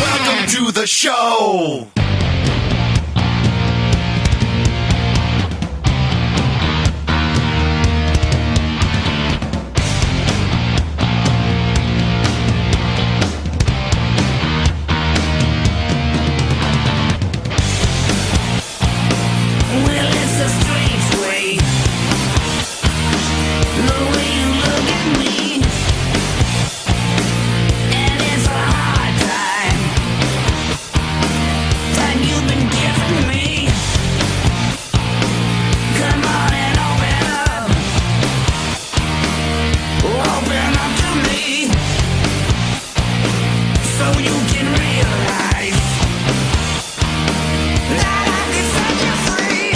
Welcome to the show. Well, it's a strange way. The way you look at me. And it's a hard time. Time you've been giving me. Come on and open up. Open up to me. So you can realize that I can set you free.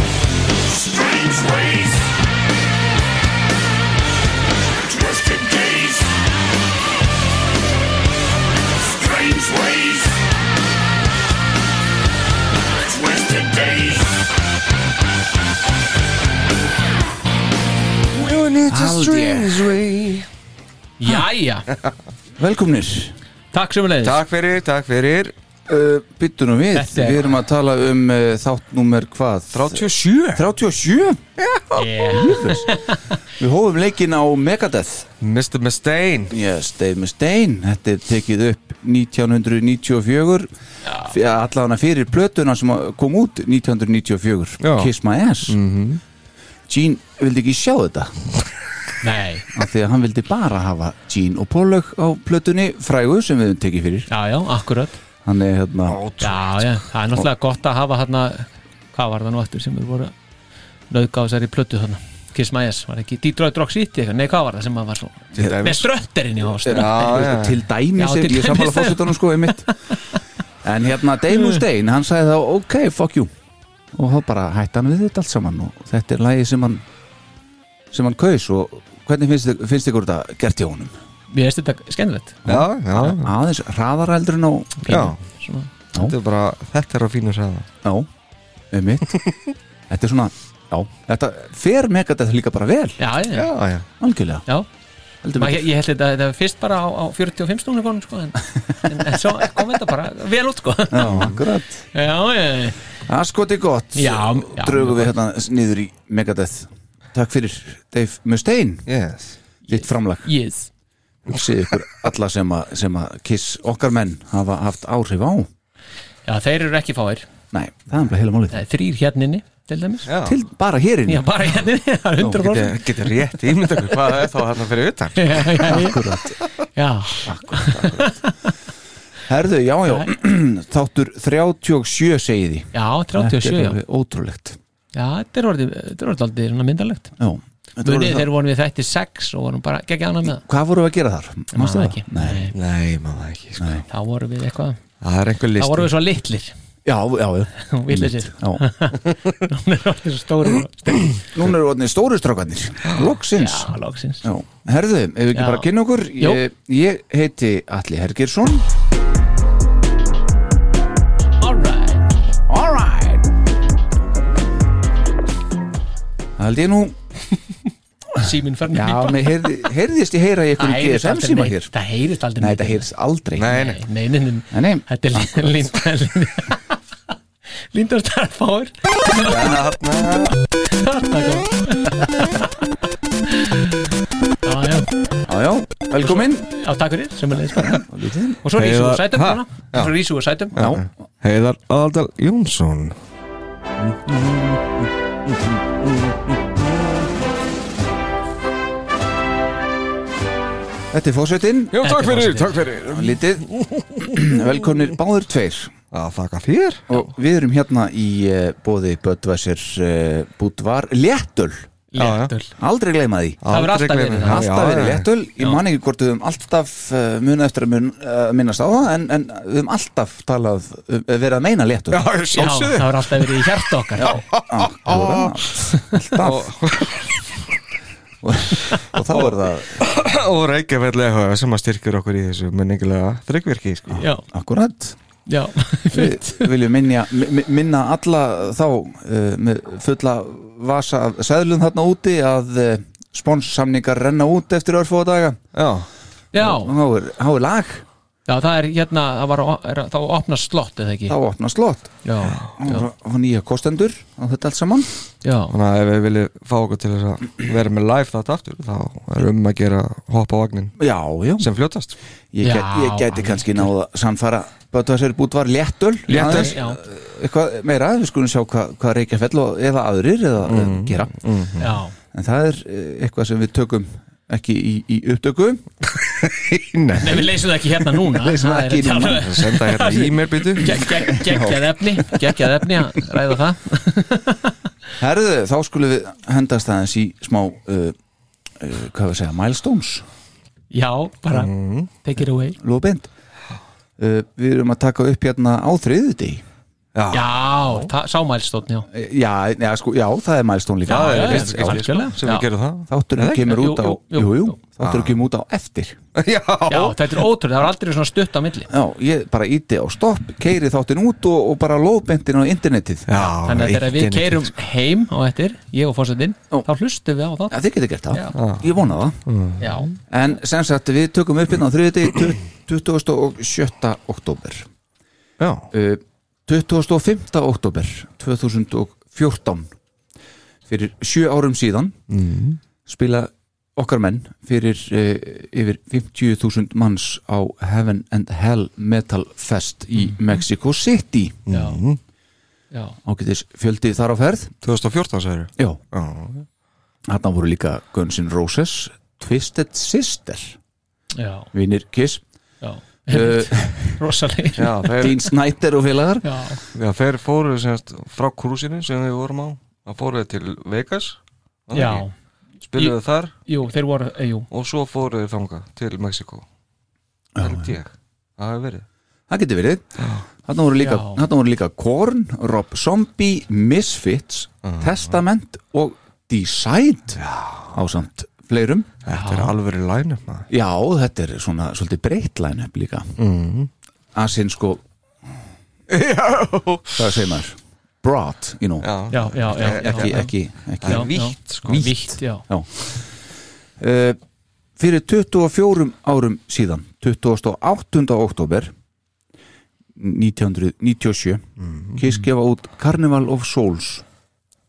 Strange ways. Twisted gaze. Strange ways. Twisted gaze. Jæja, Velkomnir takk sem við leiðis Takk fyrir, takk fyrir uh, Byttu nú við, Þetta er- við erum að tala um uh, þátt númer hvað? 37 37? yeah. Við hófum leikinn á Megadeth Mr. Mustaine Yes, Dave Mustaine Þetta er tekið upp 1994 F- Allavega fyrir plötuna sem kom út 1994 Já. Mhm. Kiss My Ass Gene vildi ekki sjá þetta Nei, af því að hann vildi bara hafa Gene og Pollock á plötunni frægu sem við höfum tekið fyrir já já, akkurat hann er hérna Já já, það er náttúrulega gott að hafa hérna Hvað var það nú eftir sem við voru Nauðgáð þessari plötu þarna Kiss My Ass, var ekki Detroit Rock City eitthvað Nei, hvað var það sem maður var svo Til dæmis. Með strötterinn í hóst Já, já, já. til dæmis Já, já, til ég er sammála dæmis. fórsetanum sko einmitt en hérna Dave Mustaine, hann sagði þá ok, fuck you og þá bara hætti hann við þetta allt saman og þetta er lagi sem hann sem hann kaus og hvernig finnst, þi- finnst ykkur þetta gert hjá honum? Mér finnst þetta skemmtilegt Já, já, aðeins hraðarældur en á já Svona. Þetta er bara, þetta er að fínu sæða já, einmitt þetta er svona, já, þetta fer megadæð líka bara vel, Já, já, Já, já algjörlega já heldur Ma, betur. ég, ég held þetta þetta var fyrst bara á, á 45 stónu konum sko, en, en, en svo kom þetta bara vel út sko. Já, akkurat Já, já, Það skoti gott Já, já. Drögum við hérna niður í Megadeth Takk fyrir Dave Mustaine Yes Þitt framlag yes Hugsið ykkur alla sem að, sem að Kiss okkar menn hafa haft áhrif á Já, þeir eru ekki fáir Nei, það er bara heila málið Það er þrýr hérninni, Eh, til dæmis Já Til bara hérinn Já, bara hérninni, það er 100% Geti, geti rétt ímynda okkur hvað það er þá hérna fyrir utan Já, já, já. Akkurat já, Herðu, já, já Þáttur 37 segi því já, 37 já. alveg ótrúlegt já, þetta er orðið, þetta er orðið aldrei svona myndarlegt Já Þetta voru Munið það- þeir voru við þætti 6 og vorum bara geggjað annað með það. Hvað voru að gera þar? Manstu það það? ekki. Nei. Nei, maður ekki, sko Þá vorum við eitthvað Það er einhver Þá listi vorum við svo litlir Já, já, já og villisir Já. Núna er orðið svo stóri Núna eru orðinni stóru strákarnir Loksins Já, lóksins Já, herðu, ef við ekki Já. bara að kynna okkur Jó. ég, ég heiti Alli Hergersson All right Alright Það held ég nú Síminn fær Já, niður. mér heyrði, heyrðist ég heyra í Það einhverju heyrist GSM aldrei síma neitt. hér Það heyrist aldrei Nei, neitt. þetta heyrðist aldrei Nei, nei Nei, nei, nei, nei. Nei, nei. Þetta er Linda Linda Starfáður Já, já, Já, já, velkomin já, takk fyrir sem er leiðis bara Og svo rísu Heiðar- og sætum Ha? núna. Og Svo rísu og sætum Já, Heiðar Aldal Jónsson Þetta er fósettin, Jú, takk fyrir, Þetta er takk fyrir lítið Velkomnir báður tveir Að þakka þér Og við erum hérna í uh, bóði Böttvæsir uh, Búdvar Léttöl Léttöl Aldrei gleyma því hefur Aldrei alltaf verið það. gleyma því. Alltaf Já, verið já. léttul, ég man ekki hvort við höfum alltaf uh, muna eftir að mun, uh, minnast á það en, en við höfum alltaf talað, uh, verið að meina léttul Já, Já, ég sjálfsögðu það var alltaf verið í hjart okkar Alltaf Og þá er það og Reykjavík EHF sem að styrkir okkur í þessu menningilega þryggvirki sko. Já, akkurat já Við viljum minja, mi- minna alla þá uh, með fulla vasa af seðlum þarna úti að uh, sponssamningar renna út eftir örfóða daga Já, Já, og þá er, þá er lag, já það er hérna það var, er, þá opnast slott eða ekki þá opna slott Já, já, og og nýja kostendur á þetta allt saman já þannig að ef við viljum fá okkur til þess að vera með live þetta aftur þá er um að gera hoppa á vagnin Já, já, sem fljótast Ég, Já, get, ég geti alveg. kannski náða sannfara Böttvæsir bútvar léttöl Léttöl. aðeins, Já, eitthvað meira, við skulum sjá hvað, hvað Reykjafell og- eða aðrir eða mm. gera já, en það er eh, eitthvað sem við tökum ekki í, í upptöku Nei, nei við leysum það ekki hérna núna Leysum það ekki núna. senda hérna í mér byttu Gek- gek- geggjað efni geggjað efni að ræða það Herðu, þá skulum við hendast aðeins í smá uh, uh, hvað við segja, milestones já, bara take it away lóðbind uh, við erum að taka upp hérna á þriðudí Já, já, það- sá mælstótt já, já, já, sko, já, það er milestone líka það já, er já, fyrst skipti sko, algjörlega. sem Já. við gerum það þátturinn kemur Jú, út á jú, jú, jú. þátturinn kemur út á eftir Já, já þetta er ótrúlega, það var aldrei svona stutt á milli Já, ég bara íti á stopp, keiri þáttinn út og, og bara lóðbendin á internetið Já, þannig að þegar við internet. keirum heim á eftir, ég og fórsetin Ó. þá hlustum við á það Já, þið getur gert það, Já. ég vona það já, En sem sagt, við tökum upp hérna á þriðið 27. oktober Já, uh, 25. oktober 2014 Fyrir sjö árum síðan spila okkar menn fyrir uh, yfir 50.000 manns á Heaven and Hell Metal Fest í Mexico City já, já. Ágætis fjöldi þar á ferð 2014 sagður Já Já, Þarna voru líka Guns N' Roses Twisted Sister já. Vinir Kiss Já, uh, rosalegir já þeir, Dean Snyder og félagar Já, já, þeir fóru semast, frá krúsinu sem við vorum á það fóruðu til Vegas var það já, ekki? spiluðu þar jú, þeir voru eh, jú. og svo fóruðu þanga til Mexiko held ég það hefur verið Það getur verið Þarna voru líka, Já. þarna voru líka Korn, Rob Zombie, Misfits Testament og Decide ásamt fleirum þetta er alveg læna maður Já, þetta er svona svolítið breytt line-up líka mm. Mhm. Asinn sko Já Það segir maður Broad, you know já, Já, já, já, já, Ekki, já. ekki, ekki Já, já. vítt, sko. Vítt, já, Já. Eh, Fyrir 24 árum síðan 28. oktober 1997 Kiss gefa út Carnival of Souls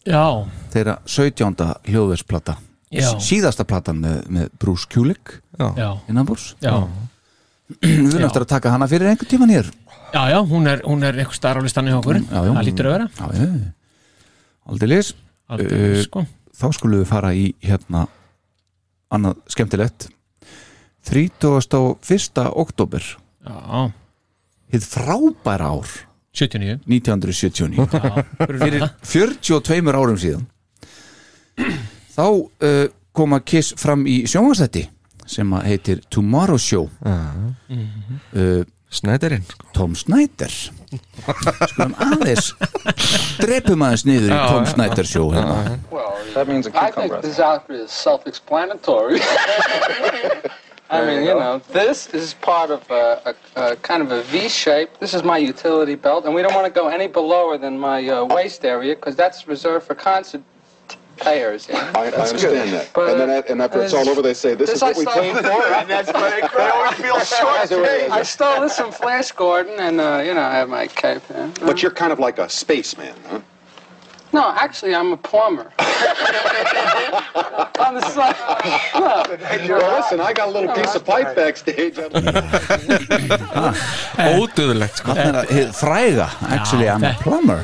já, þeirra 17. hljóðversplata já, síðasta platan með, með Bruce Kulick já, innanbúrs já, við erum Já. eftir að taka hana fyrir einhvern tíma nýr já, já, hún er, hún er einhver starf á listanni hjá okkur, já, já. það lítur að vera aldrei lis Aldrei, Eh, sko, þá skulum við fara í hérna annað skemmtilegt 31. oktober já, hitt frábæra ár 79 1979 Fyrir, 42 árum síðan þá uh, koma Kiss fram í sjónvastætti sem að heitir Tomorrow Show uh, snæðirinn sko. Tom Snyder skoðum aðeins drepum aðeins niður í Tom Snyder Show hérna. I think this outfit is self-explanatory. I mean, you know, this is part of a, a, a kind of a V shape. This is my utility belt, and we don't want to go any belower than my uh, waist area because that's reserved for concert players. you know? I, I understand that. But, and then at, and after it's all over, they say, this, This is I what we stole- came for. And that's but I always feel short. I stole this from Flash Gordon, and uh, you know, I have my cape. Yeah. But you're kind of like a spaceman, huh? No, actually, I'm a plumber. On the side. Well, listen, I got a little piece of pipe backstage. ódöðlegt sko. Þarna er að- hið fræga actually I'm a þetta- plumber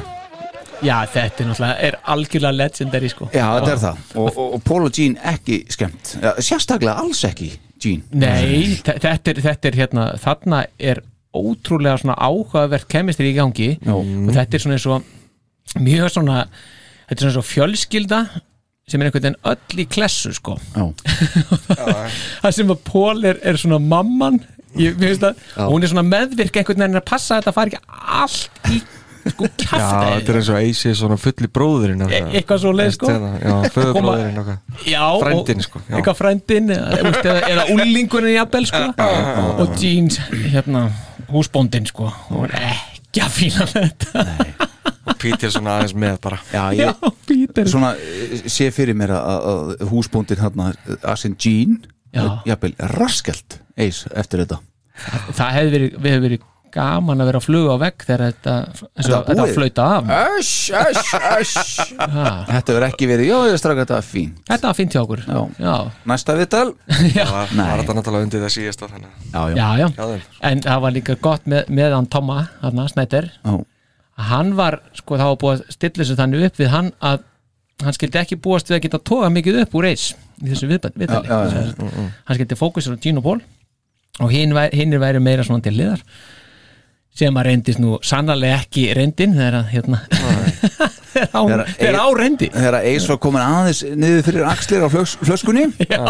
já, þetta er náttúrulega, er algjörlega legendary, sko já þetta er það og, og, og Paula Jean ekki skemmt já, sérstaklega alls ekki Gene Nei, þe- þetta er, þetta er hérna þarna er ótrúlega svona áhugavert kemistri í gangi Já. og þetta er svona eins og mjög svona, þetta er svona eins og fjölskylda sem er einhvern veginn öll í klessu sko, Já, það sem að Pól er, er svona mamman ég, mér finnst að, og hún er svona meðvirk einhvern veginn að passa að þetta fari ekki allt í sko Já, þetta kjafta er eins og Eisi svona fulli bróðurinn hérna, E- eitthvað svoleiðis, sko. Já, föðurbróðurinn okkar Já, Frændinn, og- sko, já. eitthvað frændin eða, þú veist, eða, eða úlingurinn jafnvel sko og Jeans hérna, húsbóndin sko hún er ekki að fíla þetta Og Pítur svona aðeins með bara já já, ég Pítur svona eh, sé fyrir mér að, að- að húsbóndin hérna Asin Gene Já. jafnvel raskelt eis eftir þetta það hefði verið, við hefði verið gaman að vera að fluga á vegg þegar þetta, þessu, Þetta þetta, búið. flauta af Öss, öss, öss ha, Þetta verður ekki verið, já ég er strák að þetta er fín þetta var fínt hjá okkur Já. já, Næsta viðtal Það var Nei. var þetta náttúrulega undir það síðasta þannig að- Já, já, já. Já, þeim. en það var líka gott með, með hann Toma, hann Snæter Já, hann var, sko það var búið að stilla þessu þannig upp við hann að hann skildi ekki búast við að geta toga mikið upp úr eis í þessu viðbæ- viðtali Já, Mm, já, já. Sem sagt, hann skildi fókusur á Gino Paul og hinn væri, hinn væri meira svona til liðar sem að reyndist nú sannarlega ekki reyndin þegar að hérna þegar á, Þegar- þegar á reyndi Þegar að Ace var komin aðeins niður fyrir axlir á flöks, flöskunni já.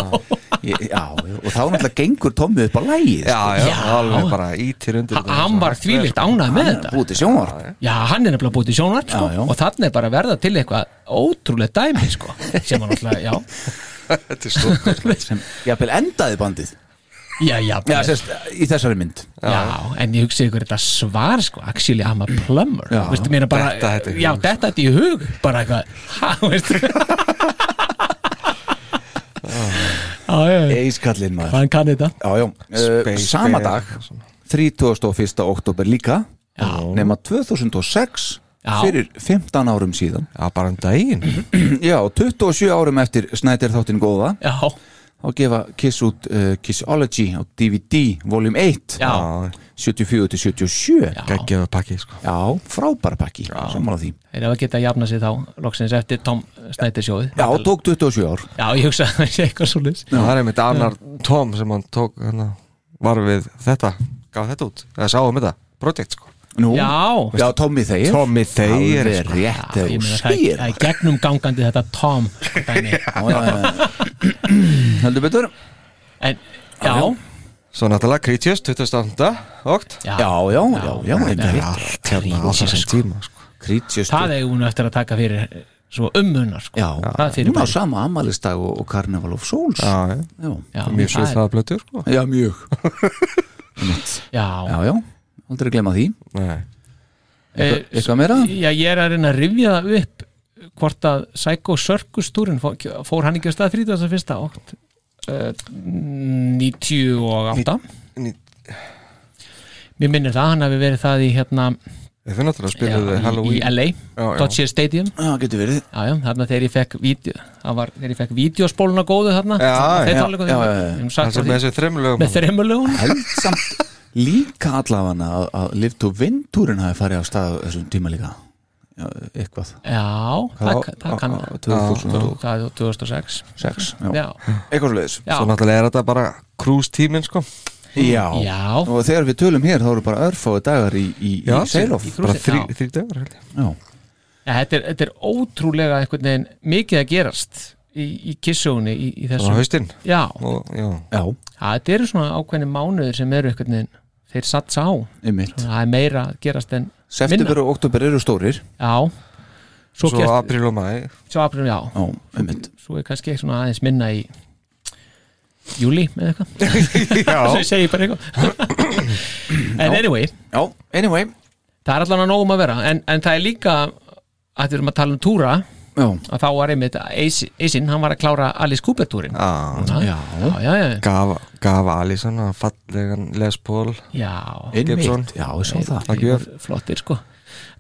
já, og þá náttúrulega gengur Tommi upp á lægið Já, já, Já. alveg bara ítir undir Ha- þetta hann svona var hægt vel, þvílikt ánað með þetta sko. Búið til sjónvarp Já, hann er nefnilega búið til sjónvarp sko, Já, já. og þannig er bara að verða til eitthvað ótrúlega dæmi sko, sem hann alltaf, já Þetta er stórkostlegt. sem jafnvel endaði bandið Já, já, Já, sérst, í þessari mynd Já, en ég hugsi ykkur þetta svar sko, actually I'm a plumber Já. Vistu, meina bara, Detta þetta í hug. Já, þetta þetta í hug bara eitthvað, ha, veistu Já, já, já, Eiskallinn maður hann kann þetta Já, já, uh, Space sama Bear, dag svona. 31. oktober líka nema 2006 Já. fyrir 15 árum síðan Já, bara um daginn Mhm. Já, 27 árum eftir Snæder þáttinn góða Já, og gefa Kiss út uh, Kissology á DVD Volume 1 já, 74 til 77 já, Geggjöðu pakki, sko frábæra pakki sammála því þeir hafa getað jafnað sér þá loksins eftir Tom Snættir sjóið Já, tók 27 ár já, ég hugsa að það sé eitthvað svo liðs Það er einmitt annar Tom sem hann tók hana, Var við þetta, gaf þetta út Það sáum þetta, projekt, sko Nú, Já, já Tommy Þeir Tommy Thayer, Alveg sko. rétt þegar ég þú meina það er- spyr það er gegnum gangandi þetta Tom dæmi. Já, já, já. Heldur betur En, já, Svo náttúrulega Creatures, 28. okt já, Já, já, já, já, þetta er- já Allt hérna á þessum tíma, sko Krítjust það eigum hún eftir að taka fyrir eh, svo ummunar sko. Já, það er fyrir hún á sama amalistag og, og Carnival of Souls Já, já. já, já, Mjög svo það það blötu, sko já mjög er- já. Já, já, aldrei glemma því Nei. Eh, Eitthvað meira? já, ég er að reyna að rifja það upp hvort að Psycho Circus túrin fór, fór hann ekki á stað 31. okt uh, 98 Ní- mér minnir það, hann hafi verið það í hérna Þau náttúrulega já, spiluðu í, í Halloween LA, já. Dodger Stadium Já, getur verið Já, já, þarna þegar ég fekk vídeo, það var, þegar ég fekk vídeospóluna góðu þarna Já, þeir já, tala já, um- já, já. um sagt Það sem frá með því. þessu þremlögum með þreymulögun held samt líka allavega að, að Live to Win-túrin hafi farið á stað á þessum tíma líka já, eitthvað Já, það, Á- það á- kann á 2006 það er 2006 já. Já, eitthvað sliðis já, Svo náttúrulega er þetta bara cruise tíminn, sko já. Já. og þegar við tölum hér þá eru bara örfáðu dagar í, í, í Seilof í Bara krúsi, þrý- já. þrír dagar, held ég já. Ja, þetta, er, þetta er ótrúlega einhvern veginn mikið að gerast í, í kissugunni í, í Svo þessu haustinn Já, Og, já já, ja, þetta eru svona ákveðni mánuður sem eru einhvern veginn þeir satsa á, einmitt það er meira að gerast en september og oktober eru stórir já svo, Svo gerst, apríl og maí svo apríl, já, já, einmitt svo er kannski svona aðeins minna í júli eða eitthvað, Já svo ég segi bara eitthvað en anyway já, anyway það er allan að nógum að vera en, en það er líka að við erum að tala um túra já, að þá var einmitt Eisin, hann var að klára Alice Cooper túrin Já, já, já, já, gaf, gaf Alisson að fallegan Les Paul já. Gibson. einmitt, já, ég sá það Takk gjöf. flottir sko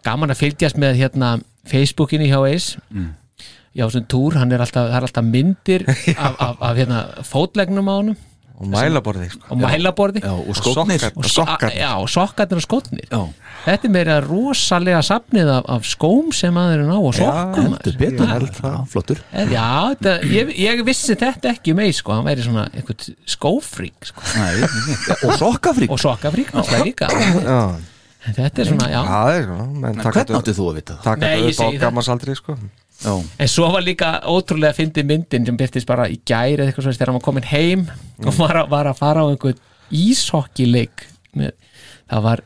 gaman að fylgjast með hérna Facebookinni hjá Eis já, sem túr, hann er alltaf, það er alltaf myndir af, af, af hérna fótlegnum á honum og mælaborði sko. og mælaborði Já, og skóknir Sokkar. og so- Sokkarnir. já, og sokkarnir og skotnir Já, þetta er meira rosalega safnið af, af skóm sem maður er ná og sokkum heldur betur Já, Flottur maður. já, þetta, ég, ég vissi þetta ekki um eis sko, hann væri svona eitthvað skófrík sko. Nei, Og sokkafrík og sokkafrík náttúrulega líka Já, þetta er svona, já það er svona menn taka Hvernig þetta átti þú að vita það? taka Nei, ég þetta upp á segi það. gammarsaldri sko. Já, En svo var líka ótrúlega fyndið myndin sem byrtist bara í gæri eða eitthvað svo þegar hann var komin heim Mm. og var að, var að fara á einhvern íshokkileik með, það var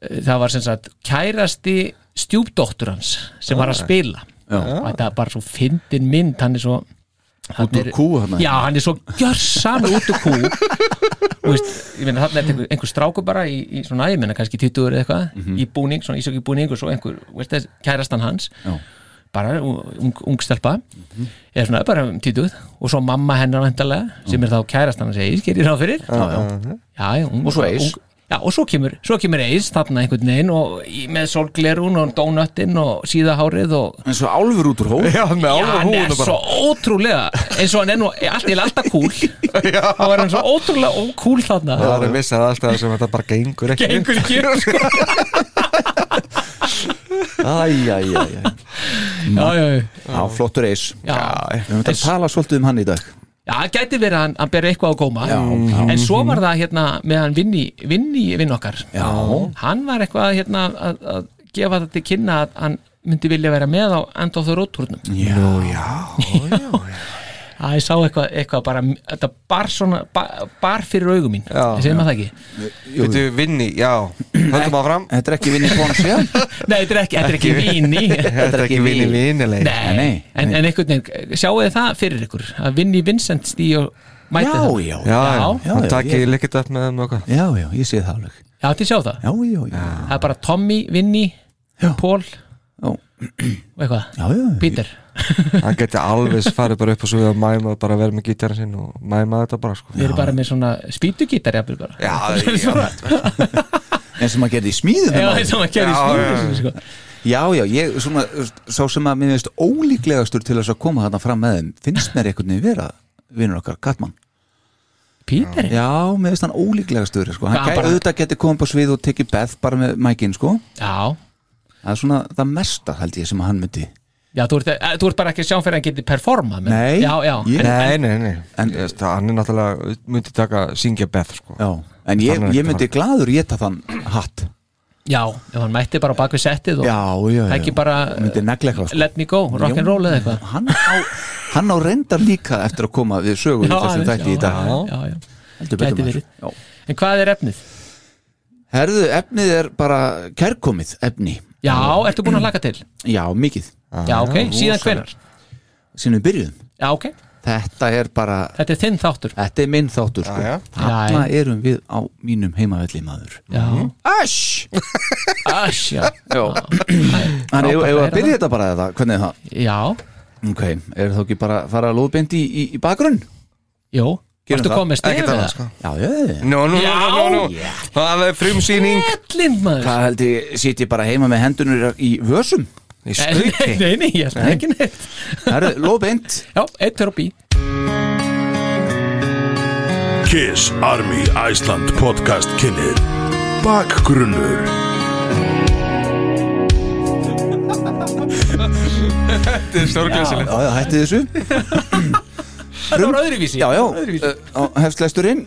það var sem sagt kærasti stjúpdóttur hans sem var að spila Ah. Já. og þetta var bara svo fyndin mynd hann er svo hann úr kú þarna. Já, hann er svo gjörsan út úr kú og veist, ég meina þarna er þetta einhver, einhver stráku bara í, í svona, ég meina kannski 20 eða eitthvað Mhm. í búning, svona ísöki búning og svo einhver, veist þess, kærastan hans Já. Mhm. bara ung, ung stelpa eða svona bara um títuð og svo mamma hennar vantarlega sem er þá kærastan hans Eis, gerir ráð fyrir já, já já, já, ung, Og svo Eys. ung- Já, og svo kemur, svo kemur Eis þarna einhvern veginn og í- með solglerun og dónöttin og síðahárið og En svo álfur út úr hól Já, með Já, alveg hann er húnu bara svo ótrúlega eins og hann er nú alltaf, alltaf kúl þá er hann svo ótrúlega ókúl þarna Það er vissið að alltaf sem þetta bara gengur ekki gengur ekki upp, sko. Æjæjæjæ já, já, já. Já, flottur eis Já. Við höfum þetta að tala svolítið um hann í dag já, það gæti verið að hann, hann berið eitthvað á góma Já, já. en svo var það hérna með hann vinni, vinni vinn okkar Já. hann var eitthvað hérna að, að gefa þetta til kynna að hann myndi vilja vera með á Andóþur ótrúnum Já, já að ég sá eitthvað, eitthvað bara þetta bar, svona, bar, bar fyrir augum mín ég segi maður það ekki Þetta er vinni, já Höldum áfram Þetta er ekki vinni pons, já nei, þetta er ekki, þetta er ekki vinni Þetta er ekki vinni vinileg Nei, Nei, En, nei. en einhvern veginn, sjáu þið það fyrir ykkur að vinni Vincent stí og mæti Já, það já, Já, Já, já, já, hann já, takki ég- líkit upp með þeim og eitthvað já, já, ég sé það alveg Já, þið sjá það, Já, já, já það er bara Tommy, Vinni Já. Paul Já. og eitthvað, Já, já, já. Peter Hann geti alveg farið bara upp og svo við að mæma og bara vera með gítarinn sinn og mæma þetta bara sko Við erum bara með svona spýtugítar jafnvel bara Já, já, En sem að gerði í smíðum hérna. Já, það er svona Já, kjæri já, já. smúið sko. já, já, ég svona Sá sem að mér finnst ólíklegastur til þess að koma þarna fram með þeim Finnst mér einhvern veginn vera Vinnur okkar, Gatman Peter, já, Já, mér finnst hann ólíklegastur sko. Hann Já, gæ, bara- auðvitað geti komið upp á svið og tekið Beth bara með mækin, sko já, Það er svona það mesta, held ég, sem að hann myndi þú, ert, eh, þú ert bara ekki að sjá fyrir að hann geti performað menn. Nei. Já, já, Ég- en, Nei, nei, nei En- en, Ég, það, Hann er náttúrulega, myndi taka syngja Beth sko Já, en ég, Hann er ég ekki myndi gladur geta þann hatt já, ef hann mætti bara á bakvið settið og Já, já, já ekki bara Myndi negla eitthvað, sko let me go, rock'n'roll eða eitthvað Hann á, hann á reyndar líka eftir að koma við sögu í aðeins, þessum þætti í dag já, já, já. Heldur Gæti betur maður. verið. Já. En hvað er efnið? Herðu, efnið er bara kærkomið efni Já, Ah. ertu búin að laka til? Já, mikið, Já, ok, síðan hvenar? sinni byrjuðum Já, ok, Þetta er bara, þetta er þinn þáttur þetta er minn þáttur sko. Já, já. Þarna erum við á mínum heimavelli maður Já, Æsj! Æsj, já Já, hann Frábært hefur að heyra að byrja þetta bara eða, hvernig er það? Já, Ok, er þá ekki bara að fara að lóðbeint í, í, í bakgrunn? jú, Gerum varstu það. komið Ekki stefið það, það? sko Já, já, já Nú, nú, Já, nú, nú, nú Það er frumsýning Ellind maður Hvað held ég, sit ég bara heima með hendunur í vösum? Í Nei, stauki nei, nei, ég held ekki neitt Herðu, lóðbeint Já, eitt er upp í Kiss Army Iceland podcast kynir Bakgrunnur Þetta er stórglæsilegt Já, já, hætti þessu Þetta var öðruvísi Já, já, uh, á- hefst lesturinn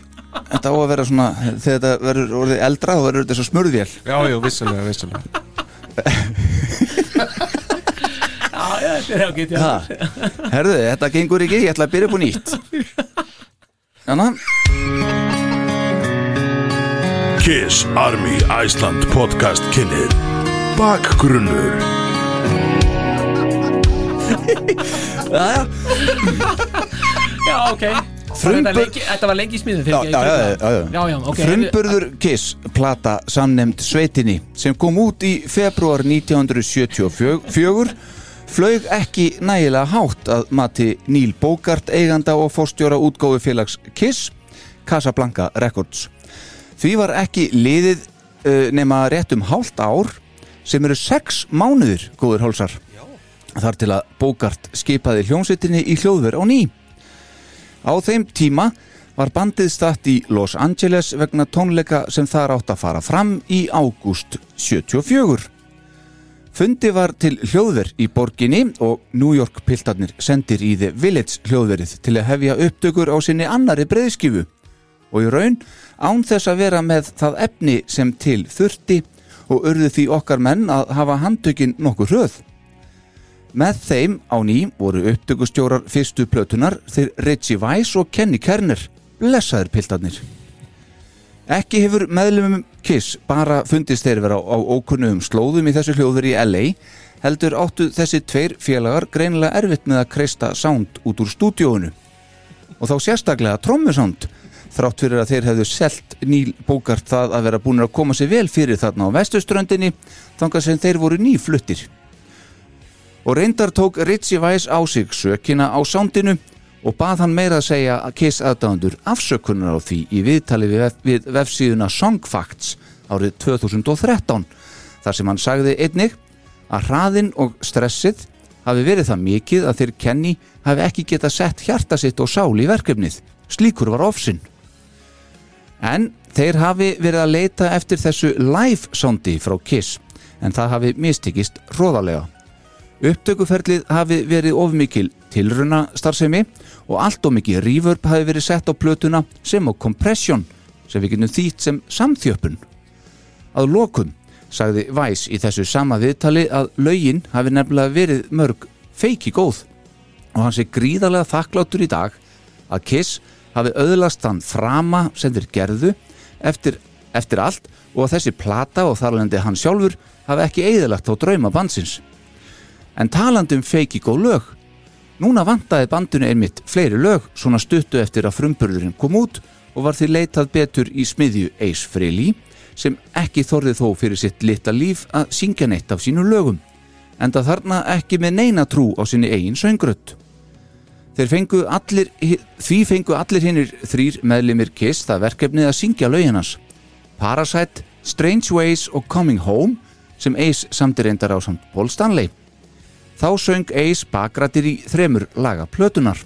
Þetta á að vera svona, þegar þetta verður orðið eldra þá verður þetta svo smurðvél Já, já, vissulega, vissulega Þetta er ágætt, já ha. Herðu, þetta gengur ekki, ég ætla að byrja upp á nýtt Þannig, Kiss Army Iceland podcast kynir Bakgrunnur Já, ok Frumbur- Þetta lengi- Þetta var lengi í smíðum já, fyrir já, já, já, já. já, já, ok Frumburður Kiss, plata samnemnd Sveitinni sem kom út í februar 1974 flög ekki nægilega hátt að mati Níl Bókart eiganda og fórstjóra útgófi félags Kiss Casablanca Records Því var ekki liðið uh, nema rétt um hálft ár sem eru sex mánuðir, góður hálsar þar til að Bókart skipaði hljómsveitinni í hljóðver á ný. Á þeim tíma var bandið statt í Los Angeles vegna tónleika sem þar átt að fara fram í ágúst 74. Fundi var til hljóðver í borginni og New York piltarnir sendir í The Village hljóðverið til að hefja upptökur á sinni annari breyðskifu og í raun án þess að vera með það efni sem til þurfti og urðu því okkar menn að hafa handtökin nokkuð hröð. Með þeim á ný voru upptökustjórar fyrstu plötunar þeir Reggie Weiss og Kenny Kerner, blessaðir piltarnir. Ekki hefur meðlumum Kiss bara fundist þeir vera á, á ókunnum slóðum í þessu hljóður í LA, heldur áttu þessi tveir félagar greinilega erfitt með að kreista sound út úr stúdíóinu. Og þá sérstaklega trommusound, þrátt fyrir að þeir hefðu selt Níl Bókart það að vera búin að koma sér vel fyrir þarna á vestuströndinni, þangar sem þeir voru nýfluttir og reyndar tók Ritchie Weiss á sig sökina á sándinu og bað hann meira að segja að Kiss aðdáðundur afsökunar á því í viðtali við, vef, við vefsíðuna Songfacts árið 2013 þar sem hann sagði einnig að hraðinn og stressið hafi verið það mikið að þeir kenni hafi ekki geta sett hjarta sitt og sál í verkefnið slíkur var ofsinn en þeir hafi verið að leita eftir þessu live sándi frá Kiss en það hafi mistikist róðalega Upptökuferlið hafi verið ofmikil tilruna starfsemi og allt of mikið reverb hafi verið sett á plötuna sem á kompressjón sem við getum þýtt sem samþjöpun. Að lokum sagði Væs í þessu sama viðtali að lögin hafi nefnilega verið mörg feiki góð og hann sé gríðarlega þakkláttur í dag að Kiss hafi öðlast þann frama sem þeir gerðu eftir, eftir allt og að þessi plata og þarlendi hann sjálfur hafi ekki eigðalagt á drauma bandsins. En talandi um feiki góð lög Núna vantaði bandinu einmitt fleiri lög svona stuttu eftir að frumburðurinn kom út og var því leitað betur í smiðju Ace Frehley sem ekki þorði þó fyrir sitt lita líf að syngja neitt af sínum lögum en það þarna ekki með neina trú á sinni eigin söngrött. Þeir fengu allir, því fengu allir hinnir þrýr meðlimir Kiss það verkefnið að syngja lögin hans Parasite, Strange Ways og Coming Home sem Ace samtir reyndar á samt Paul Stanley þá söng Ace bakrættir í þremur laga plötunar.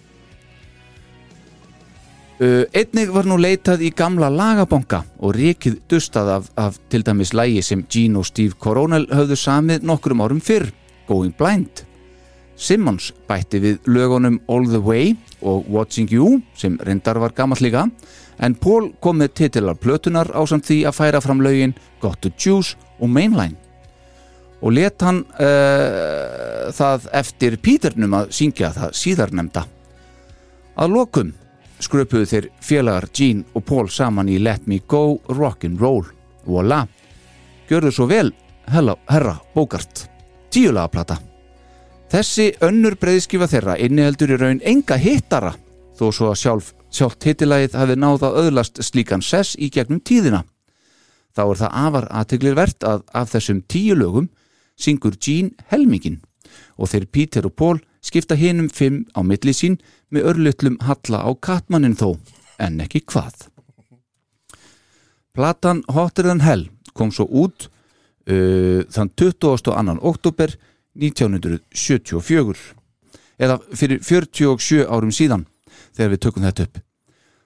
Uh, Einnig var nú leitað í gamla lagabonga og rikið dustað af, af til dæmis lægi sem Gene og Steve Coronel höfðu samið nokkrum árum fyrr, Going Blind. Simmons bætti við lögunum All the Way og Watching You sem reyndar var gammal líka en Paul kom með titilar plötunar á samt því að færa fram lögin Got to Choose og Mainline og let hann uh, það eftir Píternum að syngja það síðarnemda. Að lokum skröpuðu þeir félagar Gene og Paul saman í Let Me Go Rock'n'Roll. Voila! Gjörðu svo vel, hella, herra, bókart. Tíulaga plata. Þessi önnur breyðskifa þeirra inniheldur í raun enga hittara þó svo að sjálf, sjálft hittilagið hafi náð að öðlast slíkan sess í gegnum tíðina. Þá er það afar aðteglirvert að af þessum tíu lögum syngur Gene helmingin og þeir Peter og Paul skipta hinum fimm á milli sín með örlutlum halla á kattmannin þó, en ekki hvað. Platan Hotter than Hell kom svo út uh, þann 22. oktober 1974 eða fyrir 47 árum síðan þegar við tökum þetta upp.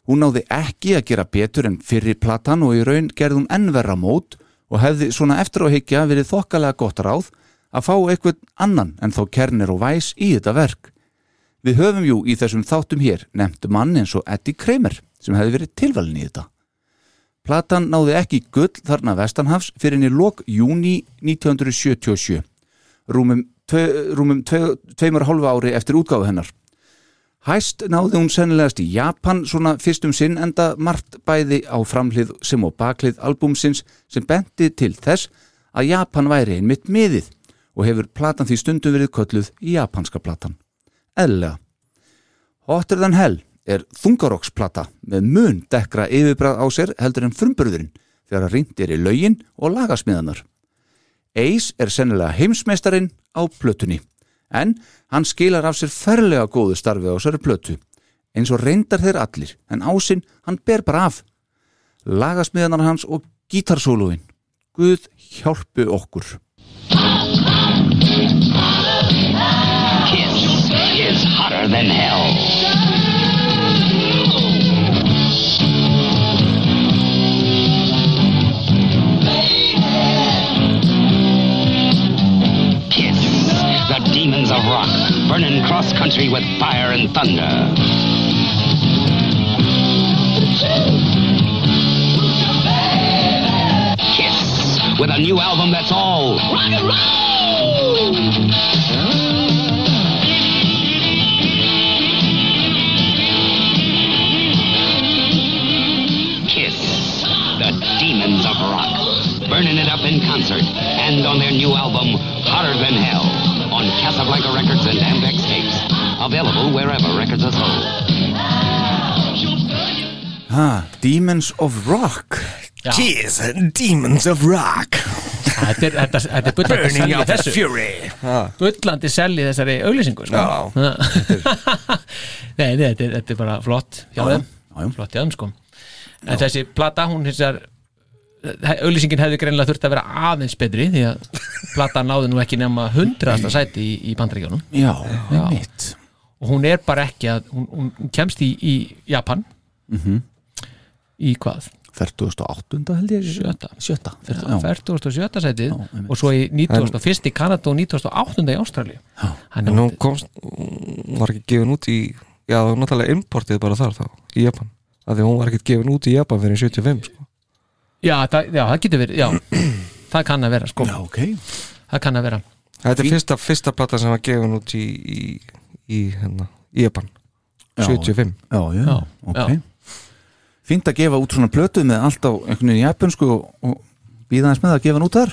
Hún náði ekki að gera betur en fyrri platan og í raun gerði hún ennverra mót og hefði svona eftir á higgja verið þokkalega gott ráð að fá eitthvað annan en þá kernir og væs í þetta verk. Við höfum jú í þessum þáttum hér nefnt mann eins og Eddie Kramer sem hefði verið tilvalin í þetta. Platan náði ekki gull þarna vestanhafs fyrir henni lok júni 1977, rúmum, tve, rúmum tve, tveimur hálfa ári eftir útgáfu hennar. Hæst náði hún sennilegast í Japan svona fyrstum sinn enda margt bæði á framhlið sem og baklið albúmsins sem benti til þess að Japan væri einmitt miðið og hefur platan því stundum verið kölluð japanska platan. Eðlega. Hotter than Hell er þungaroksplata með mun dekkra yfirbræð á sér heldur en frumburðurinn þegar að rindir í lögin og lagasmiðanar. Ace er sennilega heimsmeistarin á plötunni en hann skilar af sér ferlega góðu starfi á sér plötu eins og reyndar þeir allir en ásinn hann ber bara af lagasmiðanar hans og gítarsóluin Guð hjálpu okkur Kiss is hotter than hell. cross country with fire and thunder. Kiss with a new album that's all rock and roll. Kiss, the demons of rock, burning it up in concert and on their new album Hotter Than Hell on Casablanca Records and Ampex Tapes, available wherever records are sold. ha, Demons of Rock Kiss and Demons of Rock Þetta er, þetta, þetta er bullandi selji þessu Fury Já, Bullandi selji þessari auglýsingu sko. Já. Nei, nei, þetta er, þetta er bara flott hjá þeim já, já. Flott hjá þeim sko En þessi plata, hún hins vegar auglýsingin hefði greinilega þurft að vera aðeins betri því að plata náði nú ekki nema hundraðasta sæti í, í bandaríkjónum Já, mitt og hún er bara ekki að hún, hún hún kemst í, í Japan í hvað? 48. held ég Sjötta. Sjötta, Já, já. 47. sætið einmitt. og svo í 91. í Kanada og 98. í Ástralíu Hann En er hún komst, hún var ekki gefin út í Já, það var náttúrulega importið bara þar þá Í Japan Af því að hún var ekki gefin út í Japan fyrir 75 sko. Já, það, já, það getur verið, já Það kann að vera, sko, Já, ok það kann að vera Þetta er fyrsta, fyrsta plata sem var gefin út í Í, í, hérna, í Japan 75 Já, já, Já, ok já. Fínt að gefa út svona plötu með allt á einhvern veginn japansku og, og býða hans með að gefa hann út þar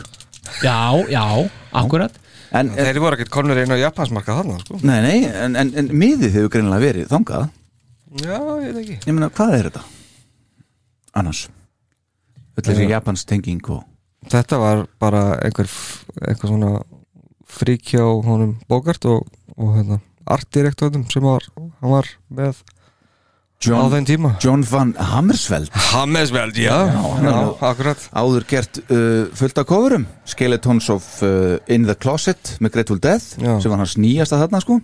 Já, já, akkurat En, en Þeir voru ekkert konur inn á Japansmarka þarna sko. nei, nei, en, en, en miðið hefur greinilega verið þangað Já, ég veit ekki Ég meina, hvað er þetta? Annars Öll þessi japans tenging og Þetta var bara einhver, f- einhver svona frík hjá honum Bogart og, og hérna, artdirektornum sem var, hann var með á John, þeim tíma John Van Hammersveld Hammesveld, já, já, akkurat áður gert uh, fullt af coverum Skeletons of uh, In the Closet með Grateful Death Já. sem var hans nýjasta þarna sko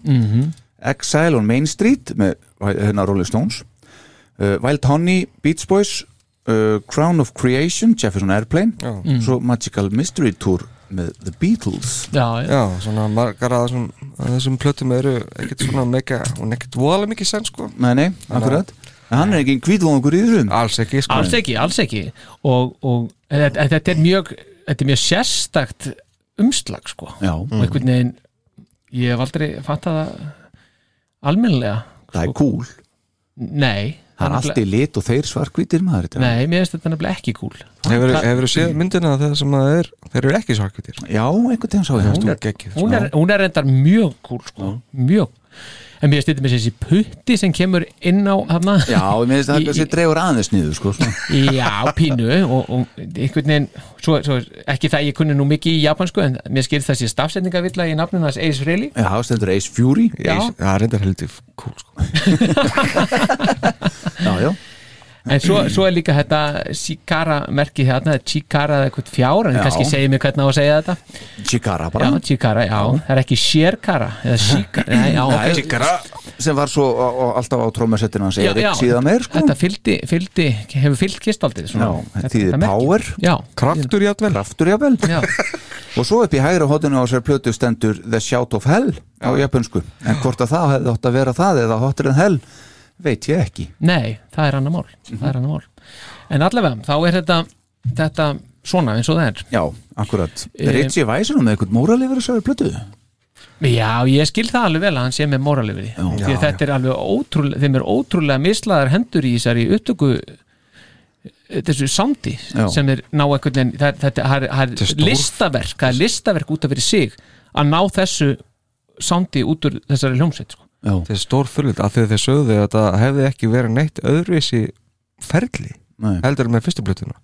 Exile on Main Street með hérna Rolling Stones uh, Wild Honey, Beach Boys uh, Crown of Creation, Jefferson Airplane Já. svo Magical Mystery Tour með The Beatles Já, já, Já, svona margar að þessum, að þessum plötum eru ekkert svona mega, hún er ekkert voðalega mikið senn sko Nei, nei, akkurat En hann er ekki hvíðvóðungur í þessum Alls ekki sko alls ekki, alls ekki og, og en þetta, en þetta er mjög þetta er mjög sérstakt umslag, sko Já, Mm. og einhvern veginn, ég hef aldrei fattað það almennilega það er cool Nei, Það er allt í lit og þeir svarkvítir maður þetta. Nei, mér finnst þetta nefnilega ekki cool Hefur, hefur séð myndina þegar sem að þeir, þeir eru ekki svarkvítir Já, einhvern tíðan sá ég það, Hún sko. er geggjuð hún er, hún er reyndar mjög cool, sko, mjög En mér stýttum þessi putti sem kemur inn á hana Já, ég meðist Í- að það kannski dregur aðeins niður sko, svona. Já, pínu og, og einhvern veginn svo, svo, ekki það ég kunni nú mikið í japansku en mér skilð þessi stafsetningavilla í nafninu hans Ace Frehley Já, stendur Ace Fury Já. Ég- Það er reyndar heldur cool sko Já, já, en svo, svo er líka þetta Chikara merkið þarna, Chikara eða eitthvað fjár en Já. kannski segir mér hvernig á að segja þetta Chikara Já, bara Chikara, já, það er ekki Sherkara eða Chikara, nei, já, ok. Tíkara sem var svo á, á, alltaf á trómasettinu hans Já, Erik já. síðan meir sko Þetta fylgdi, fylgdi, hefur fyllt kistaldið svona. Já, þetta Þetta- þetta þýðir merki. power. Já, Kraftur játvel Kraftur jáfnvel já, og svo upp í hægra hóttinu á sér plötu stendur The Shout of Hell á japansku en hvort að það hefði átt að vera það eða hotter en hell veit ég ekki Nei, það er annar mál, Mhm. það er annar mál En allavega, þá er þetta, þetta svona eins og það er Já, akkurat Eh, Ritchie Weiser með einhvern móralifur á sér plötu Já, ég skil það alveg vel að hann sé með moral yfir því því að þetta er alveg ótrúlega þeim er ótrúlega mislaðar hendur í þessari upptöku eh, þessu samdi Já. sem er ná einhvern veginn það, er- þetta það er, það Þetta er er stór- listaverk, það er listaverk út af fyrir sig að ná þessu samdi út úr þessari hljómsveit sko. Já, Þetta er stór fylgd af því að þeir sögðu að þetta hefði ekki verið neitt öðruvísi ferli Nei. heldur en með fyrstu blötuna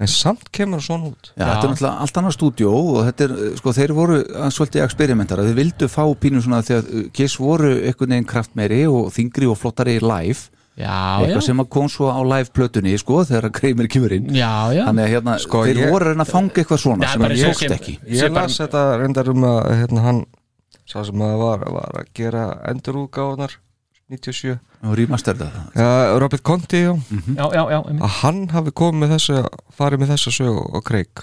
en samt kemur það svona út Já, þetta er náttúrulega allt annað stúdjó og þetta er, eh, sko, þeir voru að- svolítið eksperimentara, þeir vildu fá pínu svona þegar eh, Kiss voru einhvern veginn kraftmeiri og þingri og flottari live Já, já, eitthvað sem að kom svo á live plötunni, sko, þegar að Kramer kemur inn já, já þannig að hérna, Sko, þeir ég- voru að reyna að fanga eitthvað svona Já, sem bara að svo tókst sem- ekki Sé Ég bara- las þetta reyndar um að hérna, hann sá sem að var, var að gera endurúgáðunar 97 og rýmastar það uh, Robert Conti já, já, já, já, einmitt. að hann hafi komið með þessu farið með þessu sög og kreik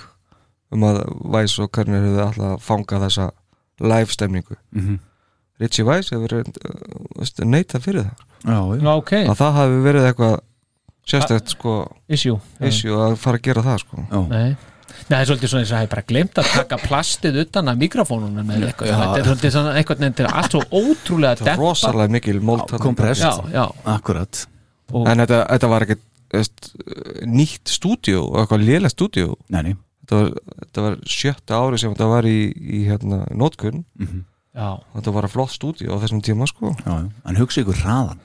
um að væs og hvernig hefði alltaf að fanga þessa live stemningu Mhm. Richie Weiss hefur reynd, uh, veist, neitað fyrir það já, Nú, ok, að það hafi verið eitthvað sérstætt sko issue issue að fara að gera það sko Nei. Nei, það er svolítið svona eins og að ég bara glemt að taka plastið utan af mikrofónunum eða eitthvað, þetta er svolítið svona eitthvað nefndir allt svo ótrúlega það er dempa rosalega mikil mold þarna. kompress. Já, já, akkurat en þetta, þetta var ekkert veist, nýtt stúdíu og eitthvað lélega stúdíu Nei, nei, þetta var, þetta var sjötta ári sem þetta var í, í hérna, nótkunn já, þetta var að flott stúdíu á þessum tíma sko já, já, en hugsa ykkur hraðan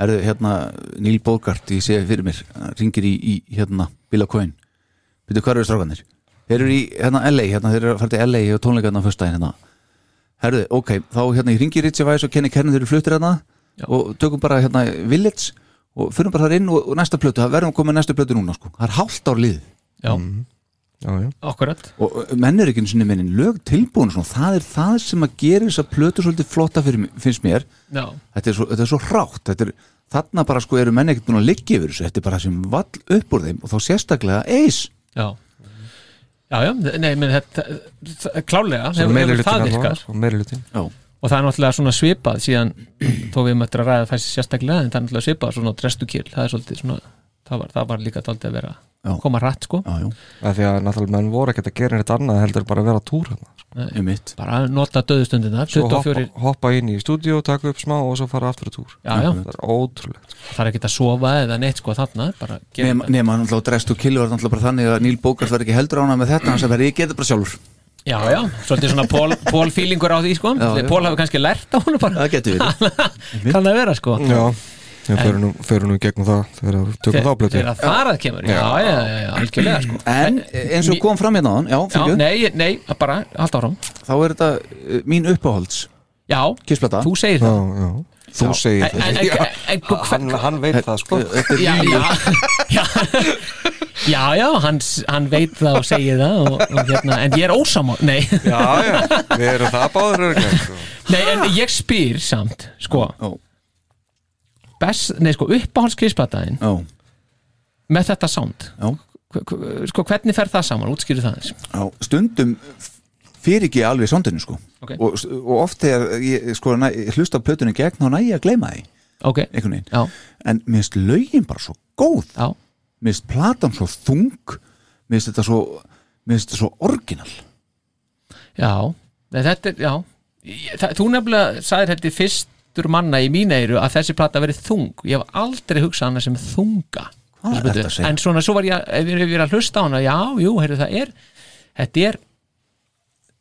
Erðu hérna Níl Bókart, ég segi fyrir mér hann Ringir í, í hérna Bill O'Coin Veitu hvað eru strákanir? Þeir eru í hérna LA, hérna þeir eru að fara til LA og tónleikarna á föstudaginn hérna Herðu, ok, þá hérna ég ringi Ritsi Væs og Kenny Kernan þeir eru fluttir hérna Já. og tökum bara hérna Village og fyrir bara þar inn og, og næsta plötu, það verðum að koma með næsta plötu núna sko, það er hálft ár lið já, Mm. já, já. akkurat og og menn er ekki einu sinni minni lög tilbúin og svona, það er það sem að gera þess að plötu svolítið flotta fyrir, mér- finnst mér Já, þetta er svo, þetta er svo rátt þetta er, þarna bara sko eru menn ekkert búin að liggja yfir þessu þetta er bara sem vall upp úr þeim og þá sérstaklega eis já Já, já, nei, menn þetta það- klálega, Svo hefur, hefur það meirihlutin virkar allavega, sko, meirihlutin. og það er náttúrulega svona svipað síðan þó við möttum að ræða þessi sérstaklega en það er náttúrulega svipað svona drestukill það er svolítið svona, það var, það var líka daldið að vera Já. koma rætt sko já, já, af því að náttúrulega menn voru ekkert að gera neitt annað heldur bara að vera að túra hana. um mitt bara nota döðustundina, svo hoppa, 24 hoppa inn í stúdíu, taka upp smá og svo fara aftur að túr Já, já. það er ótrúlegt sko. það er ekki að sofa eða neitt sko þarna bara gera nema nema hann alltaf drest og killu var alltaf bara þannig að Níl Bókart verði ekki heldur ána með þetta hans að verði ég geta bara sjálfur Já, já, svolítið svona Pól- Pól fílingur á því sko Já, já. Pól hafi kannski lært á hún bara það getur verið kann að vera sko já, við förum nú- förum nú í gegnum það þegar við tökum þá blötu Þegar það kemur, já, já, já, já, já algjörlega sko en eins og kom fram hérna á hann já, Já, fyrir, nei, nei, bara, halda áram þá er þetta uh, mín uppáhalds Já, kissplata þú segir já, það já, þú segir En, en, það en, en, en hann, hann veit það sko já, já, já, já, já hann, hann veit það og segir það og, og hérna, en ég er ósamá nei, já, já, við erum það báður örgæm sko. nei, en ég spyr samt sko, Ó. best, nei, sko uppáhaldskrisplataðin já, með þetta sound já, Hv- hv- sko, hvernig fer það saman, útskýru það eins já, stundum fyrir ekki alveg sándinu sko Ok. og, og oft þegar ég sko næ, hlusta á plötunum gegn þá næ ég að gleyma því ok, einhvern veginn já, en mér finnst lögin bara svo góð já, mér finnst platan svo þung mér finnst þetta svo mér finnst þetta svo orginal já nei, þetta er, já Ég- það, þú nefnilega sagðir þetta í fyrstur manna í mín eiru að þessi plata verið þung ég hef aldrei hugsað hana sem þunga Þessu Hvað er þetta plötu. að segja? en svona, svo var ég, ef ég ef ég er að hlusta á hana já, jú, heyrðu, það er þetta er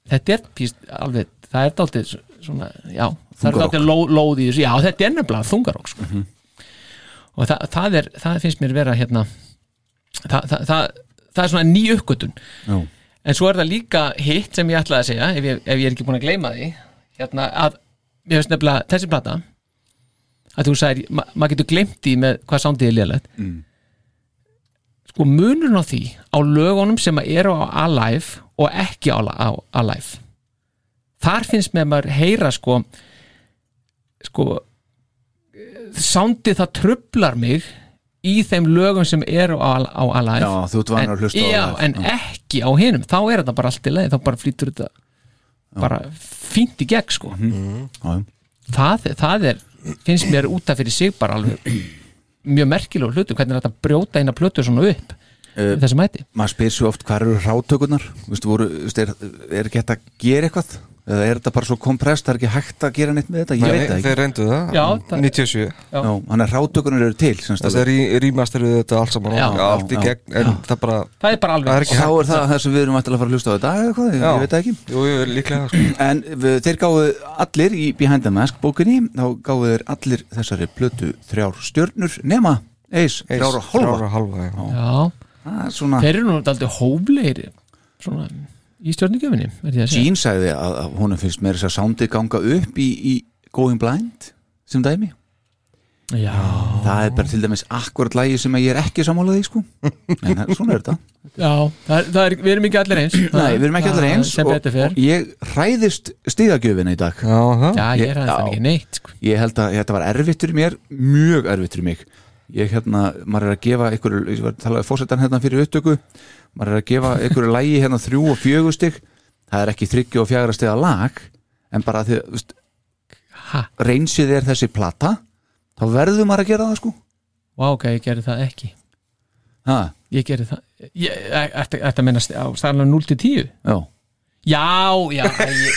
þetta er píst, alveg, það er dálítið svona, já, það er Þungarokk. dálítið ló, lóð í þessu, já, þetta er nefnilega þungarokk sko. Mhm. og það, það er það finnst mér vera hérna það, það, það, það er svona ný uppgötun Já. en svo er það líka hitt sem ég ætlaði að segja ef ég, ef ég er ekki búin að gleyma því hérna, að mér finnst nefnilega þessi plata að þú sagir, ma- maður getur gleymt því með hvað sándið er lélægt mm. sko munurinn á því á lögunum sem að eru á Alive og ekki á, á Alive þar finnst mér maður heyra sko sko sándið það trublar mig í þeim lögum sem eru á, á Alive já, þú ert vanur en, að hlusta já, á en ekki á hinum þá er þetta bara allt í leið, þá bara flýtur þetta bara fínt í gegn sko. Mhm. en, það, það er, finnst mér út af fyrir sig bara alveg mjög merkilegu hlutu, hvernig er þetta að brjóta eina plötu svona upp Eh, uh, þessi mæti maður spyr svo oft hvað eru rátökunar Vistu, voru, vistu, er, er ekki hægt að gera eitthvað eða er þetta bara svo komprest það er ekki hægt að gera neitt með þetta, ég Nei, veit það ekki þeir reyndu það, Já, það- 97 Já. já, hann er rátökunar eru til sem þess að sagt. rí- remasteruðu þetta allt saman Já. allt í Já. gegn, en það bara það er bara alveg það er og ekki þá er það það sem við erum ættilega að fara að hlusta á þetta eða hvað, ég, ég veit það ekki jú, jú, líklega sko. En við, þeir gáðu allir í Behind the Mask bókinni, þá gáðu þeir allir þessari plötu þrjár stjörnur nema, eis, þrjár og Þrjár hálfa og hálfa já. já, Það er svona, þeir eru nú aldrei hóflegir svona í stjórnigjöfinni Jean sagði að, að honum finnst meira þess að soundið ganga upp í, í Going Blind sem dæmi, já, það er bara til dæmis akkurat lægi sem að ég er ekki sammálaði sko, en það- svona er þetta já það er, það er, við erum ekki allir eins Nei, við erum ekki allir Það- eins sko. sem og, betur fer, og ég hræðist stíðagjöfina í dag já, það já, ég ég- er aðeins já. ekki neitt sko. ég held að þetta var erfitt fyrir mér mjög erfitt fyrir mig ég hérna, maður er að gefa ykkur ég var að tala við fórsetan hérna fyrir upptöku maður er að gefa ykkur lægi hérna þrjú og fjögur stig það er ekki þryggju og fjagra stiga lag en bara því, þú veist reynsið er þessi plata þá verður maður að gera það sko Vá, ok, ég gerði það ekki ha, Ég gerði það Ég- æ- Ætti ætti að minna st- á staðanlega 0 til 10 já, Já, já æ, ég-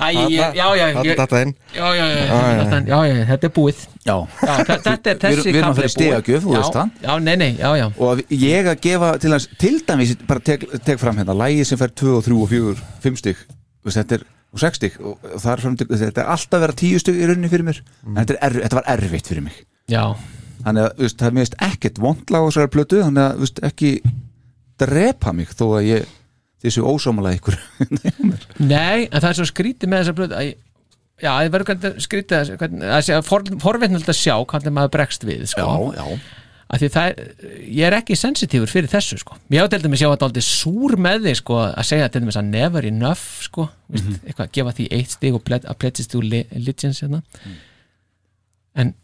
Æ, ég- já, já Ah, ég- Þetta inn Já, já, já, já, já, já, þetta er búið já. Já, þe- þetta er Við erum- þessi við erum að kafli fara í stigagjöf, þú Já, veist það. Já, nei, nei, já, já og að ég að gefa til, hans, til dæmis, bara tek, tek fram hérna lægi sem fer 2 og 3 og 4, 5 stygg þetta er og 6 stygg og það er fram til, þetta er alltaf að vera 10 stygg í rauninni fyrir mér en þetta, er, erf- þetta var erfitt fyrir mig Já, þannig að þú veist, það er mjög ekkert vondlag á þessari plötu, þannig að þú veist, ekki drepa mig þó að ég þessu ósámála ykkur nei, en það er svo skrítið með þessa blöð að ég- Já, það verður hvernig skrítið að- hvernig- að sé- for, forvitnilegt að sjá hvernig maður bregst við sko. já, að því það er, ég er ekki sensitífur fyrir þessu sko, ég á til dæmis ég var aldrei súr með því sko, að segja til dæmis að never enough sko, veist, eitthvað að gefa því eitt stig og bled, að pledgist þú legends hérna en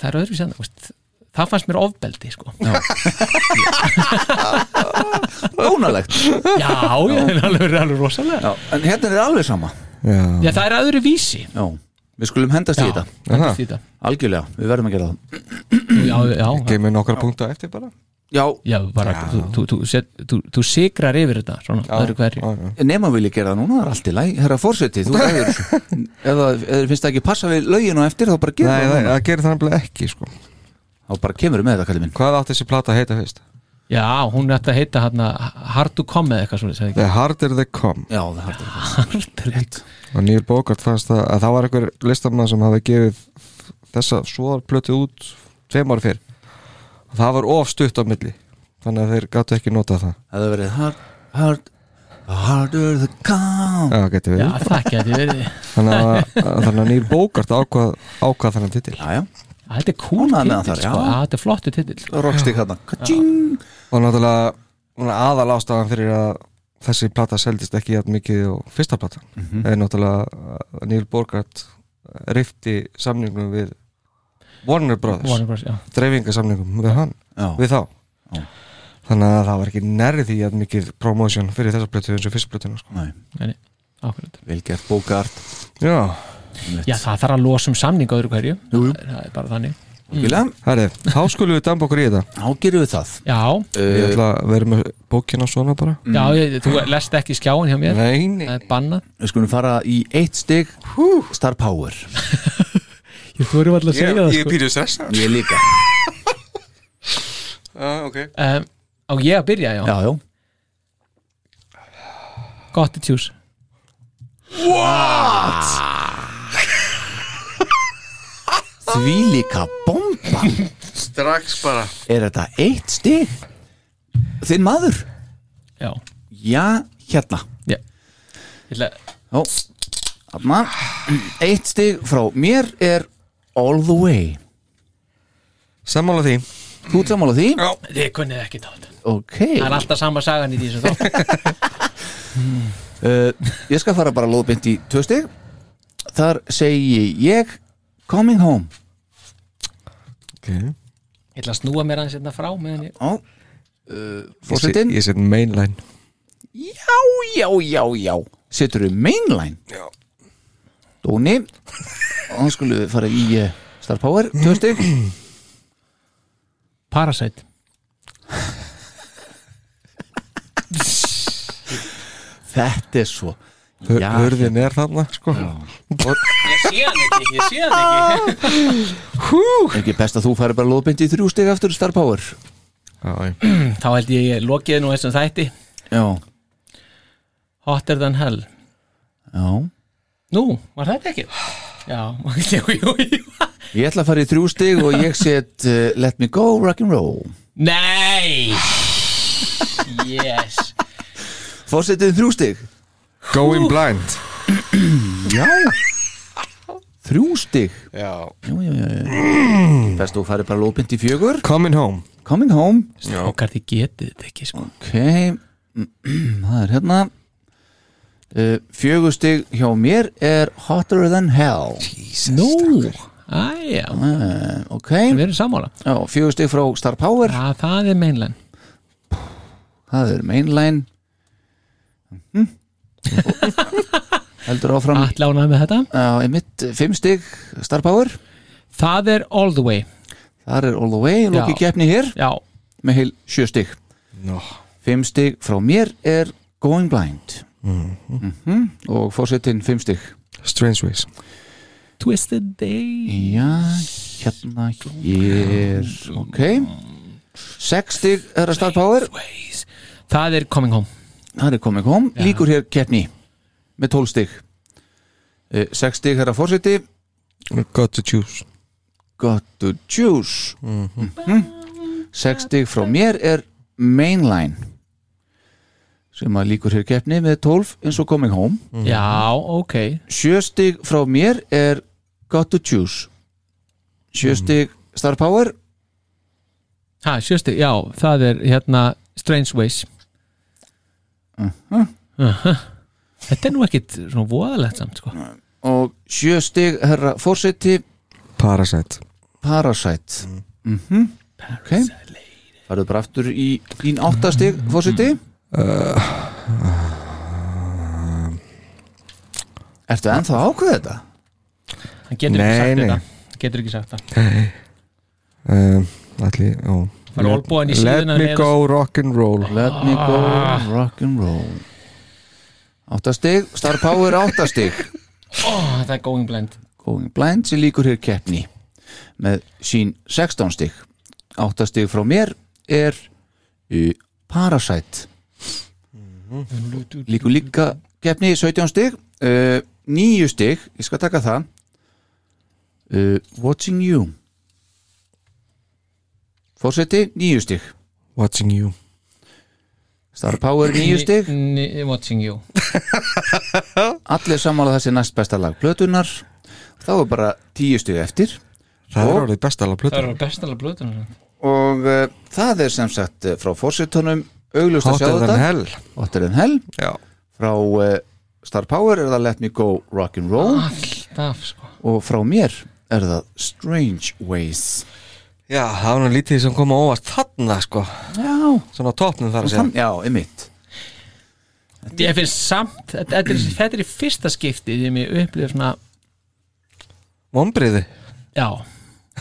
það er öðru sérna, veist það fannst mér ofbeldi sko já, dónalegt já, það er alveg, alveg rosalega já. já, en hérna er alveg sama Já, það er öðru vísi já, við skulum hendast í já, þetta þetta er þetta. algjörlega, við verðum að gera það já, já, geymið nokkra punkta eftir bara já, já, bara, þú, þú, þú, set, þú, þú sigrar yfir þetta svona, öðru hverju já, já. nema vil ég gera það núna, það er allt í læg herra fórseti, þú hefur ef það ef þér finnst það ekki passa við lögin og eftir þá bara Nei, gera nei, það núna það gerir það nefnilega ekki sko. þá bara kemur við með þetta, kallið minn Hvað átt þessi plata að heita fyrst? já, hún ætti að heita hérna hard to come eða eitthvað svona, The Harder They Come já, það er hægt segir rétt og Neil Bogart fannst það að það var einhver listamann sem hafi gefið þessa svo plötu út tveim ári fyrr og það var of stutt á milli þannig að þeir gáttu ekki nota það það hefur verið hard, hard harder the come Já, geti já, verið það geti verið þannig að, að- þannig að Neil Bogart ákvað, ákvað þannig titil já, já, Að Þetta er cool Ánægður með titill það, já. sko. Að Þetta er flottu titill sko. rockstík hérna Ka-ching. og náttúrulega svona aðal ástafan fyrir að þessi plata seldist ekki jætt mikið og fyrsta plata er náttúrulega að Neil Bogart rifti samningum við Warner Brothers Warner Bros, já. dreifingasamningum við hann já, við þá þannig að það var ekki nærði því að mikið promotion fyrir þessa plötu eins og fyrstu plötuna sko. Nei, Ákveðnandi. vel gert bókart já, já, það þarf að losa um samning öðru hverju Jú, jú. Það er bara þannig Mm. Vilja, herri, þá skulum við dampa okkur í þetta þá gerum við það Já, uh, við ætla að vera með bókina svona bara já ég, þú lest ekki skjáin hjá mér nei, nei, Það er bannað Við skulum fara í eitt stig Star Power Ég þú erum alltaf að segja það sko. býrðu stressa Ég líka ah, okay. um, Á ég að byrja, já, Já, já gott að tjús Því líka bomba strax bara Er þetta eitt stig? Þinn maður? Já, Já, hérna já Ég ætla- Ó, afna Eitt stig frá mér er All the way sammála því Þú ert sammála því? Þið kunnið ekki þátt Ok Það er alltaf sama sagan í því sem þátt Uh, ég skal fara bara lóðbynd í tvö stig Þar segi ég Coming home okay. Ég ætla að snúa mér aðeins hérna frá meðan ég Ó, uh, ég, set, Fórsetin ég set mainline Já, já, já, já Setur við mainline Já Dóni Og hann skulle við fara í uh, Star Power Tvö stig Parasite Þetta er svo Hör- Já. hörðin er þarna sko. Ég sé hann ekki, ég sé hann ekki Er ekki best að þú fari bara lóðbynd í þrjú stig aftur Star Power Já, já. Þá held ég ég lokiði nú þessum þætti Já, Hotter than hell já Nú, var þetta ekki? Já, jú, jú, jú Ég ætla að fara í þrjú stig og ég set uh, Let me go rock'n'roll Nei Yes Fórsetið þrjú stig going blind Já Þrjú stig Já Jú, jú, jú, jú Best þú farið bara lóðbynd í fjögur coming home Coming home Okkar þið getið þetta ekki sko Ok Það er hérna uh, Fjögur stig hjá mér er Hotter than hell Nú, æja uh, Ok Við erum sammála Já, fjögur stig frá Star Power Já, það er meinlein Það er mainline Mhm. heldur áfram Atlánaði með þetta á einmitt fimm stig Star Power Það er All The Way þar er All The Way, lokið Já. keppni hér Já, með heil sjö stig Nó. fimm stig frá mér er Going Blind Mhm. og fórsetin fimm stig Strange Ways Twisted Day já, hérna hér ok sex stig er að Star Power Ways. Það er Coming Home það er komið kom, líkur hér keppni með tól stig Eh, sex stig er að fórseti Got to Choose Got to Choose mm sex stig frá mér er Mainline sem að líkur hér keppni með 12 eins og Coming Home Mhm. Já, ok sjö stig frá mér er Got to Choose sjö stig Star Power ha, sjösti, Já, það er hérna Strange Ways Mhm. Aha. Þetta er nú ekkit svona voðalegt samt sko. og sjö stig herra fórseti Parasite Parasite mm. -hmm. ok farðu bara aftur í þín áttastig fórseti Ertu ennþá að ákveða þetta? Hann getur Nei, ekki sagt nei. þetta Getur ekki sagt það um, Alli, ó Það er olbúin í Let síðuna me niður. go rock'n'roll Let me go rock'n'roll Áttastig, Star Power áttastig Ó, Það er Going Blind Going Blind sem líkur hér keppni með sín 16 stig áttastig frá mér er í Parasite líkur líka keppni 17 stig uh, 9 stig, ég skal taka það uh, Watching You Fórseti 9 stig Watching You Star Power 9 stig Ni- ni- Watching You allir sammála þessi næst besta lag plötunar þá er bara 10 stig eftir Það Og- er orðið besta alveg Það plötu eru bestalega blöðunar og uh, það er sem sagt uh, frá fórsetunum auglust að sjá Hotter than þetta hell Hotter than Hell Já frá uh, Star Power er það Let Me Go Rock'n'Roll Ah. Alltaf sko og frá mér er það Strange Ways Já, það var nú lítið sem kom á óvart þarna sko Já, Svona á topnum þar að segja þann, já, einmitt Ég finnst samt, þetta- þetta er, þetta er í fyrsta skipti því mér upplifir svona, Vombriði já,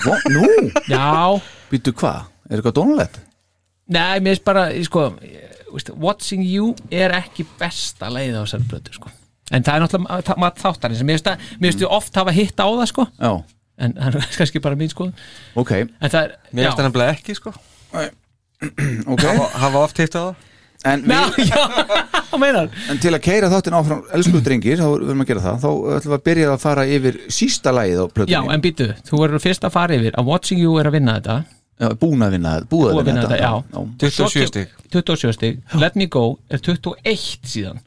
Vó, Nú, já býttu hvað? Er eitthvað dónulegt? Nei, mér finnst bara, ég sko ég- veist, Watching You er ekki besta leið á þessari blötu, sko En það er náttúrulega ma- mat þáttarins Mér finnst það- mér finnst ég oft hafa hitt á það, sko Já, En það er kannski bara mín, sko En ok, það er, Mér já finnst það nefnilega ekki sko ok Hafa- Hafa oft hitt á það En, Já, við, já, hvað meinar en til að keira þáttin áfram elsku drengir, þá verðum að gera það þá ætlum við að byrja að fara yfir sísta lagið á plötunni Já, en býtu, þú verður fyrst að fara yfir að Watching You er að vinna þetta Já, Búin að vinna það, búið Búið að vinna þetta, já. já. 27 stig 27 stig, Let Me Go er 21 síðan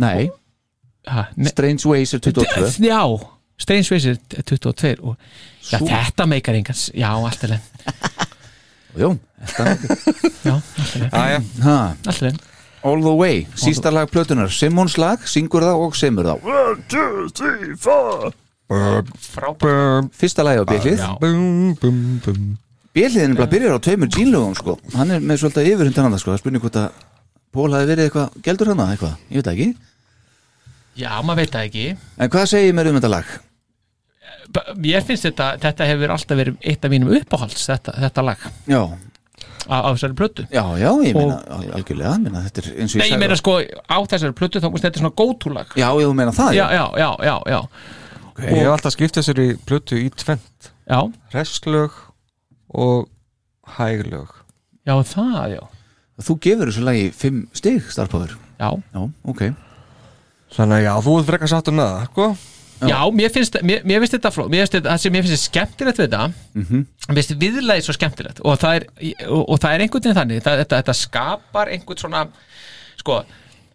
Nei, ha, ne- Strange Ways er 22 Já, Strange Ways er 22 og, Já, Sú. þetta meikar engans Já, allt er leið Jú, Já, allt er leið Æja, ha, Allt er leið All the Way, sísta lag plötunar Simons lag, syngur það og semur það bum, Fyrsta lagi á bjellið Ah, Já. bum, bum, bum Bjellið er nefnilega byrjar á tveimur djínlögum sko. Hann er með svolítið yfirhund hann sko. Það spurning hvort að Pól hafi verið eitthvað Geldur hana eitthvað, ég veit það ekki Já, maður veit það ekki En hvað segir mér um þetta lag? B- Ég finnst þetta, þetta hefur alltaf verið eitt af mínum uppáhalds þetta, þetta lag Já, á, á þessari plötu já, já, ég Og- meina al- algjörlega meina, Þetta er eins og Nei, ég ég meina sagði sko, á þessari plötu þá múst þetta er svona góttúlag Já, ég meina það, Já, já, já, já, já, já, Ég hef alltaf skipt þessari plötu í tvent já, Hresslög og hæglög já það, já Þú gefur þessu lagi fimm stig starfbáður Já, Já, ok Þannig að já, þú ert frekar sáttur með það, sko já mér, finnst, mér, mér finnst þetta fló Mér finnst þetta, það sem mér finnst þetta skemmtilegt við þetta Mér finnst viðlaði svo skemmtilegt og það er, og, og það er einhvern veginn þannig það, þetta, þetta skapar einhvern svona sko,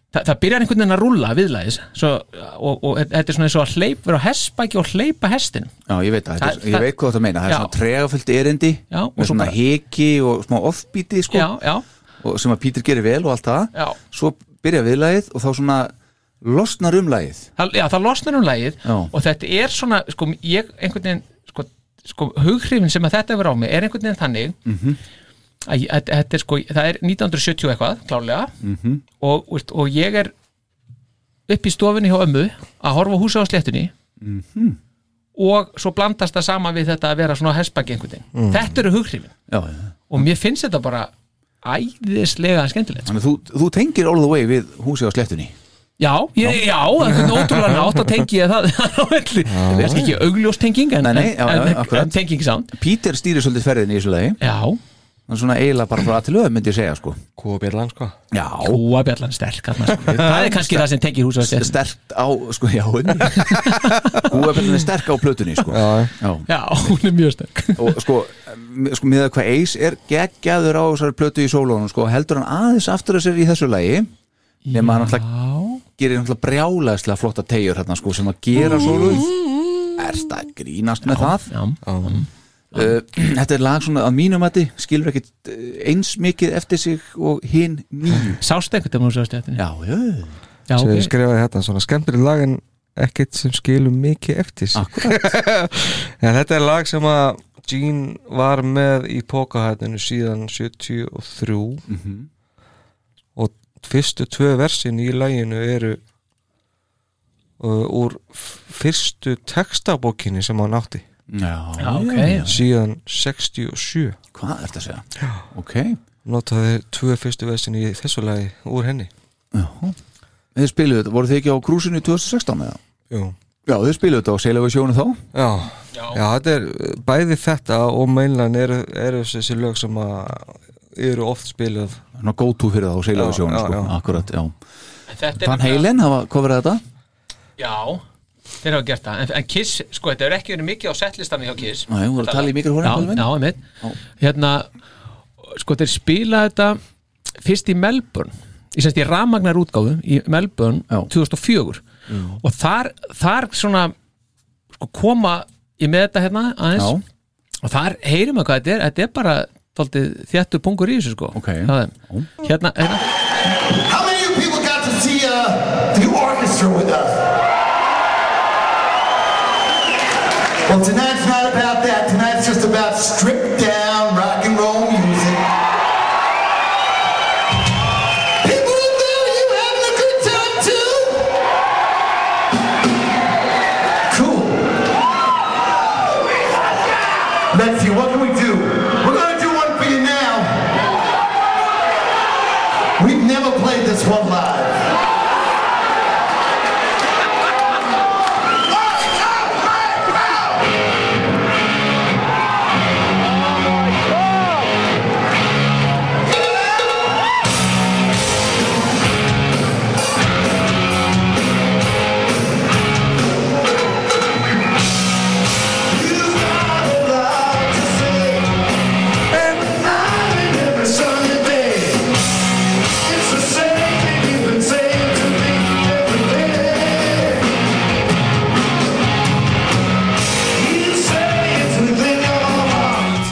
það, það byrjar einhvern veginn að rúlla viðlaðis svo, og, og þetta er svona eins og að hleyp, vera á hessbæki og hleypa hestin Já, ég veit það, Það- það, ég það- veit hvað það meina Það er Já. svona tregafullt erindi Já, og með svo svona bara- hiki og smá offbíti sko, já, já, og sem að Pítur gerir vel og allt það já, svo byrja viðlagið og þá svona losnar um lagið það, já, það losnar um lagið Já. og þetta er svona sko, ég einhvern veginn sko, sko, hughrifin sem að þetta hefur á mig er einhvern veginn þannig að, ég- að, að þetta er sko, það er 1970 eitthvað klárlega -hmm. og, veist, og ég er upp í stofunni hjá ömmu að horfa á húsið á sléttunni og svo blandast það saman við þetta að vera svona hespagi einhvern veginn þetta eru hughrifin já, já. og mér finnst þetta bara æðislega skemmtilegt sko. Þannig að þú, þú tengir all the way við húsi á slettunni já, ég, já, einhvern ótrúlega nátt að tengi ég það á milli. það er kannski ekki augljóst tenging en, Nei, nei, en- já, já, en, en, akkurat. en tenging samt Peter stýrir svolítið ferðinni í þessu lagi já, Hann svona eiginlega bara frá að til öðum myndi ég segja sko Kúabjallan sko Já, kúabjallan sterk þarna, sko. það er kannski það sem tengir húsið á sléttunni sterkt á, sko, já Kúabjallan er sterk á plötunni sko Já. já, hún er mjög sterk og sko, m- sko með að hvað Ace er geggjaður á þessari plötu í sólónum sko, heldur hann aðeins aftur að sér í þessu lagi nema hann alltaf gerir alltaf brjálæðslega flotta tegjur hérna sko sem að gera sólu erst að grínast með það Mm. já, uh, þetta er lag svona að mínum að þið skilur ekkit eh, eins mikið eftir sig og hinn nýju sástu einhvern veginn húsið á sléttunni já, já, já, sem ok. ég skrifaði hérna, svona skemmtileg lag en ekkert sem skilum mikið eftir sig. en þetta er lag sem að Gene var með í pokahættinu síðan 73 Mhm. og fyrstu tvö versin í laginu eru uh, úr f- fyrstu textabókinni sem hann átti já, já, ok, já. síðan 67 hvað er þetta að segja ok, notaði tvö fyrstu versin í þessu lagi úr henni þið spiluðu þetta, voru þið ekki á krúsinu í 2016 eða? Jú. já, þið spiluðu þetta á Seilafi sjónu þá Já, já. þetta er bæði þetta og meinlan eru, eru þessi lög sem að eru oft spiluð Ná gótu fyrir þá, Seilafi Já, sjónu já, sko, já. akkurat, já Þetta er Van nefnilega- Halen hafa kofrið þetta Já, þeir hafa gert það en, en Kiss, sko, þetta hefur ekki verið mikið á settlistanum hjá Kiss Nei, hún var að tala í mikrofónu, Já, Pálmi. já, einmitt Hérna, sko, þeir spila þetta fyrst í Melbourne Ég semst í rafmagnar útgáfu í Melbourne Já. 2004 og þar, þar svona sko, koma ég með þetta hérna aðeins Já, og þar heyrum við hvað þetta er þetta er bara tóltið þjættur pungur í þessu sko Ok. Hjá þeim. Hérna, hérna How many of you people got to see uh, the orchestra with us? Well, tonight's not about that. Tonight's just about stripped down rock and roll music. People out there, are you having a good time too? Cool. Let's see, what can we do? We're gonna do one for you now. We've never played this one live.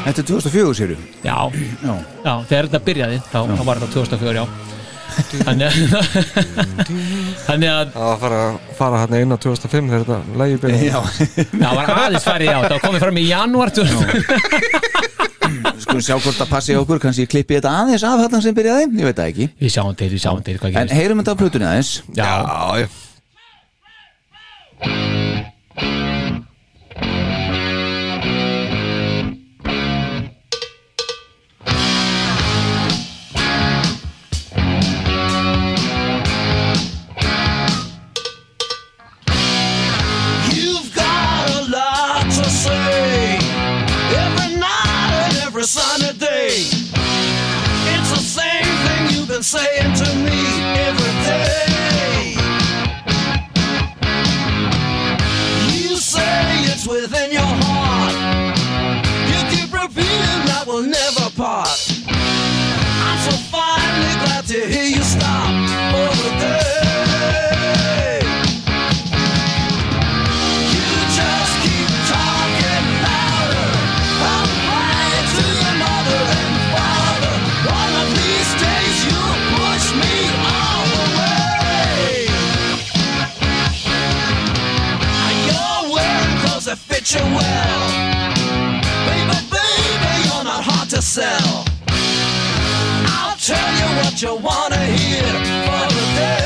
þetta er 2004 séru Já, Já. já þegar þetta byrjaði þá, þá var þetta 2004, já Þannig að Þannig að Það var að fara, fara hann inn á 2005 þegar þetta lægi byrja það var aðeins farið á þetta og komið fram í janúar 2000. Skulum sjá hvort það passi hjá okkur, kannski ég klippi þetta aðeins af þarna sem byrjaði, ég veit það ekki Við sjáum til, við sjáum til hvað En gerist heyrum þetta á plötunni aðeins Já, Já, já You've got a lot to say every night and every Sunday day. It's the same thing you've been saying to me every day. You say it's within your heart. You keep repeating that will never part. I'm so finally glad to hear you stop for the day. You just keep talking louder. I'm praying to your mother and father. One of these days you'll push me all the way. You're wearing clothes that fit you well, baby, baby, you're not hard to sell. I'll tell you what you wanna hear for the day.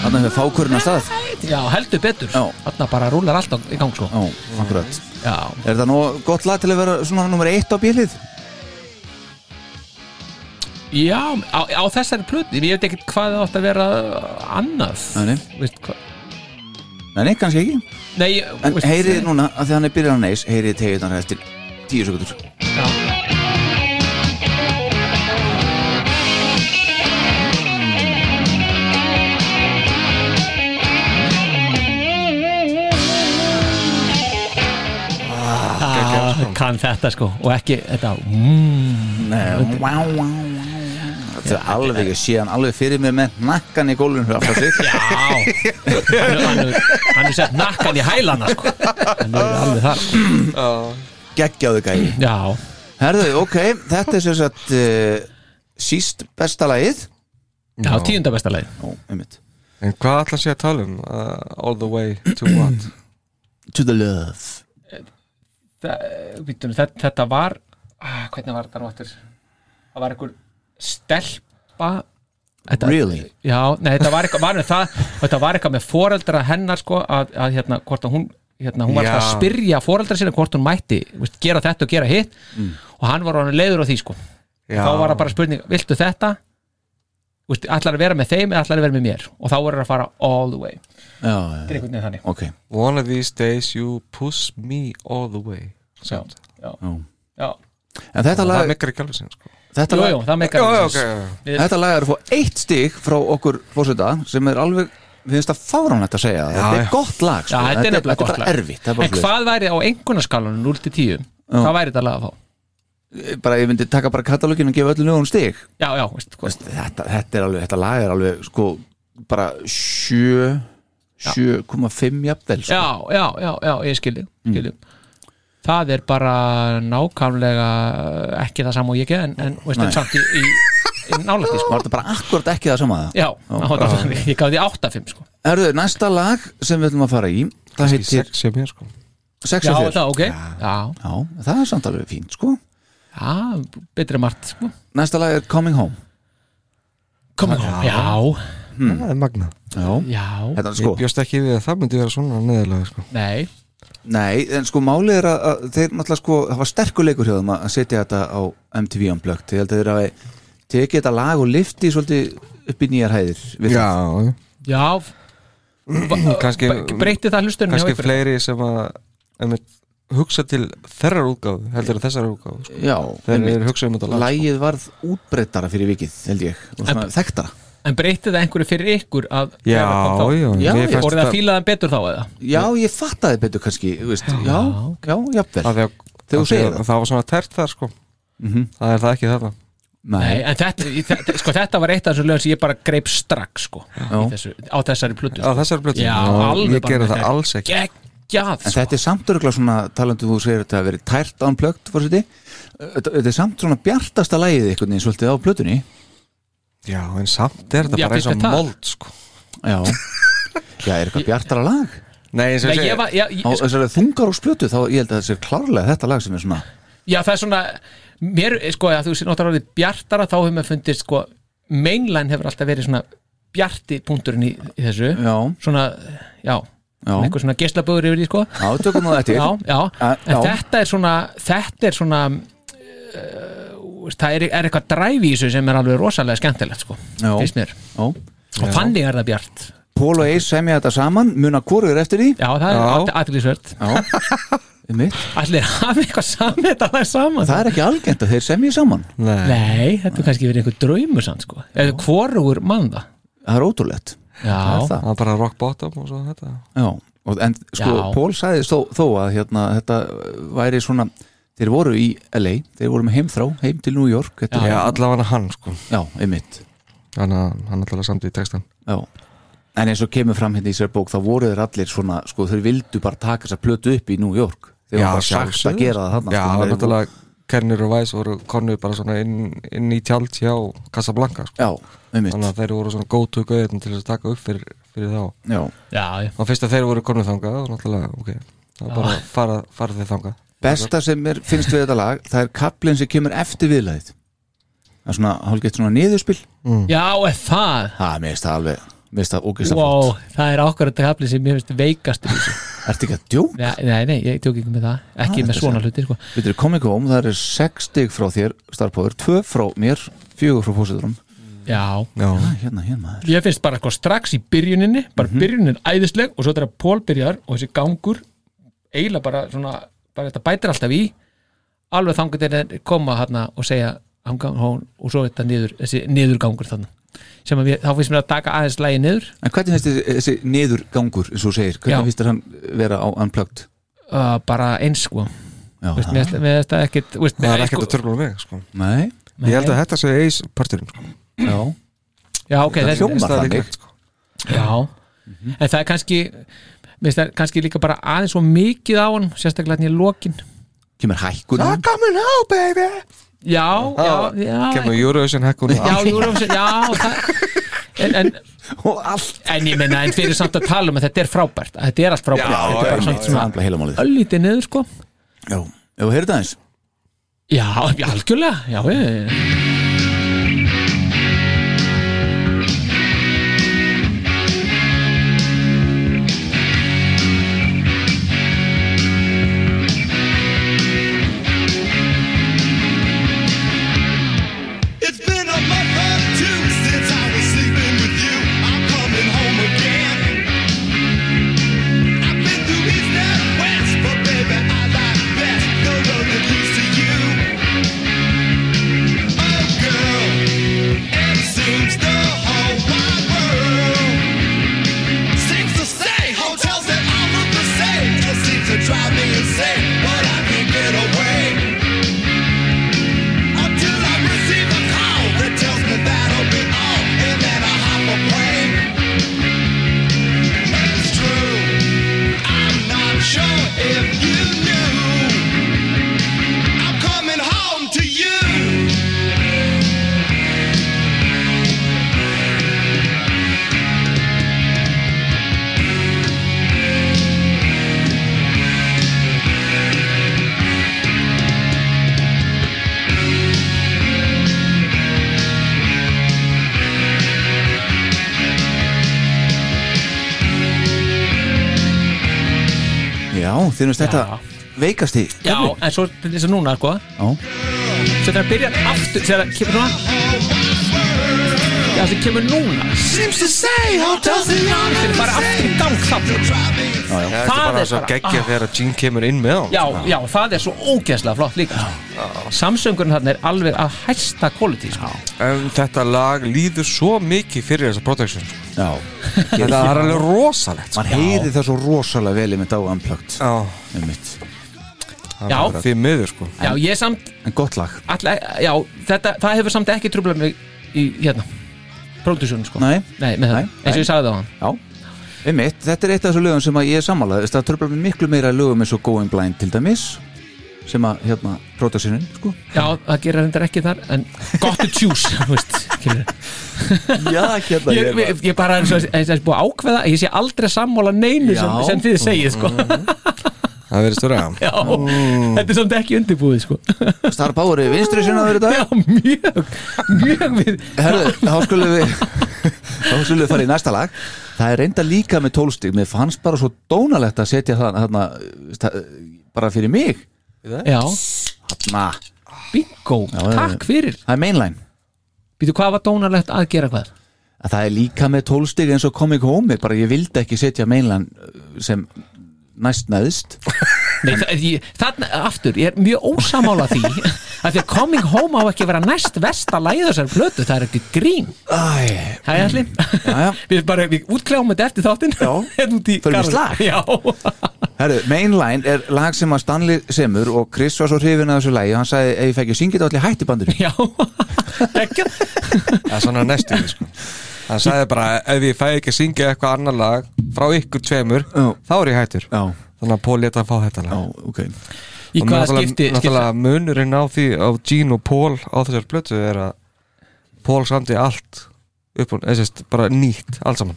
komið með fákurinn að stað Já, heldur betur Já. Þarna bara rúlar allt á- í gang sko Já, akkurat Já, Er þetta nú gott lag til að vera svona nummer eitt á bílið? Já á, á þessari plötu Ég veit ekkert hvað það átt að vera annað Nei, nei. Veist hvað- Nei, nei, kannski ekki Nei, En veist- eh, heyrið núna, að því hann er byrjar að neis Heyrið tegjum þetta eftir tíu sekundur Já, kann þetta sko Og ekki þetta mm, Nei, vá, vá, vá Þetta er alveg, ég sé hann alveg fyrir mér með nakkan í gólfinu fyrir aftan sig Já Hann er- Hann er- hann er sett nakkan í hælana sko Hann er alveg þar sko. Geggjáðu gæði Já, Herðu, ok, þetta er sem sagt uh, síst besta lagið já tíunda besta leið Ó, einmitt En hvað ætla að sé að tala um? Uh, all the way to what? To the love Vítum, þetta, þetta var ah, Hvernig var þetta nú áttur Það var einhver stelpa þetta, Really? Já, nei, þetta var eitthvað var með það, Þetta var eitthvað með foreldra hennar sko, að, að hérna, hvort að hún hérna, hún var Já. alltaf að spyrja foreldra sinna hvort hún mætti veist, gera þetta og gera hitt og hann var hann leiður á því sko Mm. Já, þá var það bara spurning, viltu þetta Vist, ætlar að vera með þeim eða ætlar að vera með mér og þá voru það að fara all the way Já, Þetta er einhvern veginn þannig ok One of these days you push me all the way Samt. já, Já. já. En þetta Það lag, mekkar ekki alveg sinn sko. þetta Jú, lag, jú, það meikar Já, já, alveg ok, sens. já, já. þetta lag er að fá eitt stig frá okkur fórseta sem er alveg, við finnst það fáránlegt að segja það. Þetta já. er gott lag sko. Já, þetta er nefnilega gott lag. Þetta er bara erfitt það er bara En hvað væri á einhvernarskalanum 0 til 10 Hvað væri þetta lag að fá? svoleiðis. Bara, ég myndi taka bara katalógin og gefa öllu lögum stig Já, já, veist hvað Vist, þetta, þetta er alveg, þetta lag er alveg sko, bara 7 7,5 jafnvel sko. Já, já, já, já, ég skilji, skilji. Það er bara nákvæmlega eh, ekki það sama og ég ekki en, en veist, en Nei. samt í, í, í nálætti sko. Var þetta bara akkurat ekki það sama það? Já, já, ég gaf því 8-5 sko. Herðu, næsta lag sem við ætlum að fara í Það Kannski heitir sex hjá mér sko. Sex Já, og þér það, ok Já, Já, það er samt alveg fínt sko já betri en margt sko. Næsta lag er Coming Home Komum, já, Hmm. Það er magna Já, já, þetta er Ég sko bjóst ekki við að það myndi vera svona neðurlega sko. nei Nei, en sko málið er að, að þeir náttúrulega sko Það var sterkuleikur hjá þeim að setja þetta á MTV Unplugged Ég held að þeir hafi tekið þetta lag og lifti svolítið upp í nýjar hæðir við það. Já, Já, kannski, breyti það hlustunum kannski fleiri sem að einmitt, hugsa til þerrar útgáfu heldur að þessar útgáfu sko. Já, Þeir einmitt. eru hugsa um þetta lag sko. Lagið varð útbreyttara fyrir vikið, held ég Og svona þekktara En breytti það einhverju fyrir ykkur að Já, já, Já, mér já. fannst Voru það það fílaðan betur þá eða? Já, ég fattaði betur kannski, þú veist Já, já, jafnvel að því að- Þegar þú að því segir að það. Það var svona tært þar sko Mhm. Það er það ekki þetta Nei, en þetta, í þetta, sko, þetta var eitt af þessu lögum sem ég bara greip strax sko, í þessu, á þessari plötu sko. Á þessari blötu Já, alveg Ég bara gera með það þetta. alls ekki Geggjað En sko. þetta er samt örgulega svona talandi þú segir þetta að verið tært ánplögt fórseti Þetta þetta er samt svona bjartasta lagið einhvern veginn svolítið á plötunni Já, en samt er þetta Já, bara eins finnst og þér það? mold sko. Já Já, er eitthvað bjartara lag Nei, eins og Nei, ég ég segi var, já, ég, sko, Á þessari þungar plötu þá ég held að það sé klárlega þetta lag sem er svona já, það er svona mér, sko, að þú sé notar orðið bjartara þá hefur maður fundið, sko, mainline hefur alltaf verið svona bjarti punkturinn í, í þessu Já, svona, já, já, einhver svona geislaböður yfir því, sko já, tökum nú þetta já, í. já, A- en já. þetta er svona þetta er svona uh, það er, er eitthvað dræf í þessu sem er alveg rosalega skemmtilegt, sko, Já. finnst mér já og þannig er það bjart Pól og Eis semja þetta saman, muna hvorur eftir því já, það Já. er aðlisvert Já, einmitt allir hafa eitthvað saman þetta alveg saman Það er ekki algengt að þeir semja saman Nei, nei, þetta er kannski verið einhver draumur sann sko, eða hvorugur mann það Það er ótrúlegt Það já, er það. það er bara rock bottom og svo þetta Já, og, en sko, Já. Pól sagði þó, þó að hérna, þetta væri svona þeir voru í LA, þeir voru með heimþrá heim til New York, þetta Já, allavega hann sko já, einmitt Þannig að hann allavega samt í textan já. en eins og kemur fram hérna í sér bók þá voru þeir allir svona, sko, þeir vildu bara taka þess að plötu upp í New York þeir voru bara sagt sjálfsögðu. að gera það þarna Já, sko, þeir voru- náttúrulega Kernir og Væs voru konu bara svona inn, inn í tjald hjá Casablanca sko. já, einmitt Þannig að þeir voru svona gótu gauðin til þess að taka upp fyrir, fyrir þá já. já, já. Og fyrst að þeir voru konu þangað og náttúrulega, ok, það var bara að fara, fara þeir þangað besta sem mér finnst við þetta lag það er kaplinn sem kemur eftir viðlæðið það er svona, hálfgeitt svona niðurspil já, er það það mér finnst það alveg Mér finnst það ógeðslega wow, það er ákvarðan tafli sem mér finnst veikast í þessu. flott Ertu ekki að djók? nei, nei, nei, ég tjók ekki með það ekki Ah, með þetta svona er- hluti sko. Við erum komið kom, um, það eru 6 stig frá þér starfbóður, 2 frá mér 4 frá fósiturum já, Já, Hérna, hérna maður ég finnst bara eitthvað strax í byrjuninni bara Mhm. byrjunin æðisleg og svo þegar Pól byrjar og þessi gangur eiginlega bara svona, bara þetta bætir alltaf í alveg þangur til að koma hérna og segja hann gang- hún, og svo þetta niður, þessi niðurgangur þannig sem að við, þá finnst mér að taka aðeins lægi niður En hvernig finnst þessi, þessi niður gangur, eins og þú segir Já. Hvernig finnst þér hann vera á unplugged? uh, bara eins sko Já, Veist, það- mér finnst- mér finnst það ekkit veist, það er mér- ekkert sko- að törfla um mig sko. Nei, Ég held að þetta sé eis parturinn sko. já já, ok, Það þessi- hljómar Það Mhm. er þannig líklegt, sko. Já, en það er kannski mér finnst það er kannski líka bara aðeins svo mikið á hann, sérstaklega hann í lokin Kemur hækkun hann? Coming out baby Já, já, Það já Kemur Eurovision hækkun Já, Eurovision, já það, en, en, Og allt en ég meina, en fyrir samt að tala um að þetta er frábært að þetta er allt frábært, þetta er bara samt Það svona er heila málið öllítið niður sko Já, ef þú heyrðu það eins Já, já, algjörlega, já, já, já, já. It's been a month or two since I was sleeping with you. I'm coming home again. I've been through east and west, but baby, I like best the road that leads to you. Oh, girl, it seems the whole wide world seems to say hotels that all look the same just seems to drive me insane, but I can't get away. Until I receive a call that tells me that'll be all, and then I hop a plane. It's true, I'm not sure if you knew. I'm coming home to you. Já, þér finnst þetta veikasti já en svo eins og núna sko Já. Svo þegar byrjar aftur, þegar það kemur svona Já, það kemur núna Seems to say hotels that all look Þetta er bara aftur í gang þarna Það er Það bara er svo bara- geggja Ah. þegar að Gene kemur inn með sko. hann já, já, það er svo ógeðslega flott líka sko. Samsöngurinn þarna er alveg að hæsta quality sko. En þetta lag líður svo mikið fyrir þessa protection sko. Já, Það er alveg rosalegt sko. mann heyri það svo rosalega vel einmitt á unplugged Já, einmitt. það Já. er bara því miður sko. Já, ég samt En gott lag alla, Já, þetta, það hefur samt ekki trubla mig í hérna Pródusjónu sko Nei. með það, Nei, eins og ég sagði það á hann Já, einmitt, þetta er eitt af þessu lögum sem að ég er sammálað það tröflar mér miklu meira lögum eins og Going Blind til dæmis sem að hérna prótasinin sko. Já, það gerir reyndar ekki þar En got to choose þú veist, skilur. Já, hérna ég, ég, ég bara eins og eins og þess búið að ákveða Ég sé aldrei sammála neinu sem, Já. Mm. sem þið segið sko Það verður störa Já, þetta er samt ekki undirbúið sko Star Power er vinstri sinnaður í dag Já, mjög, mjög við Herðu, þá skulum við þá skulum við fara í næsta lag Það er reynda líka með tólstig mér fannst bara svo dónalegt að setja það hérna, sta- bara fyrir mig Já, Na, bingo, Já, takk fyrir það er mainline Býtu, hvað var dónarlegt að gera hvað? að það er líka með tólstig eins og Comic Home bara ég vildi ekki setja mainline uh, sem næst neðst Nei, það, ég, þarna, aftur, ég er mjög ósamála því að því að Coming Home á ekki að vera næst versta læð þessar plötu, það er ekki grín Æ, Mm. Það er allir já. Við bara, við útkljám þetta eftir þáttinn Já. Hérna út í Förum í garðinn. slag. Já, Herru, Mainline er lag sem að Stanley semur og Chris var svo hrifin að þessu lagi og hann sagði ef ég fækki syngið allir hætti bandinu já Ekki Það er svona næstu því, sko. Hann sagði bara ef ég fæ ekki að syngja eitthvað annar lag frá ykkur tveimur Já. þá er ég hættur Já, Þannig að Pól leta að fá þetta lag já, ok Í Og hvaða náttúrulega- skipti, skipti Náttúrulega munurinn á því á Gene og Pól á þessar plötu er að Pól samdi allt upp og eða sést bara nýtt allt saman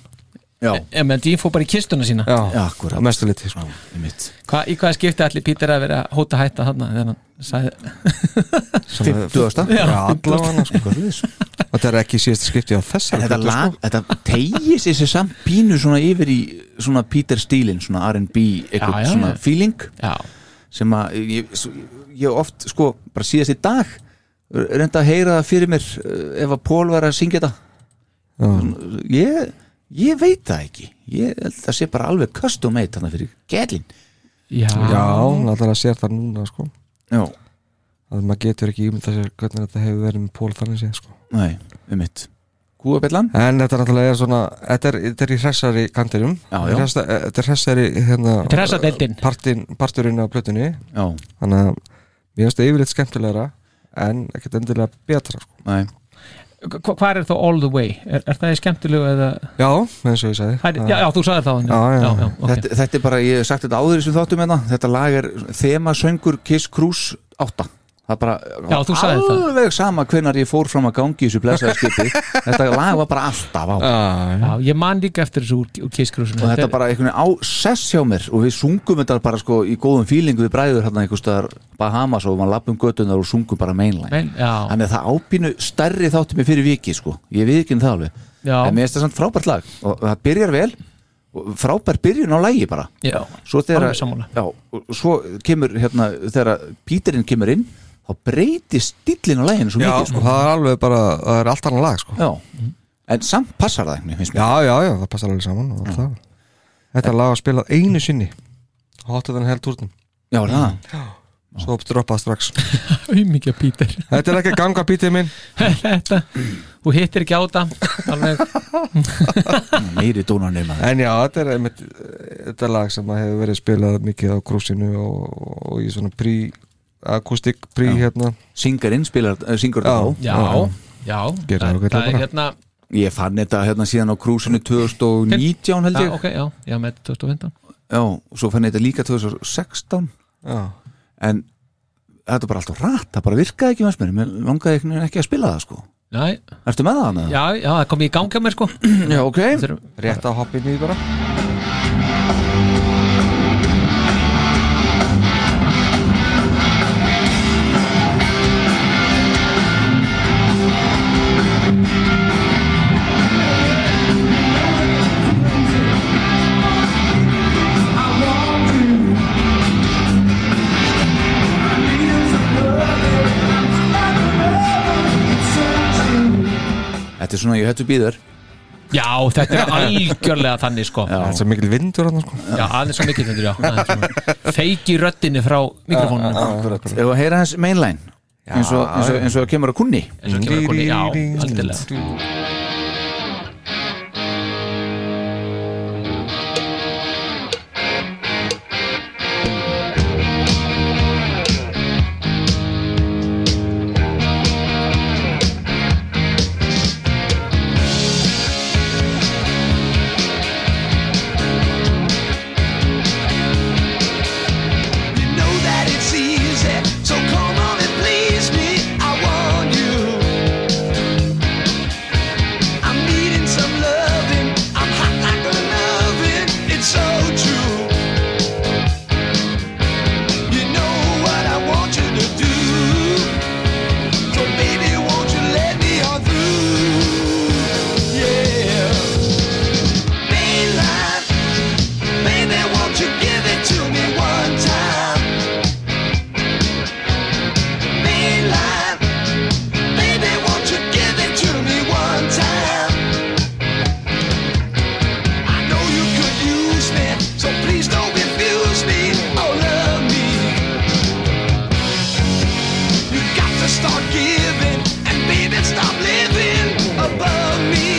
Já. en menn Dean fór bara í kistuna sína Já, Já, akkúrat. að mestu liti sko. Einmitt. Hva, í hvaða skipti allir Peter að vera að hóta hætta þarna þegar hann sagði, Sem að- 50. Já, allavega sko. Og þetta er ekki síðasta skipti á þessari Þetta, plötu, sko. lag, þetta tegir sér sér samt pínu svona yfir í svona Peter stílinn svona R&B, Já, eitthvað já, svona já. feeling já, sem að ég, s- ég oft sko bara síðast í dag reynda að heyra það fyrir mér eh, ef að Pól var að syngja þetta ég, ég veit það ekki ég held að það sé bara alveg custom made þarna fyrir gælin já, sko. Já, náttúrulega sér það núna sko. já, að maður getur ekki ímynda sér hvernig þetta hefur verið með Pól þannig séð sko. nei, um mitt Kúabellan? en þetta náttúrulega er svona þetta er, þetta er í hressari kantinum Já, já. Hressa, eh, þetta er hressari hérna, Þetta er hressa deildin. partin, parturinn á plötunni Já, þannig að mér finnst það yfirleitt skemmtilegra en ekkert endilega betra sko. nei Hva, hvað er þá all the way er, er það í skemmtilegu eða já, eins og ég sagði Hæ, já, já, þú sagði það Já, já. ok. Ah. þetta, þetta er bara, ég hef sagt þetta áður sem þáttum hérna, þetta lag er þemasöngur Kiss Cruise 8 það er bara, Já, þú sagðir það. alveg sama hvenar ég fór fram að gangi í þessu blessaðarskipi þetta lag var bara alltaf á já, já, ég man líka eftir þessu úr, úr kisskrúsinu og þetta bara einhvern veginn á sess hjá mér og við sungum þetta bara sko í góðum fílingu við bræður hérna einhvers staðar Bahamas og maður lappum göttunar um og sungum bara mainline Men, já, þannig að það ápínu stærri þáttum ég fyrir viki sko, ég við ekki um það alveg Já. en mér finnst það samt frábært lag og það byrjar vel og frábær byrjun á lagi bara já, svo þegar Alveg sammála. já, og svo kemur hérna þegar Píturinn kemur inn þá breytist stillin á læginu svo já mikið og sko. það er alveg bara það er allt annað lag sko. já. en samt passar það einhvern veginn já, já, já, það passar alveg saman og allt það. þetta lag var spilað einu sinni hotu þannig held úrnum já, er það. svo droppað strax auðmikið Peter þetta er ekki að ganga bítið minn þetta, þú hittir ekki á það alveg, meiri dónar nema það En já, þetta er einmitt, eh, þetta er lag sem að hefur verið spilað mikið á krúsinu og, og í svona prí akústik, prí hérna syngarinn spilar, uh, syngur Já. það á já, já Gerðu það, ágætlega það er bara. hérna ég fann þetta hérna síðan á krúsinu 2019 held já, ég ok, já, já, með 2015 já, og svo fann ég þetta líka 2016 Já, en þetta er bara alltaf rætt, það bara virkaði ekki með mér, mér langaði einhvern veginn ekki að spila það sko Nei, ertu með það hana? já, já, það kom í ganga mér sko já ok Þeir, rétt að hoppa inn í bara þetta er svona, ég hættu býður já, þetta er algjörlega þannig sko Það er svo mikil vindur hann sko. Já, aðeins svo mikið þetta, já aðeins svona. Feiki röddinni frá mikrofónunum ef að heyra hans mainline eins og, eins, og, eins og kemur að kunni eins og kemur konni, já, algjörlega You know that it's easy, so come on and please me. I want you. I'm needing some loving. I'm hot like an oven. It's so true. You know what I want you to do. So baby, won't you let me on through? Yeah. Mainline. Baby, won't you give it to me one time? Mainline. Baby, won't you give it to me one time? I know you could use me, so please don't refuse me. Oh, love me. You got to start giving, and baby, stop living above me.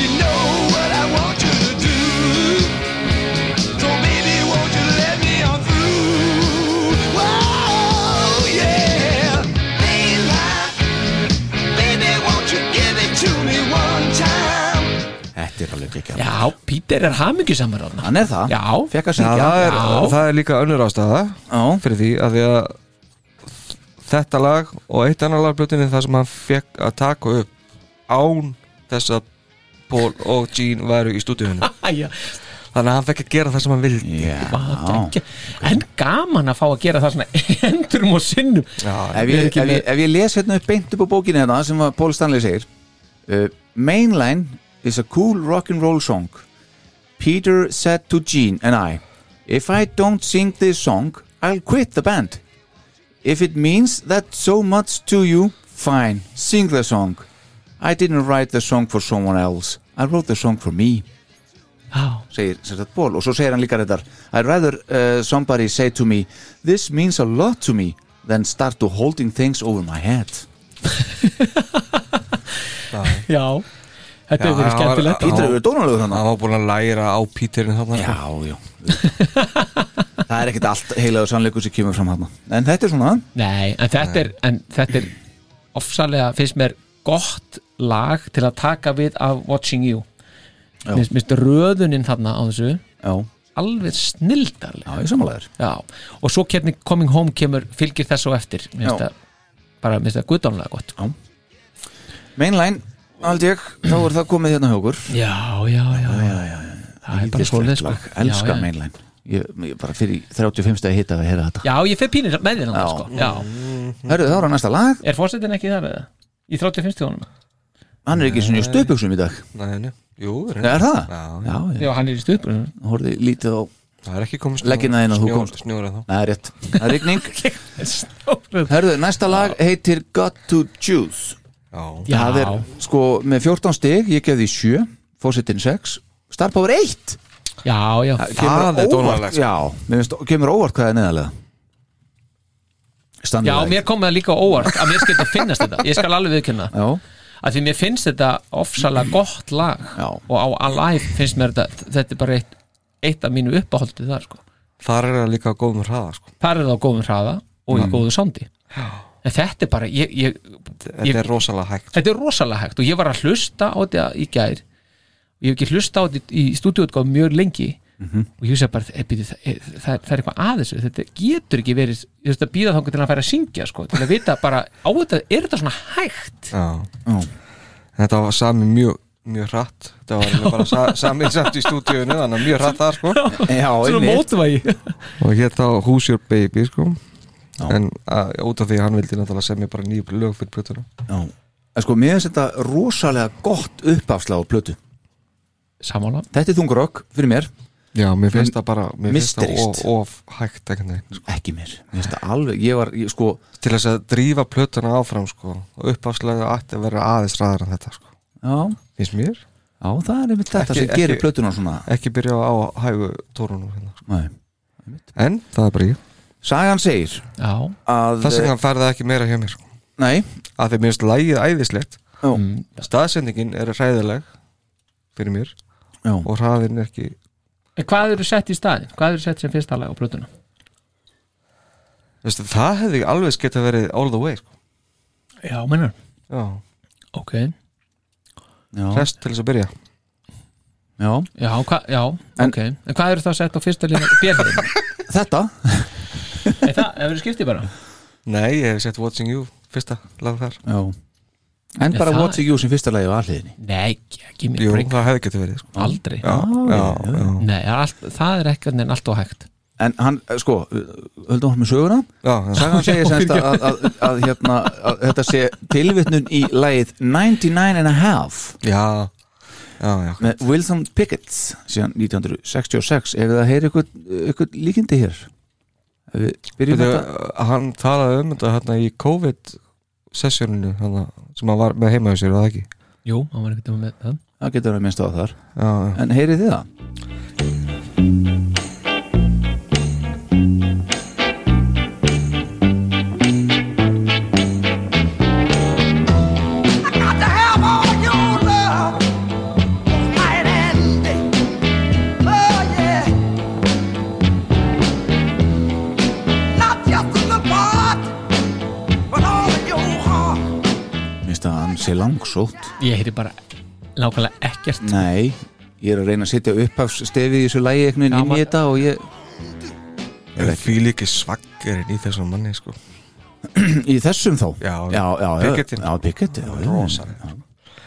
You know what I want you to do. So baby, won't you let me on through? Whoa, yeah. Daylight. Baby, won't you give it to me one time? þetta er alveg ekki Já, Pítur er hamingisamur þarna hann er það, Já, fekk að Já, syngja það er, Já. það er líka önnur ástæða Já. fyrir því að því að þetta lag og eitt annar lag blötunni það sem hann fekk að taka upp án þess að Paul og Gene væru í stúdíunum Æja, Þannig að hann fekk að gera það sem hann vildi Já ekki- en gaman að fá að gera það svona endurum og sinnum ef ég, ef, ég, ef ég les hérna upp beint upp á bókinu hérna sem að Paul Stanley segir uh, Mainline is a cool rock and roll song Peter said to Gene and I If I don't sing this song I'll quit the band If it means that so much to you fine, sing the song I didn't write the song for someone else I wrote the song for me Já, segir sem sagt Paul og svo segir hann líka reyndar I'd rather uh, somebody say to me this means a lot to me than start to holding things over my head já Þetta hefur verið Já, skemmtilegt já, Pítur hefur dónalögur hann Hann var búin að læra á Píturinn þarna já, já það er ekkert allt heilagur sannleikur sem kemur fram hann en þetta er svona Nei, en þetta er, en þetta er ofsalega, finnst mér gott lag til að taka við af Watching You Já. Mér finnst röðunin þarna á þessu já, alveg snildarleg já ég samanlegar Já, og svo kemni Coming Home kemur, fylgir þess og eftir Mér finnst Já. það bara, mér finnst það guðdánlega gott mainline, held ég, þá er það komið hérna hjá okkur Já, já, já, já, já. Það er bara Yndislegt svoleið sko lag. elska já, já. mainline ég, ég bara fyrir 35 stegi hitta að heyra þetta Já, ég fer pínir með þér Já. hann sko Já, hörðu þá er næsta lag, er fórsetin ekki þar eða? Í 35 tíðunum? hann er ekki einu sinni í stöpuksum í dag Nei, nei, jú, reyndar. er það? Já, já, Já, hann er í stupur horfði lítið á það er ekki komist Leggina þín að þú komst. Snjóra þá Nei, rétt, það er rigning Snórið Herðu, næsta lag heitir Got to Choose Já, Já, Það er sko með 14 stig, ég gef því 7 Fósittin 6, Star Power 1 já, já, Það er dónalegt, óvart sko. Já, mér finnst, kemur óvart hvað er neðalega já, Standard mér kom það líka á óvart að mér skildi að finnast þetta, ég skal alveg viðkynna Já, að því mér finnst þetta ofsalega gott lag Já. og á Alive finnst mér þetta þetta er bara eitt, eitt af mínu uppáhaldið þar sko. þar er það líka góð með hraða sko. þar er það á góðum hraða og Mm. í góðu sándi en þetta er bara ég, ég, Þetta er rosalega hægt þetta er rosalega hægt og ég var að hlusta á þetta í gær og ég hef ekki hlusta á þetta í stúdíóutgáð mjög lengi Mhm. og ég hugsa bara e, býti, það, er- það, er- það er eitthvað að þessu þetta getur ekki verið, ég veist að býða þangar til að færa að syngja sko, til að vita bara á þetta, er þetta svona hægt Já. Þetta var sami mjög, mjög hratt Þetta var eiginlega bara sa, sami samt í stúdíunni Þannig að mjög hratt þar sko já svona einmitt mótvægi Og hér þá Who's Your Baby sko En að, út af því að hann vildi náttúrulega semja bara nýju lög fyrir plötuna Já. En sko, mér finnst þetta rosalega gott uppafslag á plötu samála, Þetta er þungur okk fyrir mér Já, mér finnst það bara Mér finnst það of, Mysterist. of hægt einhvern veginn sko. Ekki mér, mér finnst þetta alveg Ég var, ég, sko, Til þess að drífa plötuna áfram sko Og uppafslega ætti að vera aðeins hraðar en þetta sko já, Finnst mér já það er einmitt þetta Ekki- sem gerir ekki- plötuna svona Ekki byrja á hægu tórunum hérna sko. Nei. En það er bara ég Sagan segir já, að eh, Þess vegna fær það ekki meira hjá mér sko Nei, Af því mér finnst lægið æðislegt já, staðsendingin er hræðileg fyrir mér já. og hraðin er ekki En hvað eru sett í staðin? Hvað eru sett sem fyrsta lag á plötuna? Veistu, það hefði alveg geta verið all the way sko. Já, mennur já, Ok, já, rest til þess að byrja já. já, hva, já, En- ok En hvað eru það sett á fyrsta lína? Björnum? Þetta Nei, það hefur skiptið bara nei, ég hef sett Watching You fyrsta lag þar já. En Já, bara það- Watching You sem fyrsta lagi á alliðinni Nei, ekki mér Jú, break það hefði geta verið sko. Aldrei já, já, já, já. Nei, það er allt, það er ekkert en allt og hægt En hann, eh, sko, eh, höldum hann með söguna já. Sagan segir semst að, að, að, að, hérna, að þetta sé tilvitnun í lagið 99 and a half já, já, já. með Wilson Pickett síðan 1966 ef það heyri ykkur, ykkur líkindi hér ef við byrjum Veitu, þetta hann talaði um þetta hérna í COVID sessjóninu hérna, sem hann var með heima hjá sér, var það ekki Jú, hann var ekkert um með það það getur að minnst á þar já, já. en heyrið þið það minnst að hann sé langsótt Ég heiti bara nákvæmlega ekkert Nei, ég er að reyna að setja upphafsstefið í þessu lægi einhvern veginn Já, inn í maður- þetta og ég, ég fýl ekki svaggerinn í þessum manni sko. í þessum þá Já, já, já, Pickettinn. já, Pickettinn, já, já, Rosaleg. já,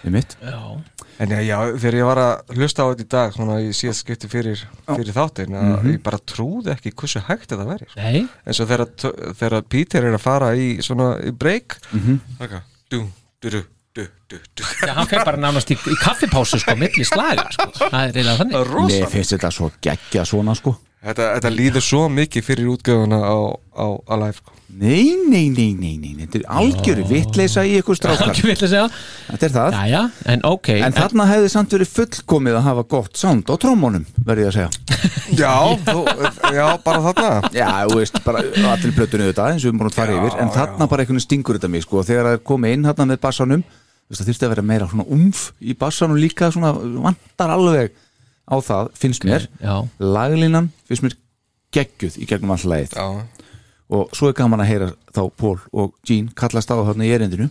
já, mitt Já, sko. En já, já, þegar ég var að hlusta á þetta í dag svona í síðast skipti fyrir, fyrir þáttin að ég bara trúði ekki hversu hægt þetta væri sko. Nei, eins og þegar, t- þegar Peter er að fara í svona í break þakka, dú, dú, dú, dú, dú, dú já, hann fer bara nánast í, í kaffipásu sko, milli slaga sko. það er reyðlega þannig Mér finnst þetta svo geggja svona sko Þetta, þetta líður svo mikið fyrir útgöfuna á, á Alive sko. Nei, nei, nei, nei, nei, nei. Þetta er algjöru vitleisa í ykkur strákar Ekki vill að segja Þetta er það Jæja, en ok En þarna hefði samt verið fullkomið að hafa gott sound á trómónum, verði ég að segja Já, þú, já, bara þarna Já, þú veist, bara allir plötunni auðvitað eins og við erum búin að fara Já, yfir En þarna bara einhvern veginn stingur þetta mig sko og Þegar það er komið inn þarna með bassanum þú veist, Það þurfti að vera meira svona umf í bassanum líka Svona vantar alveg á það, finnst mér Já, Laglinan finnst mér geggjuð í gegnum alltaf leið Já, og svo er gaman að heyra þá Pól og Jean kallast á þarna í erindinu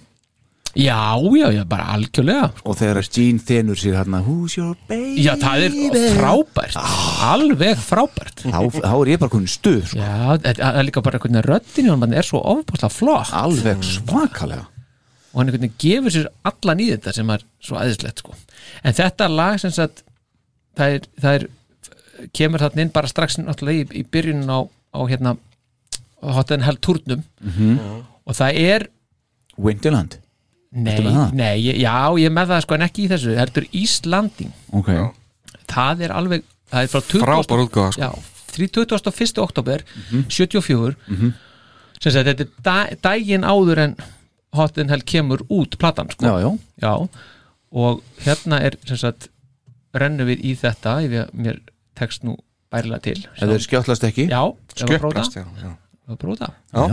já, já, já bara algjörlega og þegar að Jean þenur sér þarna Who's your baby? Já, það er frábært Alveg frábært þá, þá er ég bara komin í stuð sko. Já, það það er líka bara einhvern veginn röddin hann er svo ofpáslega flott alveg svakalega og hann einhvern veginn gefur sér allan í þetta sem er svo aðeinslegt sko. en þetta lag sem sagt það er, það er kemur þarna inn bara strax náttúrulega í, í byrjunin á, á hérna hot and hell turnum Mhm. og það er Winterland, nei, Ertu með það? nei, ég- já, ég er með það sko en ekki í þessu, heldur Íslanding ok það er alveg, það er frá 20. frábær útgöfa sko. Mhm. já, 31. oktober 74 sem sagt, þetta er da, daginn áður en hot and hell kemur út platan sko já, já, Já, og hérna er sem sagt, rennum við í þetta ef ég, mér tekst nú bærilega til ef þeir skjáttlast ekki Já, Skjöplast, já, já og bróta Já.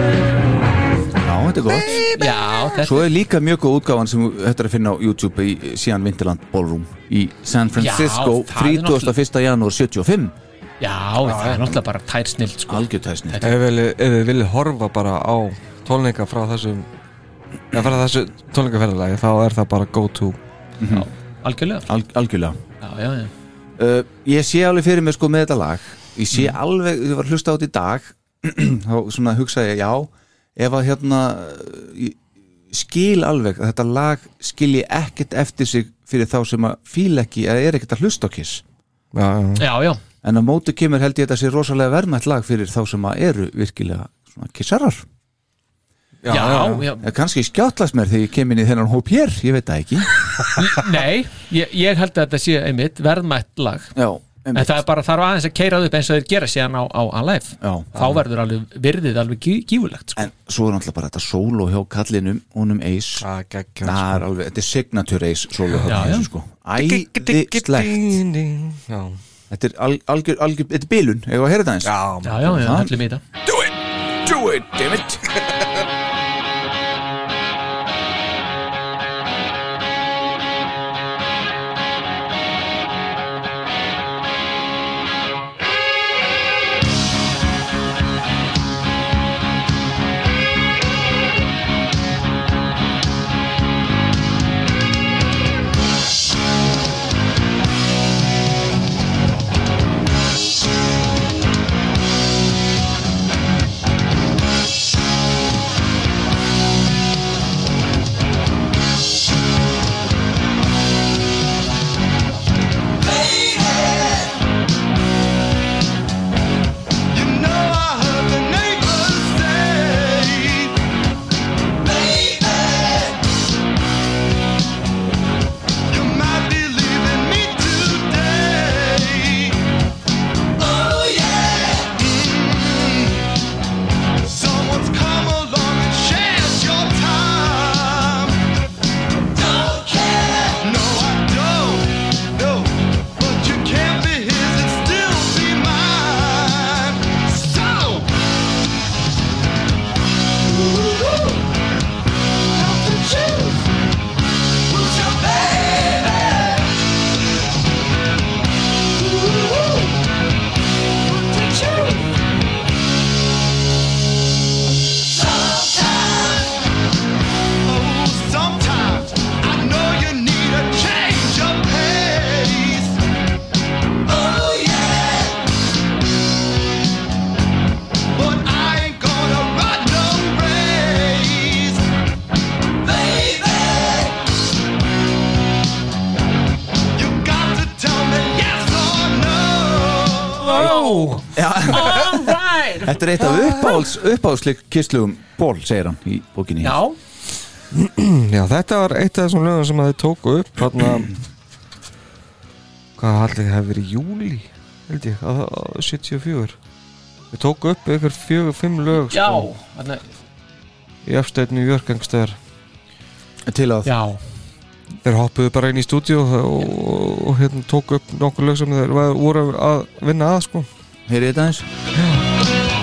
já, þetta er gott Já, þetta, Svo er líka mjög góð útgáfan sem þetta er að finna á YouTube í síðan Winterland Ballroom í San Francisco Já, það er 31. janúar 75 já það er náttúrulega bara tær snill sko. algjörtæsni Ef þið vilji- ef þið viljið horfa bara á tólninga frá þessum eða frá þessu tólningaferðalagi þá er það bara go to já, Algjörlega Al algjörlega já, já, já. uh, ég sé alveg fyrir mér sko með þetta lag ég sé alveg, ég var að hlusta á þetta í dag þá svona hugsaði ég já ef að hérna uh, ég skil alveg að þetta lag skilji ekkert eftir sig fyrir þá sem að fíla ekki eða er ekkert að hlusta á kiss já, já. já, já, en á móti kemur held ég þetta sé rosalega verðmætt lag fyrir þá sem að eru virkilega svona kissarar já, já, eða kannski skjáttlas mér þegar ég kem inn í þennan hóp hér ég veit það ekki Nei, ég, ég held að þetta sé einmitt verðmætt lag já, En það er bara þarf aðeins að keira það upp eins og þeir gera síðan á, á Alive Já. Þá verður alveg virðið alveg gí- gífulegt sko. en svo er náttúrulega bara þetta solo hjá kallinum honum Ace Það er geggjað, Það er alveg, þetta er signature ace solo sko. Já, þessu, já. sko. sko. Æðislegt Ding, ding. Já. Þetta er al- algjör, algjör, þetta er bilun Eða að heyra þetta eins Já, sko. Já, já, já, Það- allir mýta Do it, do it, damn it Thank Oh, All right Þetta er eitt af uppáhalds, uppáhaldslik kistlugum ból, segir hann í bókinni Já, Já, þetta var eitt af þessum lögum sem að þið tóku upp Þarna Hvað haldið þið hefði verið í júli Held ég, að, að 74 Þið tóku upp ykkur fjögur, fimm lög já, sko, þarna- Í upstate New York gangstöðar Til að já Þeir hoppuðu bara inn í stúdíu og, og, og, hérna tóku upp nokkur lög sem þeir var- voru að vinna að sko heyri þetta aðeins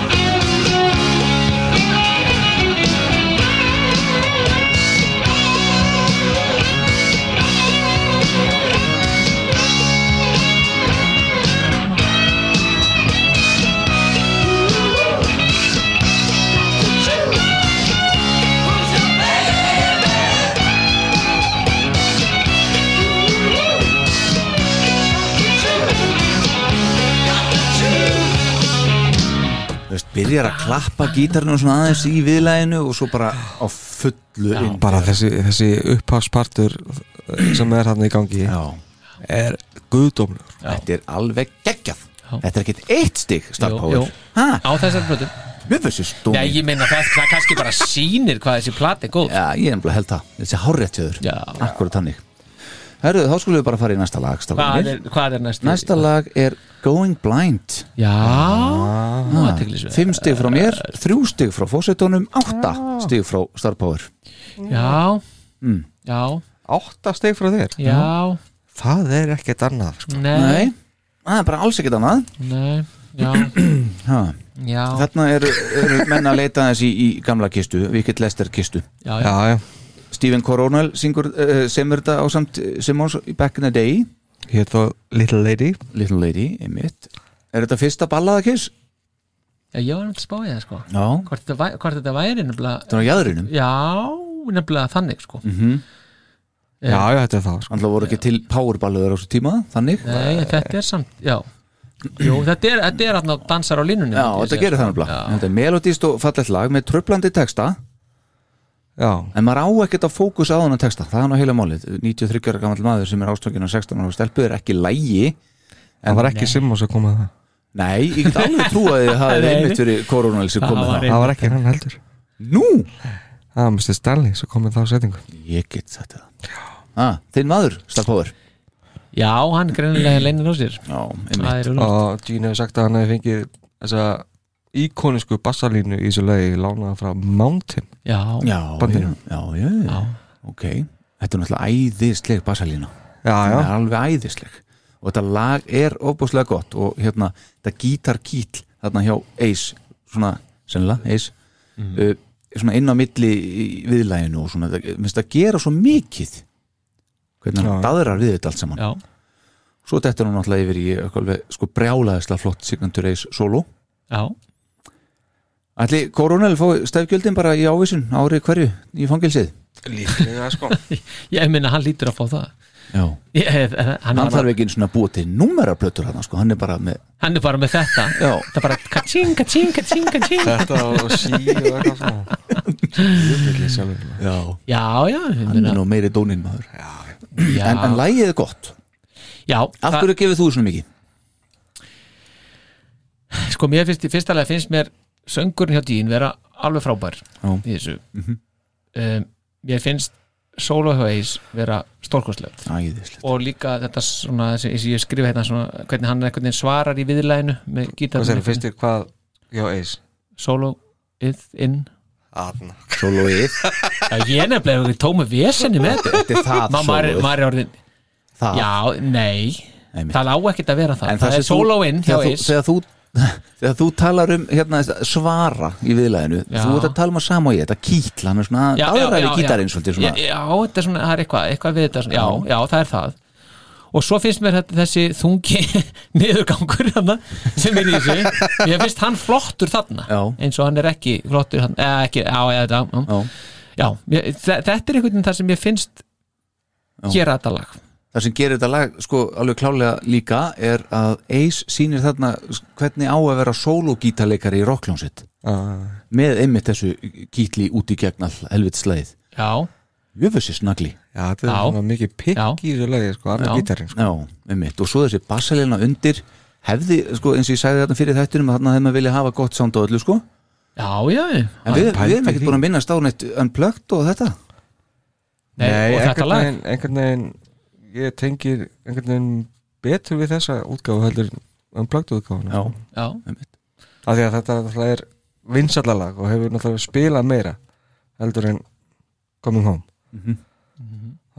Þú veist, Byrjar að klappa gítarnum svona aðeins í viðlæginu og svo bara á fullu inn Bara þessi, þessi upphafspartur eh, sem er hann í gangi Já, Er guðdómlegur þetta er alveg geggjað Þetta er ekkert eitt stig Jú, starfpáður jú. Hæ, á þessari plötu mér fyrst sér stóð Já, ég meina það, það kannski bara sýnir hvað þessi plati er góð Já, ég er nefnilega held það, þessi háréttjöður Já. Akkurat þannig Herru, þá skulum við bara fara í næsta lag strákarnir. Hvað er, hvað er næstu? Næsta lag er Going Blind Já, það er teglisveg Fimm stig frá mér, Eh, þrjú stig frá fósettunum Átta stig frá Mm. starfpáður Já, já, Átta steg frá þér já, Það er ekkert annað sko. nei, Nei, það er bara alls ekkert annað nei, já, ha. já, Þarna eru, eru menn að leita þessi í gamla kistu Vikit Lester kistu já, já, Já, já Stephen Coronel syngur, uh, semur þetta eh, á samt Simons Back in the Day Hér þá Little Lady Little Lady, einmitt Er þetta fyrsta ballaða kiss? já, ég var nefnilega að spá í það sko Já Hvort þetta, væ- hvort þetta væri nefnilega, Þetta er á jæðurinum já, nefnilega þannig sko Mm. Já, já, þetta er það sko. Þannig voru ekki til powerballaður á þessu tíma, þannig Nei, en þetta er samt, já Jú, þetta er, þetta er hann dansar á línunni Já, myndi ég þetta segja, gerir sko. það nefnilega Þetta er melodíst og fallegt lag með tröflandi texta Já, En maður á ekkert að fókus á þennan texta Það er nú heila málið 93 ára gamall maður sem er ástöngin á 16 ára stelpu er ekki lægi það var ekki Simmons að koma að það Nei, ég get alveg trú að þið hafið Nei. einmitt fyrir koronal sem Það komið var það Það var ekki hann heldur Nú, Það var Mr. Stanley sem kom með þá setningu ég get þetta ah, Þinn maður, Starpower Já, hann greinilega leinir á sér Já, Það einmitt er auðvitað Og Gene hefur sagt að hann hefði fengið þessa íkonisku bassalínu í þessu lagi lánaða frá Mountain Já, Já, já, bandinu. já, já, já. ok Þetta er náttúrulega æðisleg bassalína Já, já, Það er alveg æðisleg Og þetta lag er óbúslega gott Og hérna, þetta gítarkýtl Þarna hjá Ace Svona, sennilega, Ace Mhm. uh, Svona inn á milli í viðlæginu Og svona, það- minnst að gera svo mikið Hvernig hann Já. daðrar við þetta allt saman já, Svo þetta er hún náttúrulega yfir í eitthvað alveg, Sko brjálaðislega flott Signature Ace solo já Ætli Koronel fói stefgjöldin bara í ávísun Ári hverju í fangilsið er líklega sko Ég meina, hann lítur að fá það Já Ég, hann, Hann hann, þarf ekki einu svona að búa til númeraplötur hann sko, hann er bara með hann er bara með þetta Já. það er bara kaching, kaching, kaching, kaching Þetta og sí og eitthvað svona Jöfnvillig sjálfur Já, já, já, ég hann er meina, nú meiri dónin maður já, en, en lægið er gott já Af það- hverju gefið þú svona mikið? sko mér finnst, í fyrsta lega finnst mér söngurinn hjá dýn vera alveg frábær Já. Mhm. í þessu um, mér finnst solo hjá eis vera stórkostlegt Æðislegt og líka þetta svona, þessi, þessi ég skrifa hérna svona, hvernig hann einhvern veginn svarar í viðlæðinu með Hvað gítarinn segir, finnst þér hvað Já, eis solo ið, inn Aðna Soloið, já, ég er nefnilega hefur tómi vesenni með þetta þetta er það Ma- maður er- soloið maður er orðin Það. Já, nei, Einmitt. það á ekkert að vera það En Það sem er þú- sólóinn hjá þegar þú- Ís Þegar þú Þegar þú talar um hérna, svara í viðlæðinu Já. Þú ert að tala um að sama og ég Þetta kýtla, hann er svona Já, já, aðra já, við já. gítarinn svolítið svona Já, já, þetta er svona, það er eitthvað, eitthvað við þetta svona, já, já, það er það Og svo finnst mér þetta, þessi þungi niðurgangur þarna sem er í þessu Ég finnst hann flottur þarna Já. eins og hann er ekki flottur þarna eða ekki, já, já, þetta já. Já. Já, mér, þe- þetta er einhvern veginn það sem ég finnst gera þetta lag Það sem gerir þetta lag sko alveg klálega líka er að Ace sýnir þarna hvernig á að vera sólogítarleikari í rockljónsitt með einmitt þessu gítli út í gegn all helvits leið Já, Jöfessi snagli Já, þetta er Já. svona mikið pikk Já. í þessu lagi sko, annar Já. gítarinn sko Já, einmitt og svo þessi bassalina undir hefði, sko, eins og ég sagði þarna fyrir þættunum að þarna hefði maður vilja hafa gott sound á öllu, sko já, já en við, pældi við erum því. ekkert búin að minnast á neitt unplugged og þetta Nei, og þetta einhvern lag. veginn, einhvern veginn ég tengir einhvern veginn betur við þessa útgáfu heldur en plagt útgáfuna sko. Já, já, af því að þetta náttúrulega er vinsallalag og hefur náttúrulega spilað meira heldur en Coming Home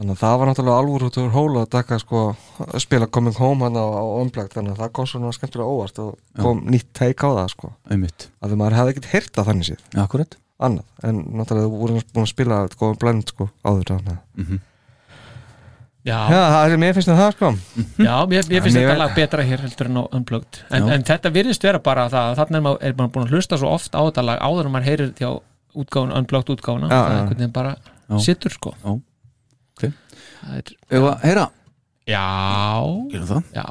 þannig að það var náttúrulega alvor út úr hóla að taka sko að spila Coming Home hann á, á Unplugged þannig að það kom svona skemmtilega óvart og kom nýtt teik á það sko einmitt, að því maður hefði ekkert heyrta þannig séð akkurat annað, en náttúrulega þú voru búin að spila góðan blend sko áður þannig að já, Já, það er mér finnst það það sko Hm? já mér, mér finnst Já, mér- þetta lag betra hér heldur en á Unplugged en, Já. en þetta virðist vera bara það að þarna er maður, er maður búin að hlusta svo oft á þetta lag áður en maður heyrir þjá útgáfun, Unplugged útgáfuna Já, það já. einhvern veginn bara Já. situr sko Já. Ok. Það er, Eða, heyra, já, gerum það já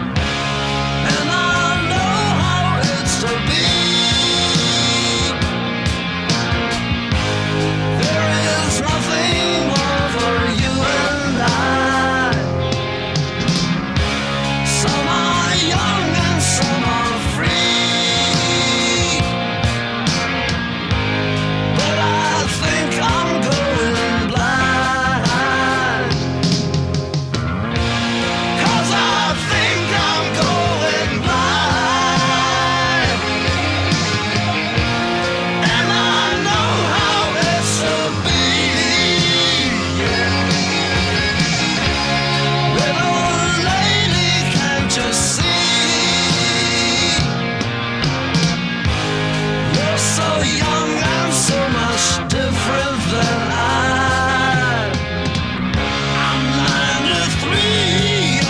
And I know how it's to be. There is nothing more for you and I. Some are young and some are free. But I think I'm going blind. Cause I think I'm going blind And I know how it should be Little lady can't you see You're so young and so much different than I I'm 93,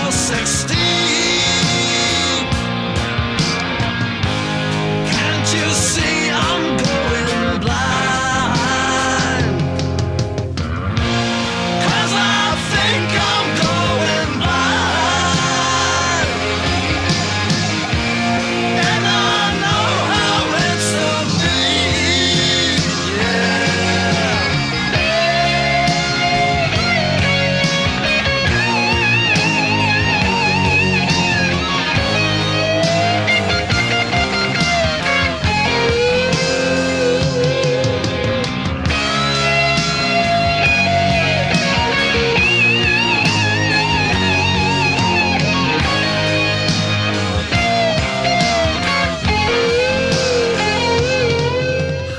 you're 16. Can't you see I'm going blind? 'Cause I think I'm going blind. And I know how it's to be, yeah.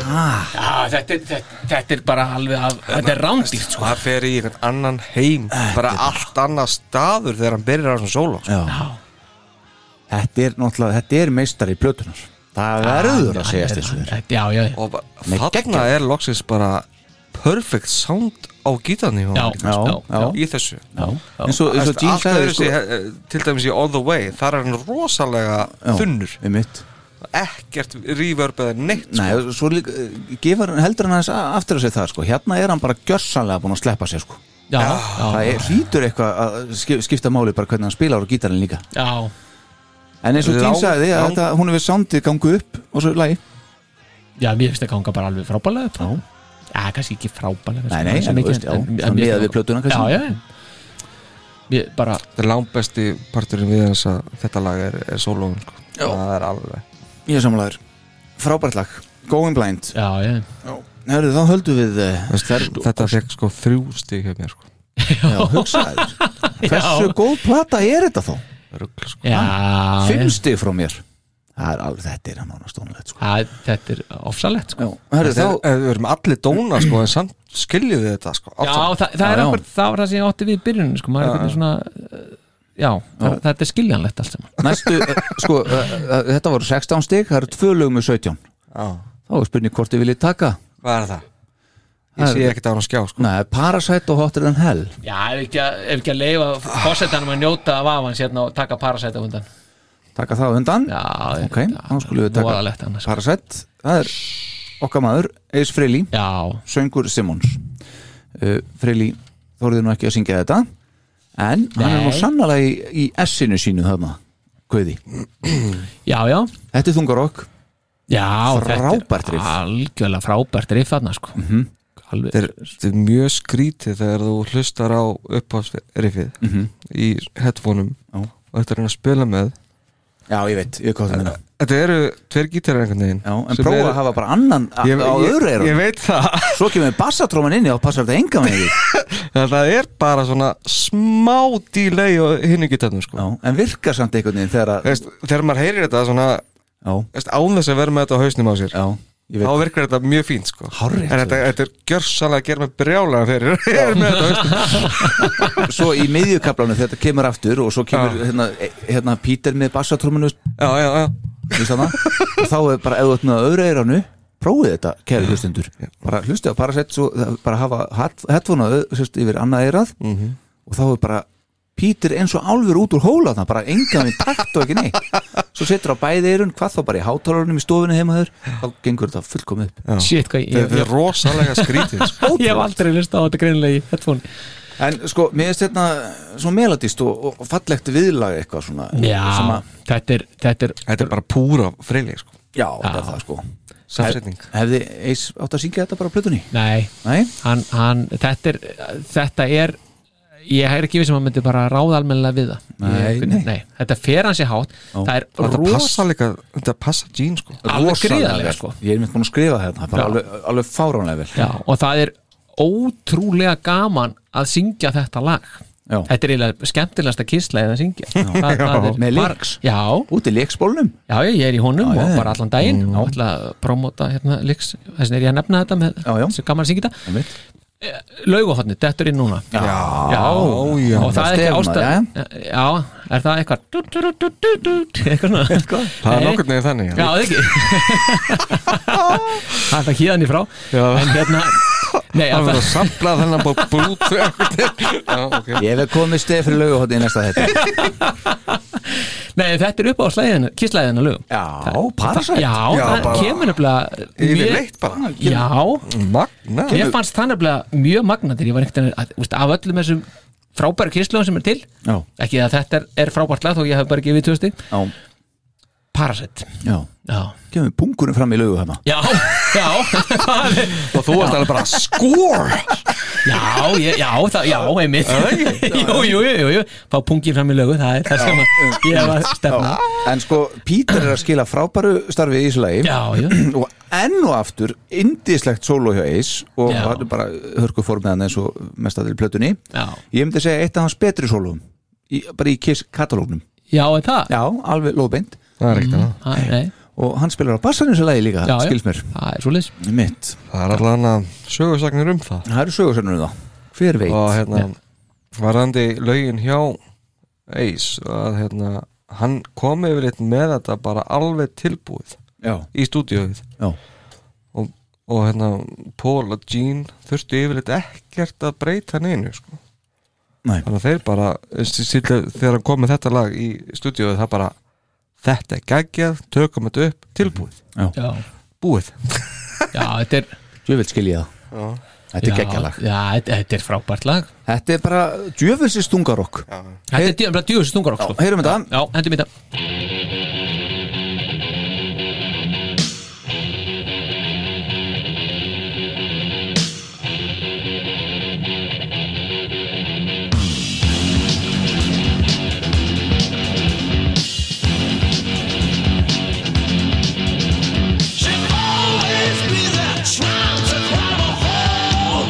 Já, þetta, er- þetta, þetta er bara alveg af, þetta er rándýrt sko. Það fer í einhvern annan heim bara allt annar staður þegar hann byrjar á þessum sóla sko. Já. Þetta er náttúrulega, þetta er meistari plötunar Það verður að segjast þessu þér Þetta- Já, já, já, og bara- Nei, þarna geggjað. er loksins bara perfect sound á gítarni hjá honum, já, já, já, já. í þessu já. eins og, eins og Gene Allt sagði öðru sko, til dæmis í All The Way þar er hann rosalega Já. þunnur einmitt. ekkert reverb eða neitt sko. Nei, og svo líka, eh, gefur hann heldur hann aðeins a- aftur að segja það sko. hérna er hann bara gjörsanlega búin að sleppa sér sko. já, það já, er, hlýtur eitthvað að skip- skipta máli bara hvernig hann spilar á gítarinn líka já. en eins og Lá- Gene sagði að lang- þetta, hún hefur soundið gangu upp og svo lagi Já, mér finnst það ganga bara alveg frábælega upp. Já. Já, kannski ekki sko, frábælega Nei, nei, en þú veist, já, svona miðað við plötuna kannski. Já, já, já Mér bara, þetta er langbesti parturinn við þess að þetta lag er, er sólóin sko. það er alveg ég er samlaður, frábært lag Going Blind, já, já herðu þá höldum við eh, Veist, þær, þetta fekk sko þrjú stík hjá mér sko. já, hugsaði hversu góð plata er þetta þá Rugl, sko. Já, já. fimm stig frá mér það er alveg, þetta er hann ánast ónulegt sko. Já, Þetta er ofsalett, sko Já, herru, Þeir, þá, þá, eh, við erum allir dóna sko, en samt skiljum við þetta sko, Já, allt saman. það, það er Já, já. akkur, það var það sem ég átti við í byrjunum, sko Maður er einhvern veginn svona uh, Já, já. Já. þetta er skiljanlegt allt saman næstu eh, sko, eh, eh, þetta voru 16 stig, það eru tvö lög með 17 Já. þá er spurning hvort þið viljið taka hvað er það? Það ég er- sé ekkert á hann skjá sko. Nei, Parasite og Hotter than Hell Já, ef ekki að, ef ekki að leifa fórsetanum að njóta af afans hérna og taka parasæta undan taka það á undan Já, ok, þá skulum við taka voðalegt annars. sko. Parasett, það er okkar maður Eis Freyli, Já, söngur Simons uh, Freyli þorði nú ekki að syngja þetta en hann er nú Nei. sannlega í, í S-inu sínu þarna, Guði já, já þetta er þungarokk, Já, Frábært þetta er riff. Mhm. algjörlega frábært riff þarna sko Alveg, þetta er, þetta er mjög skrítið þegar þú hlustar á upphásriffið í headphoneum Mhm. Já. og þetta er að spila með já ég veit, ég hvað það meina Þetta eru tver gítarar einhvern veginn já, en sem prófa eru- að hafa bara annan á- ég, á öðru ég, ég erum, veit það svo kemur bassatróman inni og passar þetta enga með því Það er bara svona smá delay á hinnu gítarnum sko. já, en virkar samt einhvern veginn þegar að Veist, Þegar maður heyrir þetta svona já, veist, án þess að vera með þetta á hausnum á sér já, ég þá veit virkar þetta mjög fínt sko. Hárrétt, En þetta, Sverrir. þetta er gjörsanlega að gera með brjálega fyrir er með þetta á hausnum svo í miðjukablanum þetta kemur aftur og svo kemur Já. hérna, hérna Pítur með bassatrómanu Já, já, já og þá er bara eða öðna öðru eiranu prófið þetta, kæri hlustendur bara hlustið á Parasett svo, eh, bara hafa hat- headphone á öð- sérst, yfir annað eirað Mhm. og þá er bara Pítur eins og álfur út úr hóla þannig bara engan í takt og ekki neitt svo setur á bæði eirun, hvað þá bara í hátalarunum í stofinu heimaður, þá gengur þetta fullkomið upp shit, hvað ég, ég, Þetta er rosalega skrítið sko. ég, hef aldrei list á þetta greinlega í headphone en sko, mér finnst þetta svona melodist og, og fallegt viðlag eitthvað svona sem Já, að, þetta er, þetta er Þetta er bara púra freyleg sko. já, þetta er það sko Samsetning Hefði Eis átt að syngja þetta bara á plötunni? Nei, Nei? hann, hann, þetta er þetta er, ég er ekki við sem hann myndi bara ráða almennilega við það Nei, Ég- nei. þetta fer hans í hátt það er Þetta rosa passa líka Þetta passa Jean sko. Alveg Rosalega gríðarlega, vel. sko. Ég er mynd búin að skrifa þetta, bara Já. alveg, alveg fáránlega vel Já, og það er ótrúlega gaman að syngja þetta lag Já. þetta er eiginlega skemmtilegasta kisslega að syngja það, það er, Með lyrics. já, Út í leikspólnum Já, já, ég er í honum Já, og já, já. bara allan daginn og ætla að promóta hérna líks þess vegna er ég að nefna þetta með Já, já. þessi gaman að syngja þetta Einmitt. Laugahotni, dettur inn núna Já, já. og það er ekki Stefna, ástæð já. er það eitthvað dú, dú, dú, dú, dú, dú, eitthvað svona Það er Nei. nokkurn veginn þannig Já, það ekki Það er það híðan í frá Já. en hérna Nei, Það að það verður að sampla þennan bara bút Já, ok Ég hef komið stið fyrir laugahotni í næsta þetta Nei, þetta er upp á slæðinu, kisslæðinu lögum Já, Parasite Já, Já, það bara- kemur nefnilega Yfir mér- leitt bara Já, Magna Mér fannst það nefnilega mjög magnatir ég var einhvern veginn, að, úst, af öllum þessum frábæru kyslum sem er til Já, ekki að þetta er, er frábært lag þó ég hef bara gefið tjóðsti já, Parasett já Já, Kemur punkurinn fram í laugu hérna já, já það er- Og þú varst alveg bara score Já, ég, já, það, já, einmitt Jú, jú, jú, jú, jú Fá pungin fram í lögu, það er það sem að ég var stefna En sko, Pítur er að skila frábæru starfi í þessu lagi Já, já, og enn og aftur indislegt solo hjá Ace og Já. hann er bara hörku formiðan eins og mest að til plötunni Já. ég myndi segja eitt af hans betri soloum í, bara í Kiss katalógnum já, en það já, alveg lóðbeint Það er ekkert annað. Ha, nei, og hann spilar á bassanum þessu lagi líka já, já. skils mér, Það er svoleiðis mitt Það er allan að sögursagnir um það það eru sögursönnum þá, hver veit Og hérna Varandi lögin hjá Ace að hérna hann kom yfir eitt með þetta bara alveg tilbúið já, í stúdíóið já, og, og hérna Paul og Gene þurftu yfir eitt ekkert að breyta neinu sko. Nei. þannig að þeir bara s- s- þegar hann kom með þetta lag í stúdíóið það bara þetta er geggjað, tökum þetta upp, tilbúið Já, búið já, þetta er djöfild skil ég það þetta já, er geggjalag Já, þetta- þetta er frábært lag þetta er bara djöfilsi stungarokk Þetta er djú- bara djúðsist ungar okkur sko. heyrum þetta, Já, hendur mér það She'll always be there trying to climb a hole.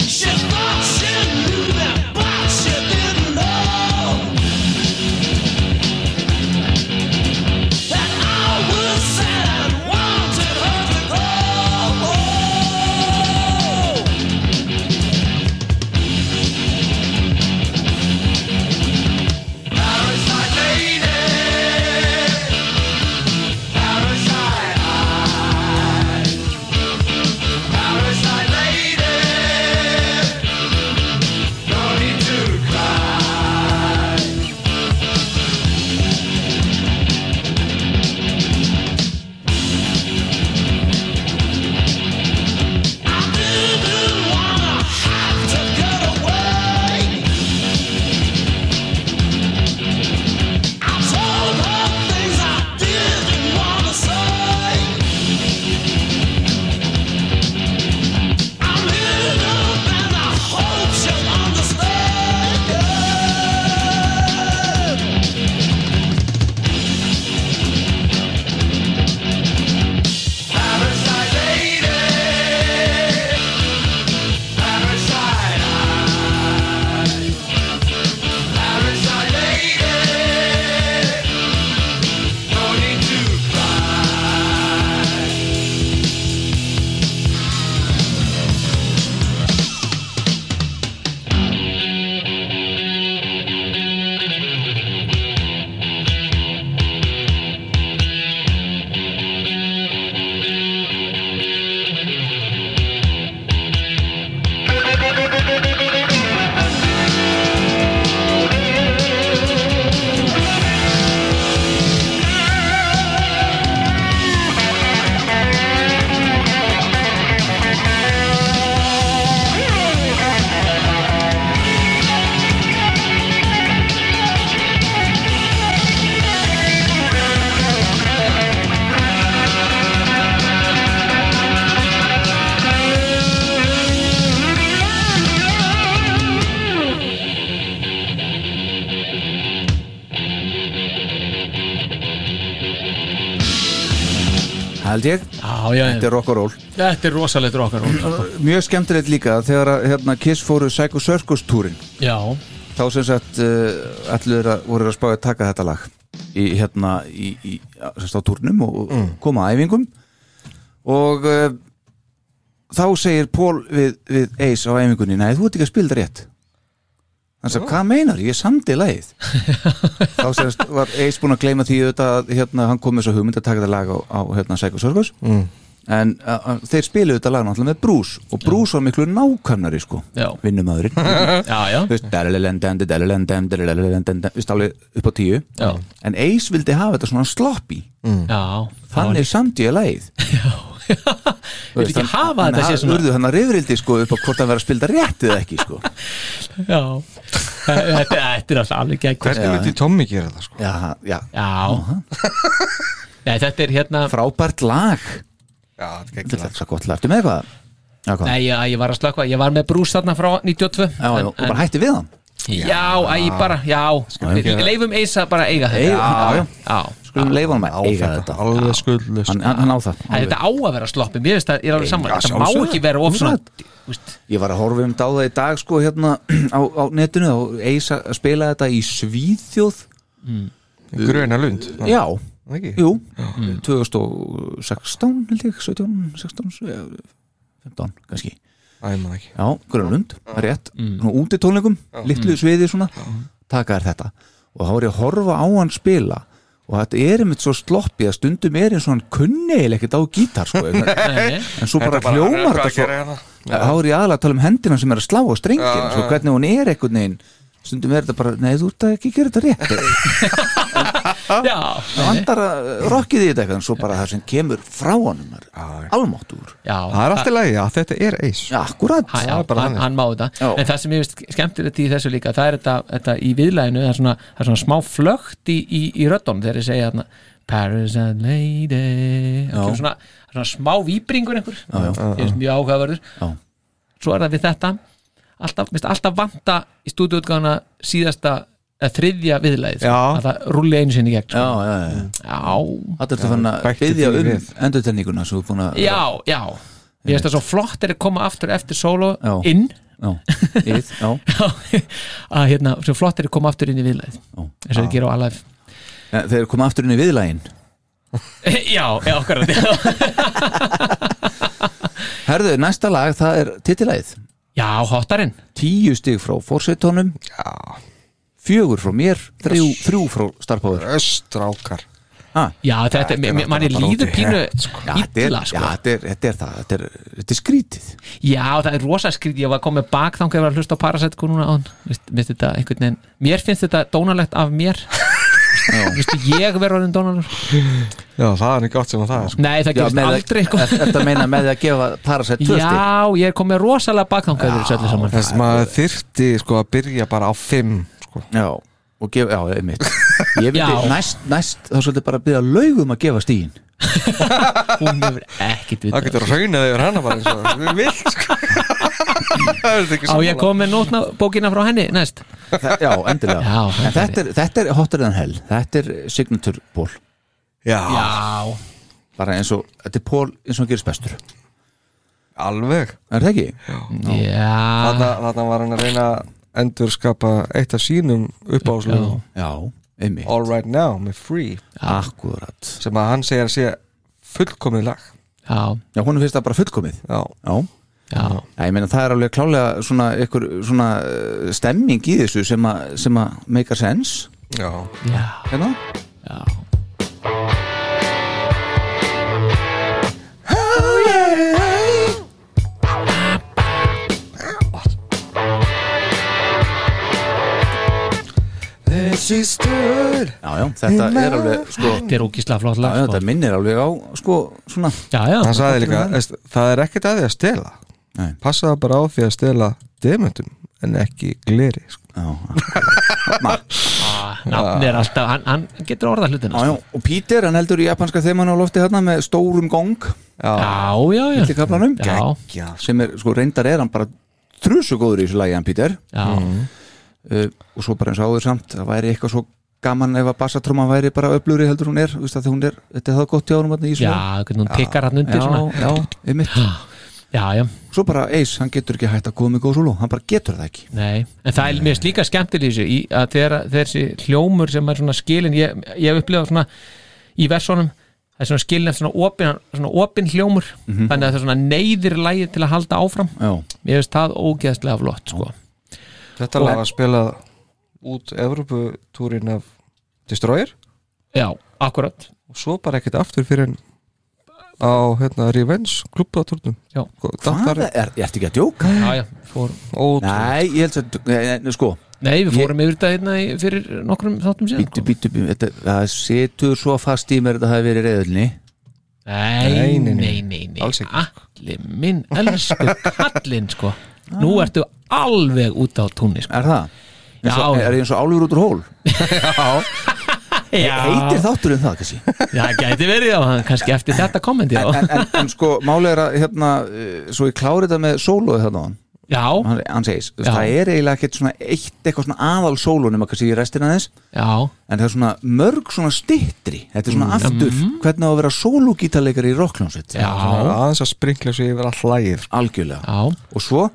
She thought she knew them, but she didn't know. held ég Já, já, Þetta já. er rock and roll Þetta er rosalegt rockar Mjög skemmtilegt líka þegar að, hérna, Kiss fóru Psycho Circus túrin Já, þá sem sagt uh, allir að, voru að spáði að taka þetta lag í hérna í, í, sem sagt á turnum og mm. koma að æfingum og uh, þá segir Pól við, við Ace á æfingunni nei þú ert ekki að spila þetta rétt hann sagði hvað meinar ég samdi lagið þá semst var Ace búin að gleyma því auðvitað að hérna, hann kom með svo hugmynd að taka þetta lag á, á hérna Psycho Circus mm. en uh, uh, þeir spiluðu þetta lag náttúrulega með Bruce og Bruce var miklu nákvæmnari sko Já. vinnumöðurinn já, já Þú veist, dalalalandam, dalalalandam, dalalalandam, þú veist, alveg upp á tíu Já. en Ace vildi hafa þetta svona sloppy Já, þannig er samt ég leið Þú vilt ekki hafa þetta sé svona urðu hann að rifrildi sko upp á hvort hann verið að spilda rétt eða ekki sko Já, þetta þetta er alltaf alveg gegn Hvernig myndi Tommy gera það sko? já, já, Uh-huh. Já Nei, þetta er hérna frábært lag Já, þetta þetta er svo gott lag, ertu með eitthvað? Já, hvað? Nei, já, ég var að slökva, ég var með brús þarna frá 92 já, já, og bara hætti við hann Já, æ, bara, já Við leifum Eisa bara að eiga Ei- þetta já, já. Já, skulum leifa hann að eiga Þetta þetta er alveg skuldlust hann, hann, hann á það Æ, þetta á að vera sloppið, mér finnst það, ég er alveg saman Þetta má ekki vera of svona úst, Ég var að horfa um dáða í dag sko hérna á, á netinu og Ace að spila þetta í Svíþjóð Gröna lund Já, Ekki? Jú, Mm. 2016 held ég, 17, 16, eh, 15 kannski Æ, maður ekki Já, Mm. Grönlund, það er rétt, svona úti tónleikum, litlu sviði svona, taka þær þetta og þá er ég að horfa á hann spila og þetta er einmitt svo sloppið að stundum er eins og hann kunni eiginlega ekkert á gítar sko, en, nei, nei. en svo bara hljómar þetta svo, hérna? þá er ég aðlega að tala um hendina sem er að slá á strengin, svo hvernig hún er einhvern veginn, stundum er þetta bara, nei þú ert að ekki gera þetta rétt Já, Það andar að eh, rokkið í þetta eitthvað en svo bara það sem kemur frá honum er almáttur já Það er alltaf lægi, já, þetta er eis Akkurat Ha, já, bara hann, þannig. hann má þetta Já. en það sem ég veist skemmtilegt í þessu líka það er þetta, þetta í viðlæðinu það er svona, það er svona smá flögt í, í, í röddunum þegar ég segja þarna Paris and Lady það kemur svona, það er svona smá víbringur einhver já, já. ég veist mjög áhugaverður Já. svo er það við þetta alltaf, minnst, alltaf vanta í stúdíutgána síðasta eða þriðja viðlæðið sko, Já. að það rúli einu sinni í gegn Já, sko. já, já já, Það er þetta fann að bætti byggja því um við. endurtenninguna sem þú er búin að já, já ég veist það svo flott er að koma aftur eftir solo Já. inn já, yð, já. Já, að hérna, svo flott er að koma aftur inn í viðlæð Já. eins og þið gera á Alive En Þeir koma aftur inn í viðlægin já, já, okkar já, Herðu, næsta lag það er titilæð já, hotarinn Tíu stig frá fórsetónum Já, Fjögur frá mér, þrjú, þrjú frá starfbáður östrákar já, þetta, Þetta er mér- manni náttúrulega líður bara út í pínu hett, illa, Já, sko þetta er, þetta er það, þetta er, þetta er skrítið já, það er rosa skrítið, ég var komið bak þangar að vera að hlusta á Parasite sko núna án Vist, mér, þetta, einhvern veginn, mér finnst þetta dónalegt af mér Vistu, ég verður orðin dónalegt Já, það er ekki gott sem að það er sko nei, það Já, gerist með að- aldrei sko. er- Ertu að meina með því að gefa Parasite tvö stig já, ég er komið rosalega bak þangar saman Þess maður þyrfti sko að byrja bara á fimm sko Já, og gefa, já, einmitt Ég myndi Já. næst, næst, þá svolítið bara að byrja laugum að gefa stíin hún hefur ekkit Það við getur raunað yfir hana bara eins og við vilt sko Það er þetta ekki á ég sammála. komið nótna bókina frá henni næst Þa- Já, endilega Já, En þetta er, þetta er hotter than hell Þetta er signature pól Já, já, Bara eins og, þetta er pól eins og hann gerist bestur alveg Er það ekki? já. Þarna þarna var hann að reyna að endurskapa eitt af sínum uppáslugum Já, einmitt All Right Now með Free Akkurat sem að hann segir að sé fullkomið lag já, Já, honum finnst það bara fullkomið Já, Já já, Já, ég meina það er alveg klálega svona, ykkur, svona eh, stemming í þessu sem að sem að make a sense já já, hérna já. There she stood Já, já, þetta er alveg sko, já, Þetta er ógíslega flott lag já, sko. þetta minnir alveg á sko, svona Já, já, Hann sagði líka, veist, það er ekkert að því að stela Nei. Passa það bara á því að stela demöntum en ekki gleri sko. Já, nafn er alltaf hann, hann getur orða hlutina já, sko. já, og Peter, hann heldur japanska þeimann á lofti hérna með stórum gong Já, já, já til kaplanum Já, Já, sem er, sko, reyndar er hann bara trusugóður í þessu lagi hann Pítur já, uh, og svo bara eins og áður samt það væri eitthvað svo gaman ef að bassatrúman væri bara öflugri heldur hún er, þú veist að hún er þetta er það gott hjá hún já, í svona hvernig hún pikkar hann undir já, svona já, einmitt já, já, svo bara Ace, hann getur ekki hægt að koma í góð solo hann bara getur það ekki nei en það er mér slíka skemmtileg þessu í, að þegar, þessi hljómur sem er svona skilin ég, ég hef upplifað svona í versónum það er svona skilin eftir svona opin, svona opin hljómur þannig að það er svona neyðir lægi til að halda áfram já, ég veist það ógeðslega flott sko. Þetta lag að spila út Evróputúrin af Destroyer já, akkurat og svo bara ekkert aftur fyrir en á hérna, Revenge klubbatúrnum Já. hvað Hvað er, er, ég ert ekki að djóka já, já, fór, nei, ég held að, nei, nei, sko nei, við fórum yfir þetta hérna í- fyrir nokkrum þáttum síðan sko. bítu, bítu, bítu, þetta, það setur svo fast í mér að það hefur verið reyðulni Nei, Nei, nei, nei, nei. nei, nei, nei. Alls ekki. Allir minn, elsku kallinn sko. Nú ertu alveg út á túnni sko. er það? Já. Eins og, er ég eins og álfur út úr hól? heitir þátturinn það kannski það gæti verið já, kannski eftir þetta kommenti já. en, en, en sko, máli er að hérna, eh, svo ég klári þetta með sólu þarna á hann, já, hann, hann segis Já. það er eiginlega ekkert svona eitt eitthvað svona aðal sólu nema kannski í restina þess já, en það er svona mörg svona stittri þetta er svona aftur, hvernig á að vera sólugítarleikari í rockljónsveit Mm. já, já, aðeins að sprinkla sig yfir all lagið sko. algjörlega já, og svo,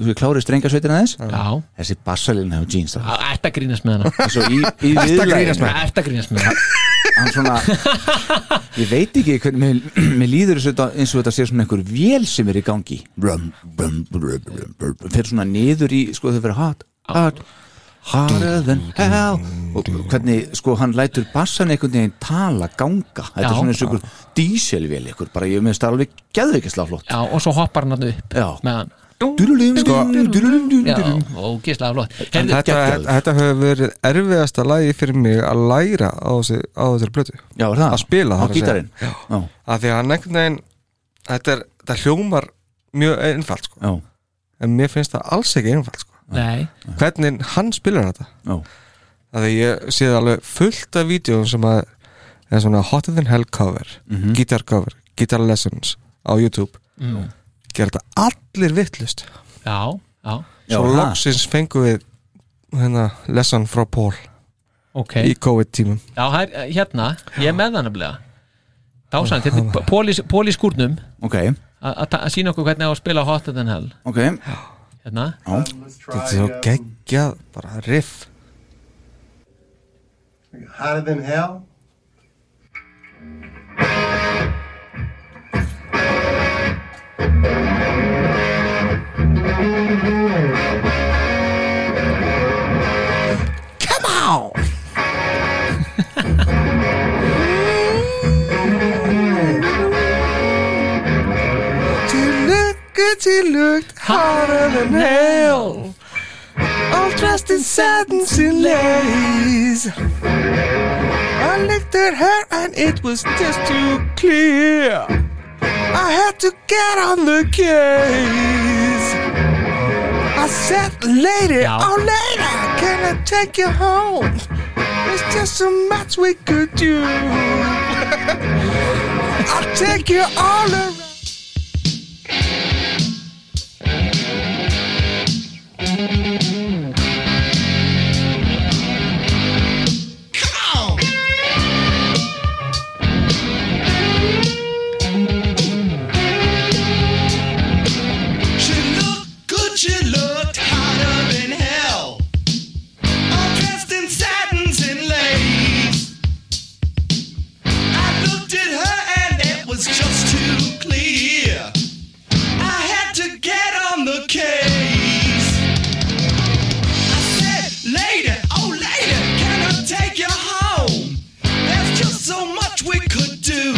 þú ég klári strengasveitina þess já. þessi bassalinn hefur jeans það Ert að grínast með hana eins og í, í viðlæðinu Ert að grínast með hana hann svona ég veit ekki hvernig mér, mér líður þessu þetta- eins og þetta sé svona einhver vél sem er í gangi brum, brum, brum, brum, brum, fer svona niður í sko þau fyrir hot, hot harder than hell og hvernig sko hann lætur bassan einhvern veginn tala ganga þetta Já. er svona eins og einhver díselvél einhver bara ég meðist það alveg geðveikislega flott Já, og svo hoppar hann hann upp já með hann Dúlulum, sko. dúlulum, dúlulum, Já, dúlulum. og gíslega flott En Heyrðu, þetta, geggjaður. þetta, þetta hefur verið erfiðasta lagið fyrir mig að læra á, þessi, á þessari plötu já er það Að spila, á þar að segja. gítarinn já, Já. já, að því að hann einhvern veginn þetta, er, þetta hljómar mjög einfalt sko. já, en mér finnst það alls ekki einfalt sko. Nei, hvernig hann spilar þetta já. að því ég séð alveg fullt af vídeo sem að er svona hotter than hell cover Mhm. guitar cover, guitar lessons á YouTube Mm. gera þetta allir vittlust já, já, Já, svo ha. loksins fengum við hérna, lesson frá Paul ok í COVID tímum Já, her, hérna, ég er með það nefnilega Dásan, þetta er pól í skúrnum ok, að- að ta- að sína okkur hvernig á að spila Hotter Than Hell ok hérna, þetta er svo geggjað, bara riff Hotter than hell. já, oh, She looked good, she looked hotter than hell. All dressed in satins and lace. I looked at her and it was just too clear. oh,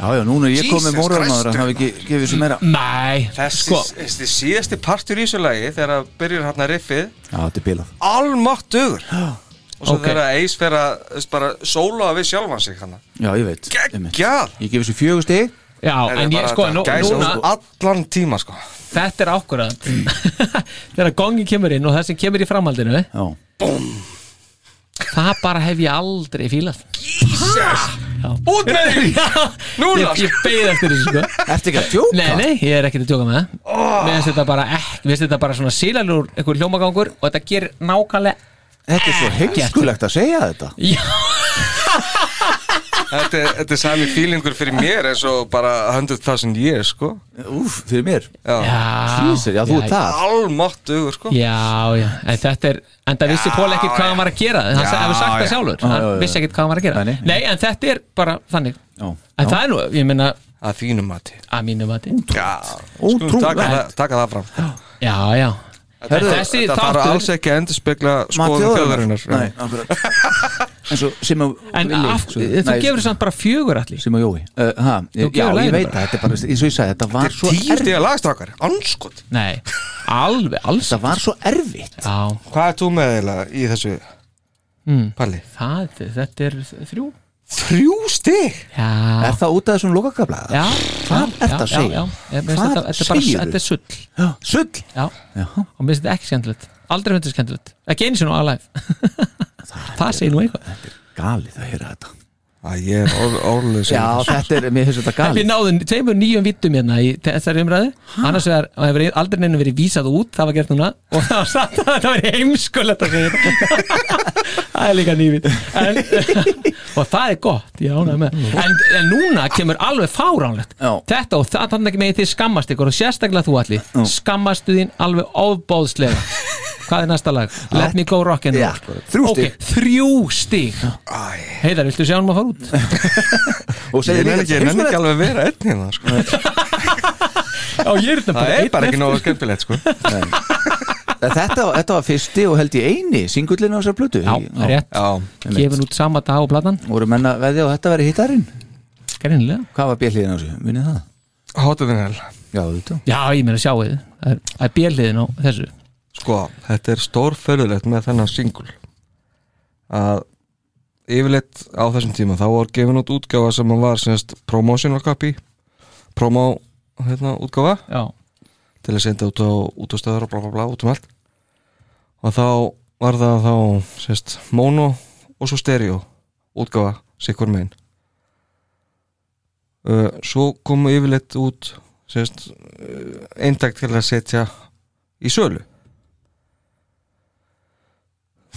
já, núna er ég Jesus komið móraðmáður Christ. að hafa ekki gefið þessu meira Nei, Þessi, sko þessi síðasti partur í þessu lagi þegar að byrjar hann að riffið Já, þetta er bilað almátt dugur og svo Ok. þegar Ace fer að þú veist, bara sóla við sjálfan sig hann Já, ég veit einmitt. geggjað Ég gefið þessu fjögur stig Já, en ég sko, nú, núna allan tíma sko Þetta er ákvörðan Þegar gongin kemur inn og það sem kemur í framhaldinu Já, Það bara hef ég aldrei fílað út með því Núna, Ég, ég beið eftir þessu sko ertu ekki að tjóka? Nei, nei, ég er ekkert að tjóka með það Mér finnst þetta bara ekki, mér finnst þetta bara svona sílalur einhver hljómagangur og þetta gerir nákvæmlega Þetta er svo heimskulegt að segja þetta Já, þetta, er- þetta er sami feelingur fyrir mér eins og bara 100.000 years sko Úf, fyrir mér já. Hlýsir, já, þú ert það almátt dugur sko Já, já, en þetta er en það vissi Pól ekkert hvað hann var að gera hann Já, hefur sagt það já. sjálfur, Já, hann já, já. vissi ekkert hvað hann var að gera Nei, Nei, nei. en þetta er bara þannig Já, En það er nú, ég meina, að þínum mati að mínu mati já, Ótrúlegt. taka, það- taka það fram Já, já Herðu, Þessi þetta þarf þáttur- alls ekki að endurspegla Mat skoðum þjóðarinnar Nei, akkurat En svo, sem að En af, þú gefur samt bara fjögur allir sem á Jói uh, ha, Þú ég, Já, gefur ég laginu veit bara. það, þetta er bara, eins og ég sagði Þetta var svo tíu erfitt stíða lagstrákar, anskot Nei, alveg, alls Þetta var svo erfitt Já, hvað er þú með eiginlega í þessu Hmm. palli? það, þetta er þrjú þrjú stík Já, Er það út af þessum lokakabla? já Hvað já, er það að já, segja? já, já, mér finnst Hvað þetta- Þetta er bara, segirðu? þetta er sull Já, Sull Já, og mér finnst þetta ekki skemmtilegt Aldrei hundið skemmtilegt, ekki einu sinni á alive Það segir nú eitthvað Galið að heyra þetta að ég er orð, orðlega Já, þetta er, mér finnst þetta Við galið náðum tveimur nýjum vittum hérna í þessari umræðu annars vegar og hefur aldrei neina verið vísað út það var gert núna og það var satt að þetta verið heimskulegt að segja þetta. það er líka nývitt en, og það er gott ég ánægði með það. en, en núna kemur alveg fáránlegt Já. þetta og það þannig megin þið skammast ykkur og sérstaklega þú allir skammastu þín alveg ofbóðslega hvað er næsta lag? Let me go rockin' Já, roll. þrjú Ok, stig. þrjú stig heiðar, viltu sjá hann að fara út? Og ég segir nenni ekki, líka ég nenni ekki heimskulegt. alveg að vera einn hérna sko. Já, ég er þetta það bara er einn bara ekki eftir. nógu skemmtilegt sko. Þetta var- þetta var fyrsti og held ég eini singullin á þessar plötu Já, rétt já, gefin út sama dag og platan voru menn að veðja á þetta verið hittarinn Greinilega. hvað var bjelliðin á þessu, munið það? hotuðin hel já, þetta já ég meina sjáu þið það er- það er bjelliðin á þessu sko, þetta er stórförðulegt með þennan singul að yfirleitt á þessum tíma þá var gefin út útgáfa sem að var semst promotional copy promo hérna, útgáfa já, til að senda út á útastöður og bla bla bla út um allt og þá var það þá sérst mono og svo stereo útgáfa sikur megin uh, svo komu yfirleitt út sérst uh, eintakt til að setja í sölu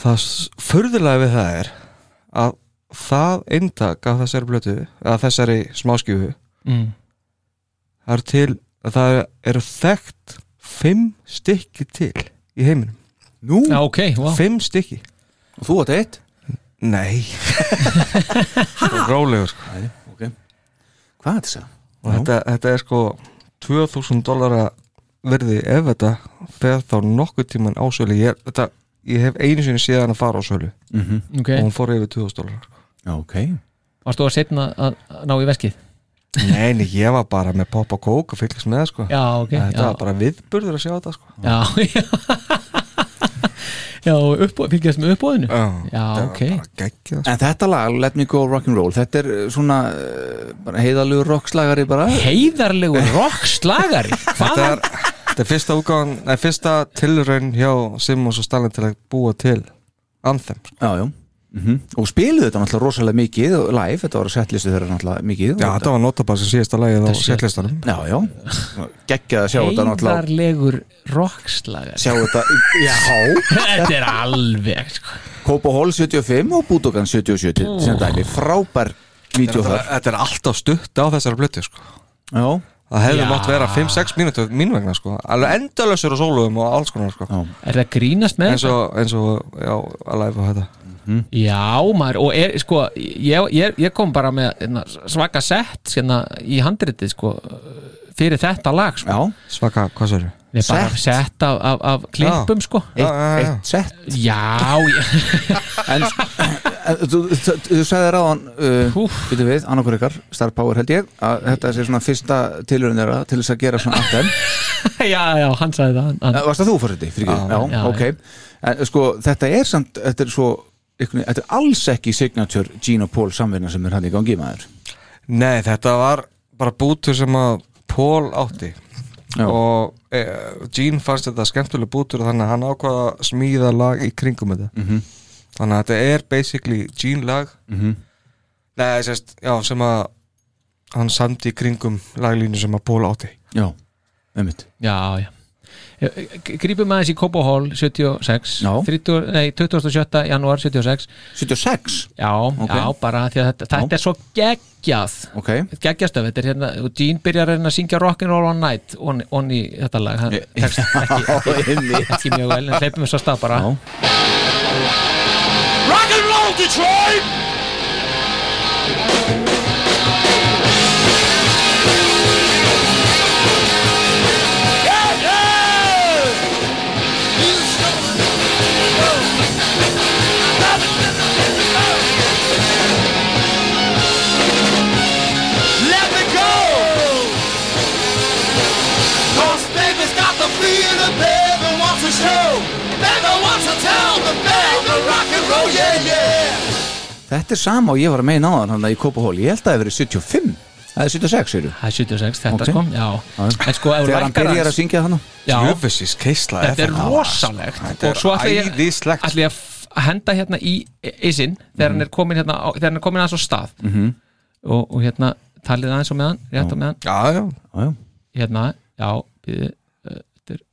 það s- furðulega við það er að það eintak af þessari blötu að þessari smáskjöfu mm. það eru til það eru þekkt fimm stykki til í heiminum nú, já ok, wow. fimm stykki og þú átt eitt nei rólegur sko. hvað er þetta? og þetta, þetta er sko 2000 dollara verði ef þetta fer þá nokkuð tíman ásölu ég, þetta, ég hef einu sinni síðan að fara ásölu ok, og hún fór yfir 2000 dollara Mhm. ok, varst þú að setna að að ná í veskið nei, nei, ég var bara með pop og kók og fylgist með það, sko já ok, þetta já, var bara viðburður að sjá þetta sko já, já. já uppbóð, fylgjast með uppbóðinu já ok, geggjað sko. en þetta lag Let Me Go Rock'n'Roll, þetta er eh, svona eh, bara heiðalugur rockslagari bara heiðarlegu rockslagari hvað þetta er er, þetta er fyrsta útgáðan nei, fyrsta tilraun hjá Simons og Stalin til að búa til Anthem sko. já, já Mm og spiluðu þetta náttúrulega rosalega mikið og live, þetta var að setlistu þeirra náttúrulega mikið já, þetta var nota bara sem síðasta lagið á Þetta sé- setlistanum já, já. geggjað að sjá þetta náttúrulega heiðarlegur rockslagari sjá þetta, já þetta er alveg sko. Kópa Hall 75 og Búdokan 77 sem dæmi, frábær vídeo þetta, þar, þetta er alltaf stutt á þessari blötu sko. já það hefði Já. mátt vera 5-6 mínútur mín vegna sko. alveg endalösur og sóluðum og alls konar sko. Já. er það grínast með eins og, eins og já, Alive og þetta Já maður og er, sko, ég, ég, ég kom bara með hérna, svaka sett hérna, í handritið sko, fyrir þetta lag sko. já, svaka, hvað sér þau? Nei, bara Sett? sett af, af, af klippum sko Eitt, Já, já, já. eitt sett Já, ég- En sko, en þú, þú, þú sagði ráðan uh, Býtu við, annarkur ykkar, Star Power held ég að þetta sé svona fyrsta tilurinn þeirra til þess að gera svona anthem já, já, hann sagði það hann, Eh, Varst það þú fórseti? Já, já, Já, já. ok en, sko, Þetta er samt, þetta er svo ykkur, Þetta er alls ekki signature Gene og Paul samvinna sem er hann í gangi maður Nei, þetta var bara bútur sem að Paul átti Já. og e, Gene fannst þetta skemmtileg bútur þannig að hann ákvaða að smíða lag í kringum þetta -hmm. þannig að þetta er basically Gene lag Mhm. Nei, sérst, já, sem að hann samdi í kringum laglínu sem að Paul átti Já, einmitt Já, já Grípum aðeins í Kobo Hall 76 Já. 30, nei, 27. janúar 76 76, Já, já, bara því að þetta, þetta er svo geggjað ok geggjastöf, þetta er hérna og Gene byrjar að reyna að syngja Rock'n'Roll all night on, on í þetta lag hann tekst ekki, ekki, einmitt. ekki mjög vel en hleypum þess að stað bara Já. Let me go. Cause baby's got the feeling, baby wants to show. Baby wants to tell the baby rock and roll, yeah, yeah. Þetta er sama og ég var að meina á hann hann í Kópahól, ég held að það hefur verið 75 Það er 76, eru það er 76 þetta Ok. sko, já, Já. en sko ef þú Þegar hann lækkar byrjar hans- að syngja þannig Já. Jöfessis keisla þetta er rosalegt Þetta er og svo ætla ég, æðislegt. ætla ég að f- að henda hérna í ísinn þegar hann er komin hérna á- þegar hann er komin aðeins á stað -hmm. og, og hérna talið aðeins á meðan rétt á meðan Já, já, hérna, já býðu, uh, þetta er-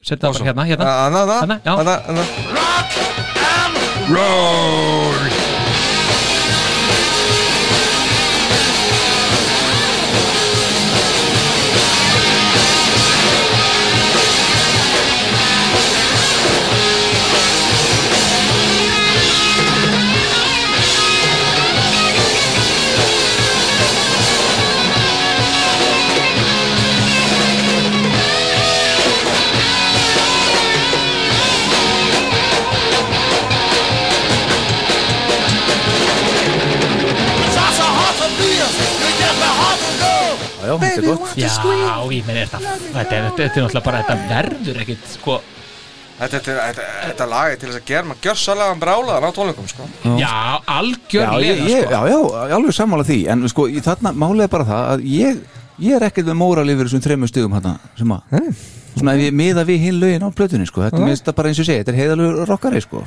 setja það bara hérna, hérna Anna, anna, Þarna, já. anna, anna. Shots are hard to feel. You get the heart to go. Já, já, þetta er gott já, ég meni þetta þetta er, þetta er náttúrulega bara, þetta verður ekkit sko, Þetta, þetta, þetta, þetta lag er til þess að gera maður gjörsalaðan brálaðan á tónleikum sko. já, Já, ég, algjörlega ég, sko. já, já, alveg sammála því En sko, í þarna málið er bara það að ég, ég er ekkert með móral yfir þessum þreymur stugum hann sem að Svona ef ég miða við hinn lögin á plötunni sko Þetta minnst það bara eins og ég segi, þetta er heiðalögur rockari sko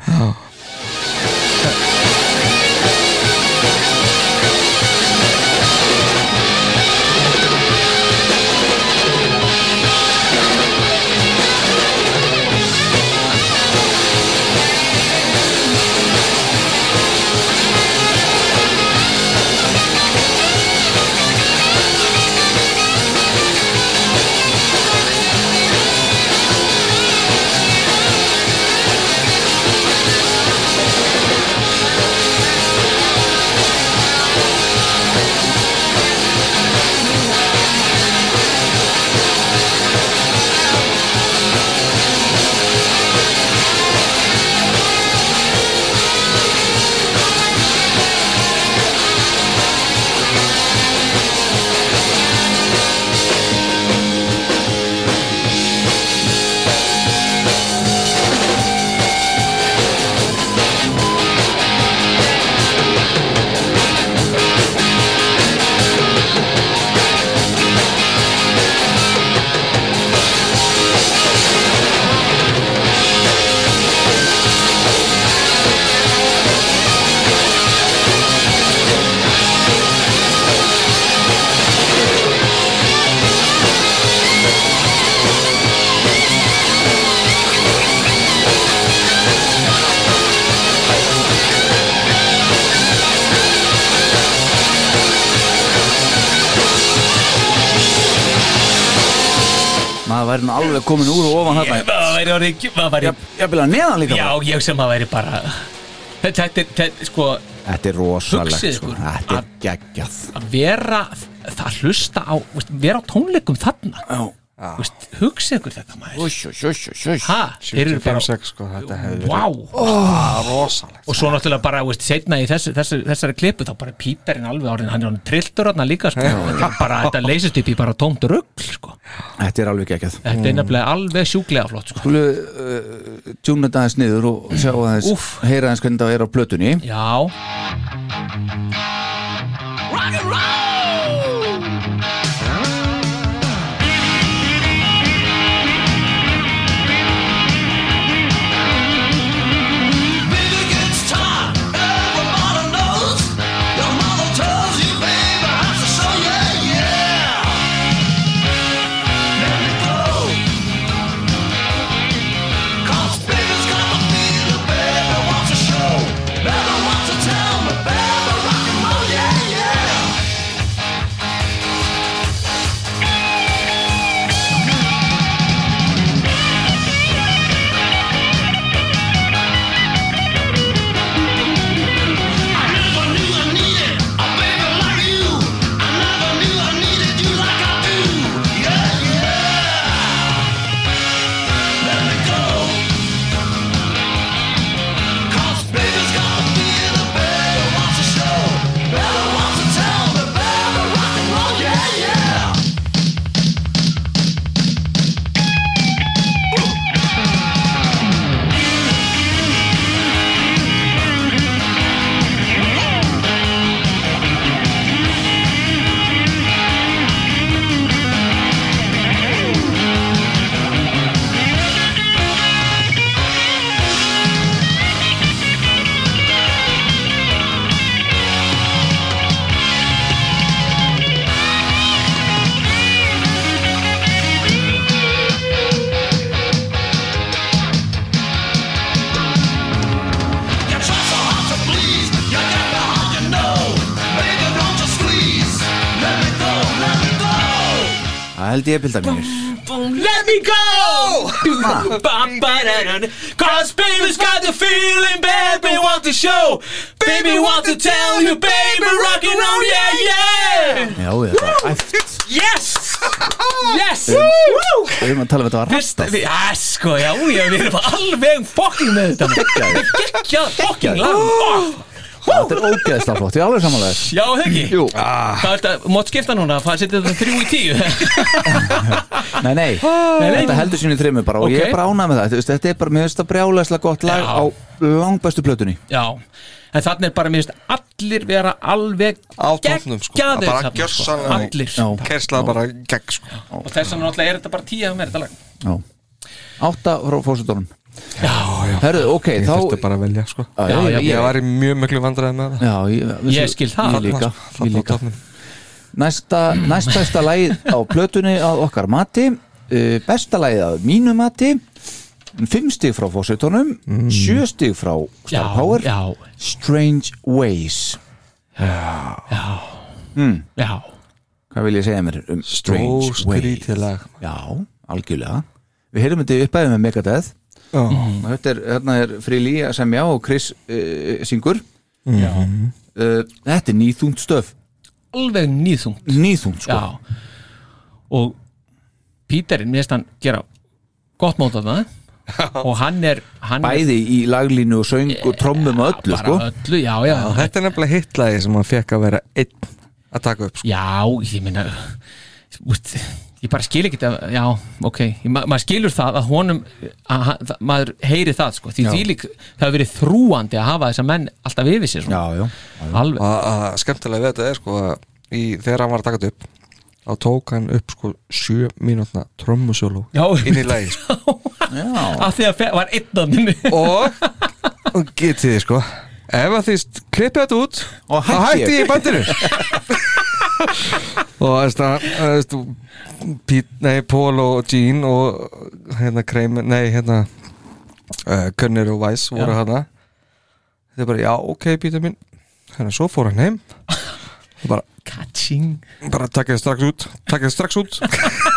Maður væri nú alveg komin úr og ofan þarna það væri orðið, það væri Ég, ég byrja neðan líka Já, bara. ég sem að væri bara Þetta þetta er, þetta er sko Þetta er rosalegt Hugsið sko ykkur Þetta er að- geggjað að vera það hlusta á, veist, vera á tónleikum þarna Já. Þú veist, hugsið ykkur þetta maður Sjöss, sjöss, sjöss ha, þeir eru bara 5-6 sko, þetta hefði verið wow. rosalegt og svo náttúrulega bara, veist, setna í þessu, þessu, þessari klipu þá bara er píperinn alveg orðin hann er hann trilltur hann líka sko. þetta, er bara, þetta leysist upp í bara tómt rugl sko. Þetta er alveg geggjað þetta er nefnilega alveg sjúklega flott sko. Skulu uh, tjúna þetta aðeins niður og sjá aðeins Mm. Úff. heyra aðeins hvernig það er á plötunni já, Baby gets tired, everybody knows. Your mother tells you, baby, I should show you, yeah. Let me go. 'Cause baby's got the feeling, baby wants to show. Baby wants to tell me, baby, rock and roll, yeah, yeah. Yeah! You try so hard to please, you got the heart you know. Baby, don't you squeeze? Let me go, let me go. Það held ég bildar mínir let me go cause baby's got the feeling baby want to show baby want to tell you baby rockin' on yeah yeah Já, þetta er æft yes yes Woo! Við erum að tala um þetta var Fyrst, rastað við, ja, sko, já, já, við erum alveg um fokking með þetta maður. Geggjað fokking lag oh, Þetta er ógeðslega flott, ég er alveg samanlega Já, það ekki Ah. Jú, Það er þetta, mót skipta núna, það setja þetta þrjú í tíu nei, nei, nei. þetta heldur sínu trimmu bara og Ok. ég er bara ánað með það Þú veist, Þetta er bara, mér finnst það brjálæslega gott lag Já. á langbæstu plötunni Já, en þannig er bara, mér finnst allir vera alveg Á toppnum, sko. geggjaðir Bara þarna, gjörsamlega. Allir Já. Kersla bara gegg sko Og þess vegna náttúrulega er þetta bara tíu með þetta lag Já. Átta frá fórsöldunum Já, Herðu, ok, Ég þurfti þá bara að velja sko Já, já, ég- já. Ég var í mjög miklu vandræði með það Já, ég, Ég skil það. Ég líka, ég Þarna á líka. toppnum. Næsta, næst besta lagið á plötunni að okkar mati uh, besta lagið að mínu mati fimm stig frá fósitónum mm. sjö stig frá Star Power já, Strange Ways já Hvað vil ég segja mér um Strange Ways? Skrítið lag Já, algjörlega Við heyrum þetta uppæðið með Megadeth Já, og þetta er, hérna er Frili að semja og Chris uh, syngur uh, Þetta er nýþungt stöf Alveg nýðþungt nýþungt sko Já Og Píterinn, mér finnst hann gera gott mót að það Og hann er hann Bæði í laglínu og söng og trommum og öllu bara sko öllu, já, já, já, Þetta er nefnilega hitt lagi sem hann fekk að vera einn að taka upp sko ég meina úst, Ég bara skil ekki þetta Já, ok, Ég- ma maður skilur það að honum að, hann- það- maður heyri það sko, því því lík, það hefur verið þrúandi að hafa þessa menn alltaf yfir sér svona, Já, já alveg, að, að skemmtilega við þetta er sko að í, þegar hann var að taka þetta upp þá tók hann upp sko sjö mínútna trommusjólu Já. inn í lagi sko. af því að fe- var einn af minni og, og getið þið sko ef að því klippið þetta út Og þá hætti hætti ég. ég í bandinu og veist að veist, Pít, nei, Pól og Jean og hérna Kramer, nei hérna uh, Könner og Weiss voru hana þetta er bara já ok Pítur minn hérna svo fór hann heim og bara Kaching bara takk þið strax út takk þið strax út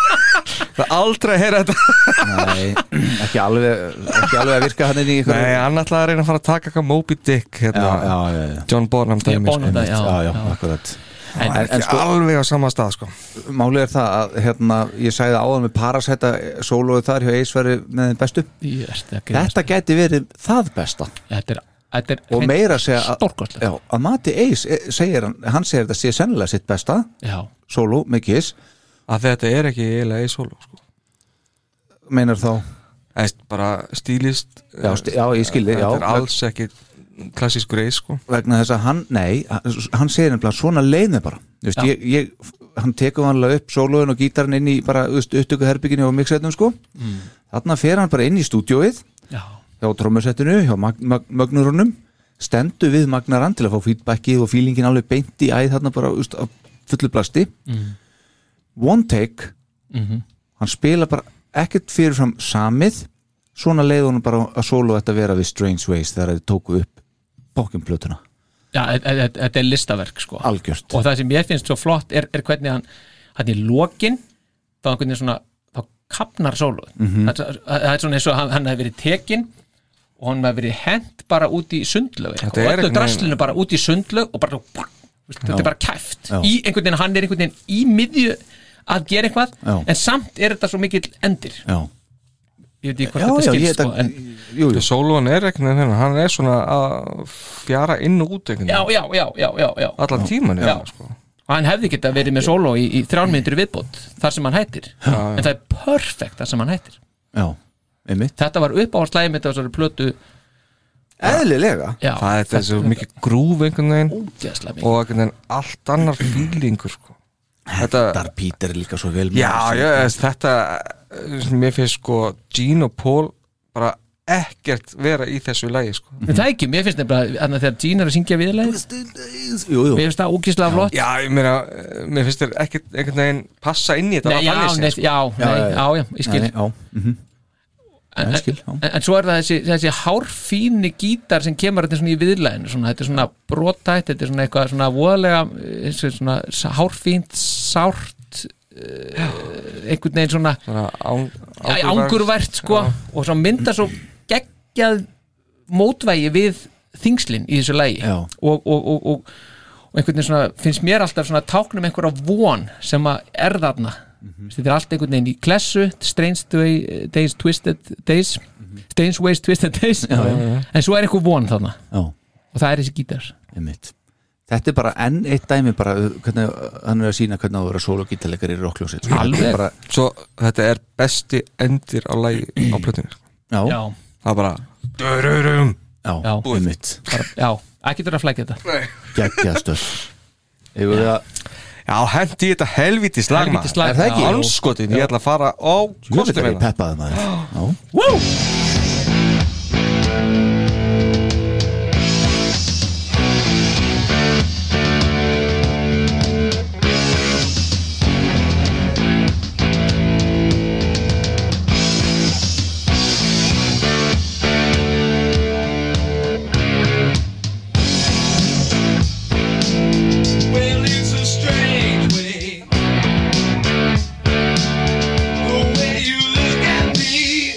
það er aldrei að heyra þetta Nei, ekki alveg, ekki alveg að virka hann inn í ykkur nei, hann ætlaði að reyna að fara að taka eitthvað Moby Dick já, hérna, já, já, já, John Bonham Ég dæmi, bóna sko. þetta, já, já, já, já. akkurat en, Það er en ekki sko- alveg á sama stað sko Málið er það að hérna, ég sagði áðan með Parasæta sólóið þar hjá Eisveri með þeim bestu Ég er þetta að grínast. Þetta gæti verið það besta þetta er, þetta er og hreint meira að segja að, stórkostlegt. já, að Mati Eis eh, segir hann, hann segir þetta sé sennilega sitt besta já, sóló með Kiss, að þetta er ekki eiginlega í solo sko. meinar þá Eða, veist, bara stílist eh, Já, sti- já, ég skil þig, já. þetta er alls ekki klassískur eis sko. vegna þess að hann, nei, hann- hann segir nefnilega svona leið mig bara Þú veist, Já. ég, ég, hann tekur vanlega upp sólóin og gítarinn inn í bara upptöku herbygginu og mixetnum sko Mm. þarna fer hann bara inn í stúdíóið já, hjá trómusettinu, hjá mag mag magnurunum stendur við magnarann til að fá feedbackið og feelingin alveg beint í æð þarna bara úst, á fullu plasti Mhm. one take hann spila bara ekkert fyrirfram samið svona leið honum bara að solo þetta vera við Strange Ways þegar þið tóku upp bókin plötuna, já e- e- e- þetta er listaverk sko. algjört og það sem ég finnst svo flott er, er hvernig hann hann í lokin þá einhvern veginn svona, þá kapnar sóluð það, það er svona eins og hann, hann hefði verið tekin og hann hefði verið hent bara út í sundlög og er öllu einhvern veginn- draslinu bara út í sundlög og bara Vist, þetta er bara kæft Já. í einhvern veginn, hann er einhvern veginn í miðju að gera eitthvað, Já. en samt er þetta svo mikill endir, já, ég veit ekki hvort já, þetta já skil ég, sko, sko, en, jú, jú, soloan er ekki neina hennar, hann er svona að fjara inn og út einhvern já, veginn já, já, já, já, já. allan tíman Já. sko. og hann hefði geta verið með solo í, í þrjánmyndur viðbót þar sem hann hættir en það er perfekt þar sem hann hættir já, einmitt þetta var uppáhaldslægi mitt á þessari plötu eðlilega, já, það er þessi mikið grúf einhvern veginn ógeðslega mikið og einhvern veginn allt annar fílingur sko. þetta, þar Pítur líka svo vel með já, já, þess- þetta eh, mér finnst sko Gene og Paul bara ekkert vera í þessu lægi sko. en það er ekki, mér finnst nefnilega að þegar Gene er að syngja viðlægi jú, jú, mér finnst það ógeðslega flott já, ég meina eh, mér finnst þér ekkert einhvern veginn passa inn í þetta Nei, já, þannig séð, sko. nei, já, nei, sko. já, já. já, já, ég skil Nei, já, mhm. en, já, ég skil, já. en, en svo er það þessi, þessi hárfíni gítar sem kemur þetta svona í viðlæginu svona, þetta er svona brotætt, þetta er svona eitthvað svona voðalega, eh, svona hárfínt sárt uh, einhvern veginn svona svona án- Já, ángurvært sko og svo mynda svo geggjað mótvægi við þingslinn í þessu lægi Já. og, og, og, og, og einhvern veginn svona finnst mér alltaf svona táknum einhverja von sem að er þarna þetta er allt einhvern veginn í klessu Strange Day- Days Twisted Days Strange Ways Twisted Days en svo er einhver von þarna já, og það er þessi gítar einmitt Þetta er bara enn eitt dæmi bara uh, hvernig uh, hann er að sína hvernig á að vera sól og gítarleikar í rockljósið sko. Alveg. Þetta er bara, svo þetta er besti endir á lægi á plötunni sko. já, já, já, það er bara Dururum. Já. einmitt bara, já, ekki þurfa að flækja þetta Gekkjastöð Eða við að, já, hendi í þetta helviti slagma Helvíti slag, Er það ekki? já. anskotin, ég ætla að fara á hvað er kostum hérna. þetta peppaði maður Já, Well, it's a strange way. The way you look at me.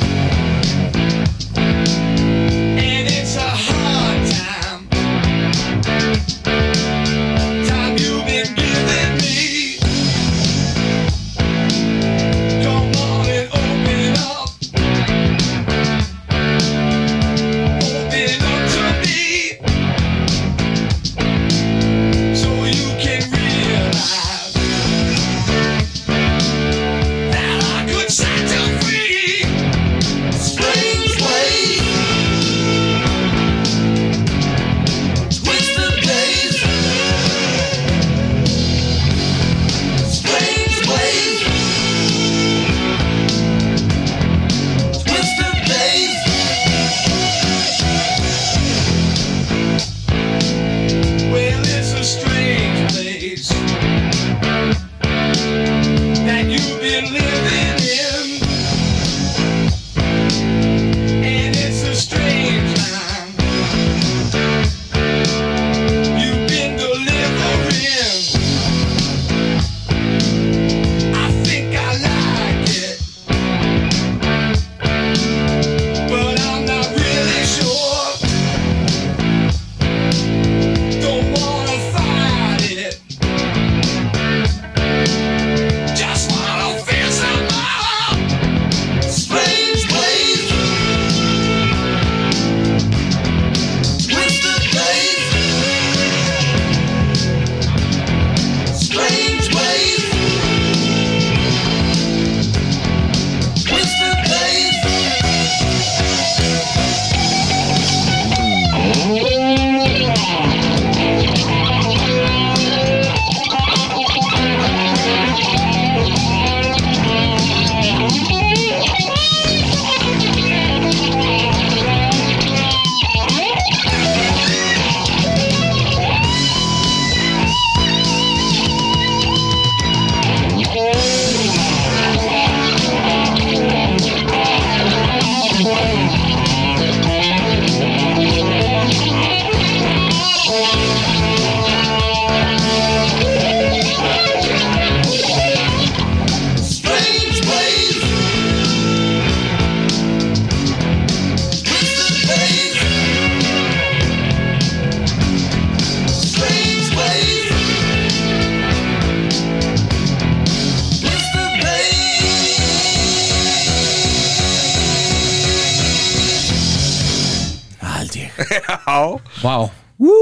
Vá, Wú,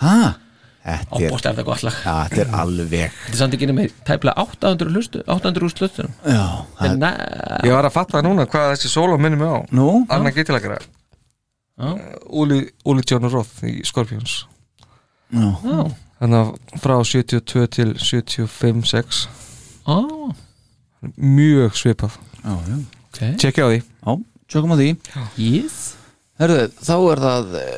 hæ? Þetta er, ábúst er þetta gott lag ja, þetta er alveg Þetta er samt ekki með tæplega 800 hlustu 800 úr sluttunum Já, það er Næ, Ég var að fatta núna hvað þessi sóló minnum mig á Nú? Anna Eh, Gittilakara Já. Úli, Úli John Roth í Scorpions Já, Þannig að frá 72 til 75-6 á, Mjög svipað já, já ok Tjekkja á því Já, tjókum á því Yes Herðu, þá er það e,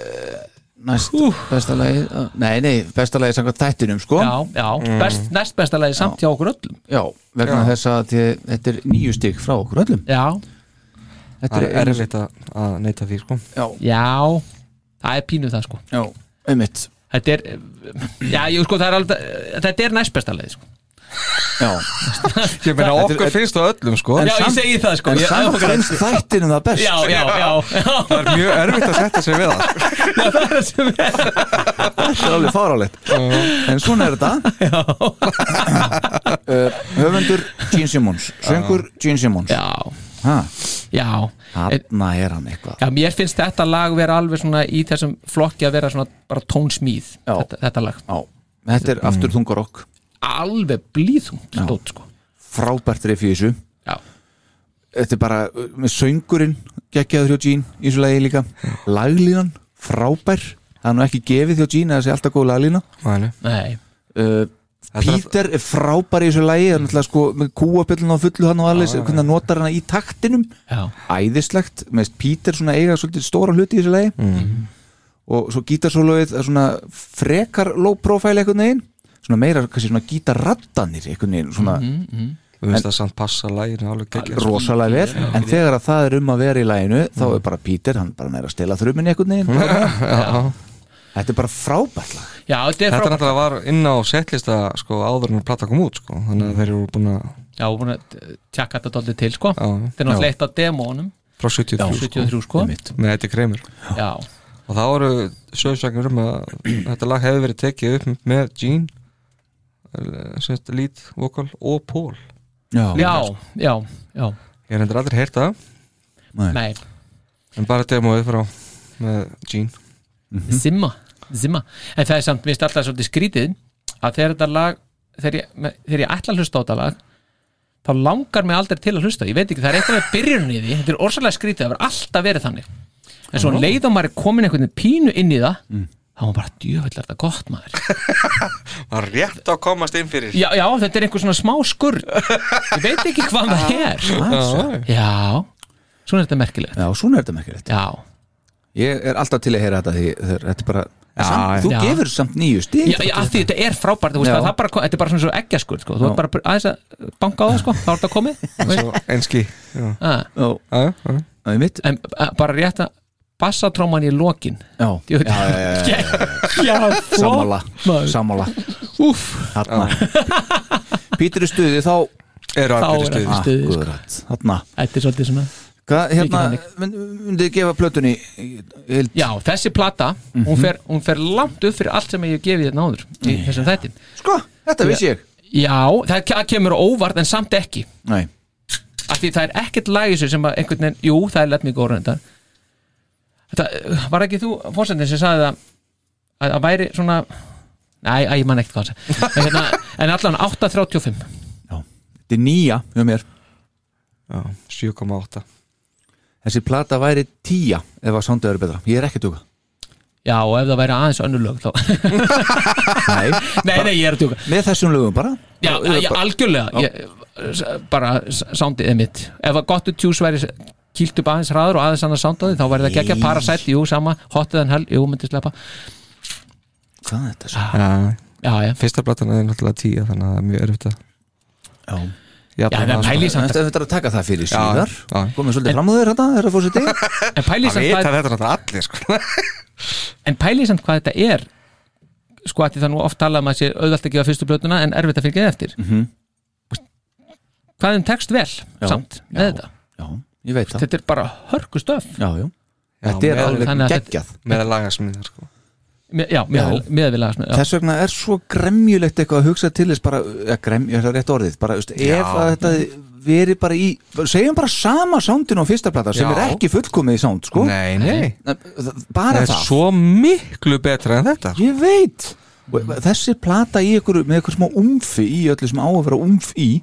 næst besta lagi Nei, nei, besta lagi samkvæmt þættinum, sko Já, já, best, næst besta lagi samt hjá okkur öllum Já, vegna þess að ég, þetta er nýju stig frá okkur öllum Já, Þetta Það er einu- erfitt að- að neyta því sko Já, já, það er pínuð það sko já, einmitt Þetta er, já, jú sko, það er alveg Þetta er næst besta lagi sko Já, Ég meina okkur finnst það öllum sko Já, ég segi það sko en ég, samt finnst þættinum það best Já, já, já, já, Það er mjög erfitt að setja sig við það sko. það er það sem er Þetta er alveg fáralegt En svona er þetta uh, Höfundur Gene Simmons Söngur Gene Simmons Já, Ha, já En- Þarna er hann eitthvað Já, mér finnst þetta lag vera alveg svona í þessum flokki að vera svona bara tónsmíð Já. þetta, þetta lag, Já, þetta er aftur þungarokk alveg blíðum stótt sko Frábært riff í þessu Já, þetta er bara uh, með söngurinn geggjaður hjá Gene í þessu lagi líka laglínan, frábær það er nú ekki gefið hjá Gene að það sé alltaf góð laglína Mæli. nei, uh, Peter er frábær í þessu lagi það er náttúrulega sko með kúapillin á fullu hann og alveg, hvernig hann notar hana í taktinum já, æðislegt, meðist Peter svona eiga svolítið stóra hluti í þessu lagi Mm. og svo gítarsólóið er svona frekar low profile einhvern veginn svona meira, kannski svona gítarrattanir einhvern veginn, svona Við finnst það samt passa læginu alveg sko. geggja rosalega vel en þegar að það er um að vera í læginu þá er bara Pítur, hann bara meira að stela þruminni einhvern veginn þetta er bara frábært lag já, þetta er Þetta frábært náttúrulega var inn á setlista sko áður en plata kom út sko Þannig að þeir eru búin að Já, búin að eh, tjekka þetta doldið til sko Já. Þetta er náttúrulega eitt af demónum frá 73 sko 73 sko Einmitt. Með þetta kreimur Já, Og þá eru sögursagnir um að þetta lag hefði verið tekið upp með Gene eh, sem sagt lead vocal og Paul já, já, já Ég er endur aldrei heyrt það Nei, en bara demóið frá með Gene zimma, zimma En það er samt, mér finnst alltaf svolítið skrítið að þegar þetta lag þegar ég, me- þegar ég ætla að hlusta á þetta lag þá langar mig aldrei til að hlusta ég veit ekki, það er eitthvað með byrjunni í því þetta er orsalega skrítið, það var alltaf verið þannig en svo um leið og maður er komin einhvern veginn pínu inn í það þá var bara djöfellar þetta gott maður Það er rétt að komast inn fyrir já, já, þetta er einhver svona smá skurð ég veit ekki hvað það er já, svona er þetta merkilegt já, svona er þetta merkilegt já, ég er alltaf til að heyra þetta því þegar þetta er bara já, samt, þú já. gefur samt nýju stíð já, já af því þetta er frábært þú veist, Já. það, það bara, þetta er bara svona svo ekki skurð sko. þú er bara aðeins að banka á það sko. þá er þetta komið þú veist. Enski Já, Ah, já, já, já einmitt. en a- bara rétt að bassatróman í lokin já, Jú, já, já, já, sammála maður. sammála, Úff, þarna Pítur er stuði þá Eru þá allir er í þetta stuði stuði sko. akkurat, þarna þetta er svolítið svona hvað, hérna, Mikið mynd- myndið þið gefa plötunni heild, já, þessi plata, hún, fer, hún fer langt upp fyrir allt sem ég hef gefið þetta náður í þessum þættin sko, þetta vissi ég já, það ke- kemur á óvart en samt ekki nei, af því það er ekkert lag í þessu sem að einhvern veginn, jú, það er let me go reyndar þetta uh, var ekki þú fórsendin sem sagði það að það væri svona nei, að ég man ekkert hvað það sagði. en, hérna, en allan 8.35 þetta er nýja hjá mér Já, 7,8 þessi plata væri tíja ef að soundið eru betra, ég er ekki að tuga já, og ef það væri aðeins önnur lög þá nei, nei, nei, ég er að tjóka með þessum lögum bara já, Bara- ég, algjörlega ég, s- bara s- soundið er mitt ef að gott tjús væri s- kýlt upp aðeins hraður og aðeins annars soundaði þá væri það gekkja Nei. parasætt, jú, sama hotið en hell, jú, myndi sleppa hvað er þetta svo? Já, já, já, fyrsta platan er náttúrulega 10 þannig að það er mjög erfitt að Já. já, en pæli samt Þetta er að taka það fyrir síðar já. komið svolítið fram á þér þetta, herra fósiti en pæli Það samt vita hvað- þetta náttúrulega allir sko en pælið samt hvað þetta er sko að því það nú oft talað um að sé auðvelt að gefa fyrstu blötuna en erfitt að fylgja eftir mm -hmm. hvað þeim tekst vel samt með Mhm. já. þetta já, ég veit það þetta er bara hörkustöf já, já. þetta er með- alveg þannig að þetta- geggjað Með að laga smiðar sko Me- Já, meðvilega lagasmið já. Þess vegna er svo gremjulegt eitthvað að hugsa til þess bara, ja, gremju, það er rétt orðið bara, veist, ef að þetta veri bara í segjum bara sama soundin á fyrsta plata sem Já. er ekki fullkomið í sound, sko Nei, nei bara Það er það, svo miklu betra en þetta sko. ég veit Og þessi plata í ykkur, með ykkur smá umfi í öllu sem á að vera umf í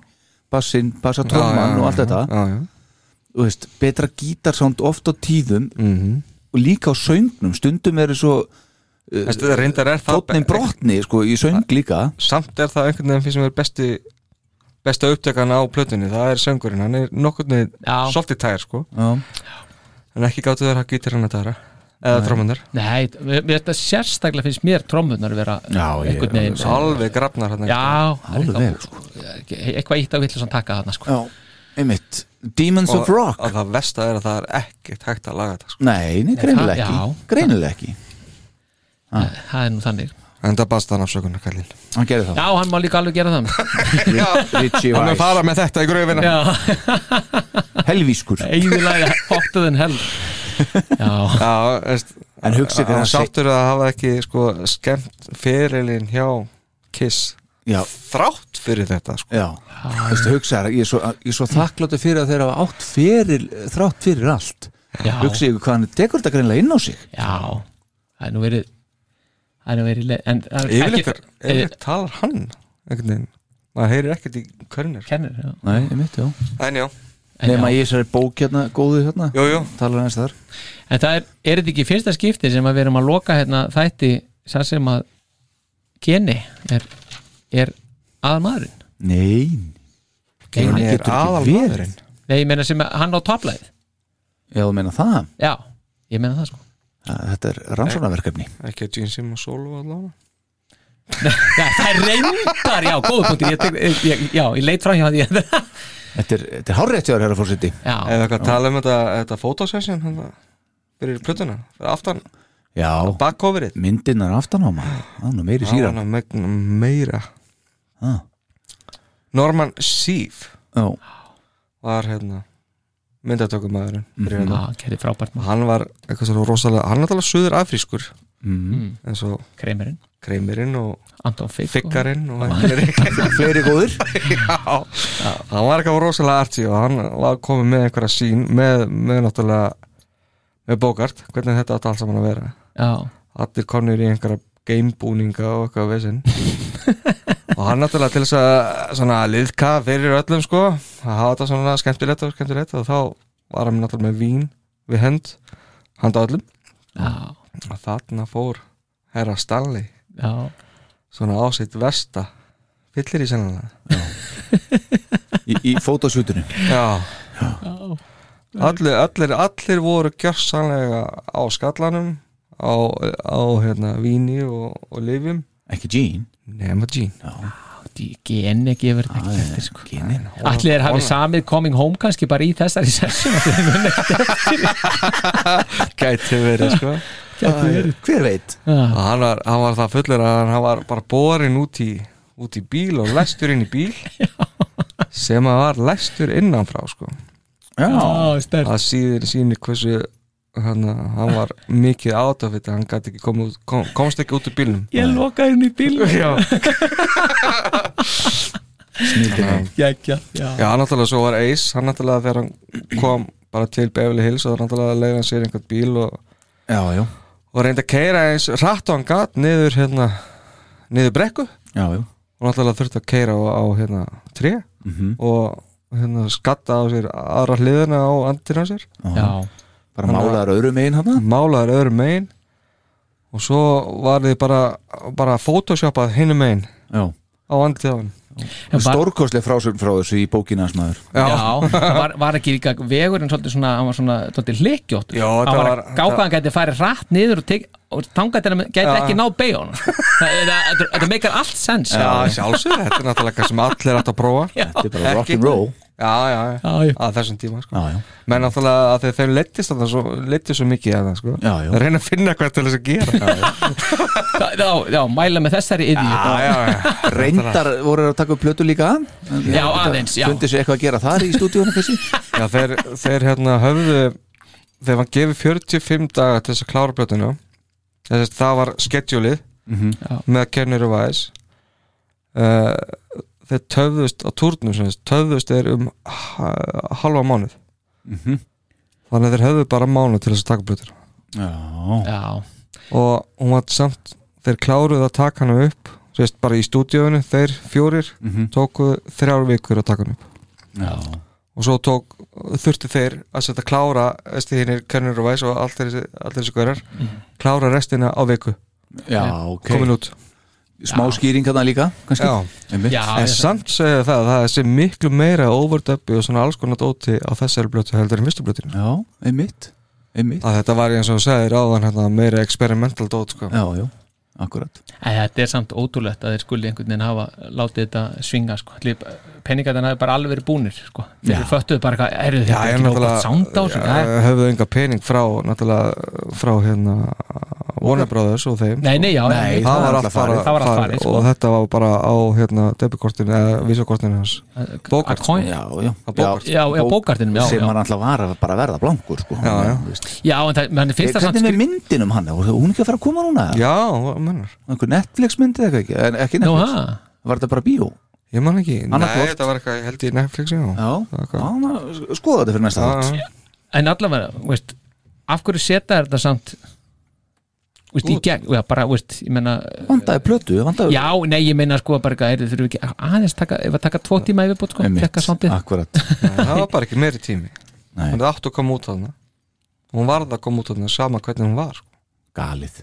bassinn, bassa tróman og allt þetta Já, já, þú veist, betra gítarsound oft á tíðum Mhm. og líka á söngnum, stundum eru svo Uh, Þetta reyndar er það tótnin brotni, sko, í söng líka Samt er það einhvern veginn fyrir sem er besti besta upptökan á plötunni, það er söngurinn hann er nokkurn veginn Já. svolítið tægir sko já, en ekki gáttu þær að gítir hann að dara eða trómunar Nei, mér, mér, þetta sérstaklega finnst mér trommunar vera Já, ég- sko. einhvern veginn alveg grafnar hann Já, það er eitthvað- alveg, sko eitthvað ítt á villusan taka þarna sko. já, einmitt, Demons og, of Rock og það versta er að það er ekkert hægt að laga þetta sko. Nei, nei, það- greinilega já. ekki Greinilega ekki, Það er nú þannig en það baðst hann afsökunar kallinn hann gerði það Já, hann má líka alveg gera það Richie hann er Weiss, fara með þetta í gröfina Já, helvískur eiginlega hotter than hell Já, Já, veist, En hugsið þér hann að seg- sáttur að hafa ekki sko, skemmt fyrirlin hjá Kiss Já, þrátt fyrir þetta sko. já, þú veist, hugsaðar ég er svo, ég er svo þakkláttu fyrir að þeir hafa átt fyrir, þrátt fyrir allt já, Hugsið ykkur hvað hann tekur þetta greinilega inn á sig já Það er nú verið Það er nú verið le- en, það er yfirleitt, er, eh, yfirleitt talar hann einhvern veginn maður heyrir ekkert í körnir Kennir, já Nei, einmitt, já en já, En, Nefna já. ég þessari bók hérna, góðu hérna jú, jú Talar hans þar en það er, er þetta ekki í fyrsta skipti sem að við erum að loka hérna þætti sem sem að geni er, er aðalmaðurinn Nei, hann Geni er getur ekki aðal verið. maðurinn Nei, ég meina sem að hann á toplæð já, þú meina það Já, ég meina það sko að Þetta er rannsónaverkefni ekki að Gene Simmons solo allavega Já, það er reyndar, já, góð punktur ég, tek- ég, ég, Já, ég leit fram hjá því Þetta er, þetta er hárréttjóður, herra fórseti Já, eða eitthvað að tala um þetta, þetta fotosession hann það fyrir plötuna, fyrir aftan Já, bakkofrið myndirnar aftan á maður Það er nú meiri síran meira Ah. Norman Seaf Já, var hérna myndatökumæðurinn fyrir já, hérna gerði frábært og maður hann var eitthvað svo rosalega hann er náttúrulega suður afrískur mm. Mhm. eins og Kreimirinn, kreimirinn og Anton Fikk fikkarinn og einhverjir Fleiri góður Já, hann var eitthvað rosalega arti og hann var komið með einhverja sín með, með náttúrulega með bókart, hvernig þetta átt allt saman að vera Já, allir konur í einhverja gamebúninga og eitthvað vesinn og hann náttúrulega til þess að svona liðka fyrir öllum sko að hafa þetta svona skemmtilegt og skemmtilegt og þá var hann náttúrulega með vín við hend handa öllum já, og þarna fór herra Stanley já svona á sitt versta fyllir í sennilega Í, í fótosjútunum já allir, allir, allir voru gjörsanlega á skallanum á, á hérna víni og, og lifjum Ekki Gene nema Gene Því Geni E gefur þetta ekki eftir sko Gene Allir þeir hafi samið Coming Home kannski bara í þessari session að þeir muni ekki gæti verið sko Hver veit? Og hann var, hann var það fullur að hann var bara borin út í, út í bíl og læstur inn í bíl sem að var læstur innanfrá sko. Já, Já, stærn það síðir síni hversu hann, hann var mikið átafitt hann gat ekki komið út, kom, komst ekki út úr bílnum Ég lokaði henni í bílum já, snildir Jækja, já já náttúrulega svo var Ace hann náttúrulega þegar hann kom bara til Beverly Hills og náttúrulega leiði hann sér einhvern bíl og, Já, já, og reyndi að keira eins rætt og hann gat niður hérna niður brekku já, já og náttúrulega þurfti að keira á, á hérna tré Mhm. og hérna skatta á sér aðra hliðina á andir á sér Já, Bara málaður öðrum einn hann málaður öðrum megin og svo var þið bara bara photoshoppað hinum megin Já á andið á hann En var, Stórkostleg frásögn frá þessu í bókina hans maður já var, var ekki líka vegurinn svolítið svona, hann var svona svolítið hlikkjótt Já, hann þetta var var- gákað hann gæti farið rætt niður og, tek, og tangað þeirra gæti Já. ekki náð beigjónu Þetta meikar allt sens já, sjálfsög, þetta er náttúrulega eitthvað sem allir ætti að prófa já, Þetta er bara rock Ekki- and roll já, já, Já, já. að þessum tíma sko. Já, já menn náttúrulega að þeir- þeim leittist þarna svo, leittist svo mikið að það sko. Já, já. að reyna að finna hvað til þess að gera já, Já, já, já, mæla með þessari yðju já, já. Reyndar voru þeir að taka upp plötu líka Já, aðeins, já. Fundið sér eitthvað að gera þar í stúdíónu kannski Já, þeir, þeir hérna höfðu þeir var gefið 45 daga til þess að klára blötuna Þess, það var skedjúlið Mhm. Já. með Kenny Revives uh, þeir töfðust á turnum sem þess, töfðust þeir um ha- halva mánuð Mhm. þannig að þeir höfðu bara mánuð til þess að taka blöður Já, Já, og hún var samt, þeir kláruðu að taka hana upp þú veist, bara í stúdíóinu, þeir fjórir Mhm. tókuðu þrjár vikur að taka hana upp já, og svo tók, þurfti þeir að setja klára, veist þið hinnir Kenny Revives og allir þessi- allir þessi gaurar klára restina á viku, já, Mhm. ok komin út Smá skýring þarna líka, kannski Já. Einmitt. já, En samt segja það að það er sem miklu meira overdubbi og svona alls konar dóti á þessari blötu heldur en fyrstu blötinu já, einmitt, einmitt. að þetta var eins og þú segir áðan hérna, meira experimental dót sko. Já, já, akkurat Æ, þetta er samt ótrúlegt að þeir skuli einhvern veginn hafa látið þetta svinga sko. peningarnir hafi bara alveg verið búnir sko. þeir Já. föttuðu bara hvað er þetta ég ekki náttúrulega sound á já, sig ja, höfðu enga pening frá náttúrulega frá hérna Warner Brothers og þeim nei, nei, já, nei, Nei, það náttúrulega var allt farið, farið. Það var allt farið, sko. og þetta var bara á hérna debikortinu eða vísakortinu hans Bogart, Að coin- Já, já, Bogart. Eh, Já, já, Bogartinum, já, Sem já. hann alltaf var að bara verða blankur sko. Já, já. Þú veist. já, en það, mann finnst það samt Hvernig með skrýt myndin um hann? Var hún ekki að fara að koma núna? já, hvað mennur, Einhver Netflix myndi eða eitthvað ekki? En ekki Nú, Netflix, ha? var þetta bara bíó? ég man ekki Annað hvort. þetta var eitthvað, ég held ég Netflix já, Já, Eitthvað. já ná, skoða þetta fyrir næsta þátt já, en allavega, þú veist af hverju setja þetta samt þú veist, í gegn, já, bara, þú veist, ég meina Vandaði plötu, vandaði já, nei, ég meina sko bara, eitthvað, heyrðu, þurfum við ekki aðeins taka, ef að taka tvo tíma yfirbútt, sko, Einmitt, fekka sándið akkurat það var bara ekki meiri tími Nei. hún átti að koma út af hana hún varð að koma út af hana sama hvernig hún var sko. Galið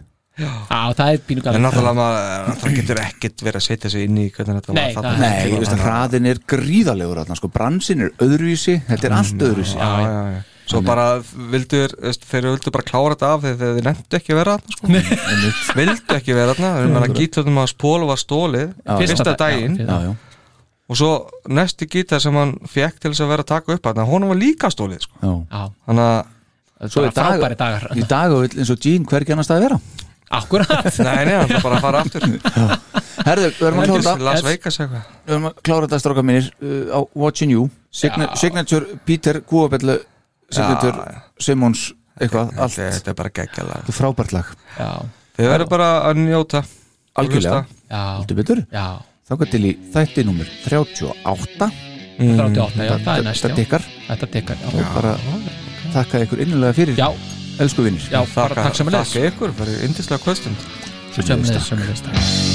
á, það er pínu en galið náttúrulega maður náttúrulega getur ekkert verið að setja sig inn í hvernig þetta Nei, var það- Nei, ég veist að hraðin er gríðalegur þarna, sko. Bransin er öðruvísi, þetta er allt öðruvísi já, já, já. svo bara vildu þeir- veist, þeir vildu bara klára þetta af þegar þeir, þeir nefndu ekki að vera þarna sko. vildu ekki vera þarna þeir meðan gítarnum að spólu var stólið fyrsta daginn Já, já, og svo næsti gítar sem hann fekk til þess að vera að taka upp hann honum var líka stólið sko. já já, þannig að Svo bara í dag- frábæri dagar Í dag og eins og Jean hvergi annars það að vera akkurat Nei, nei, hann er bara að fara aftur Herðu, við erum að klára þetta Las Vegas eitthvað Við erum að klára þetta stráka mínir uh, á Watching You Signa, Signature Peter Guðabellu Signature Simons eitthvað, allt Þetta er bara geggjala Þetta er frábært lag já, Þið verður bara að njóta Algjörlega, Hlusta. já, heldur betur já Þá gæti til í þætti nummer 38 38, já, það er næst, Mm. Þetta já tekkar þetta tekur, já, og bara þakka ykkur innilega fyrir já, Elsku vinnir já, bara takk sem að leys Takk ykkur fyrir yndislega kvöstund sem að leys, sem að leys, takk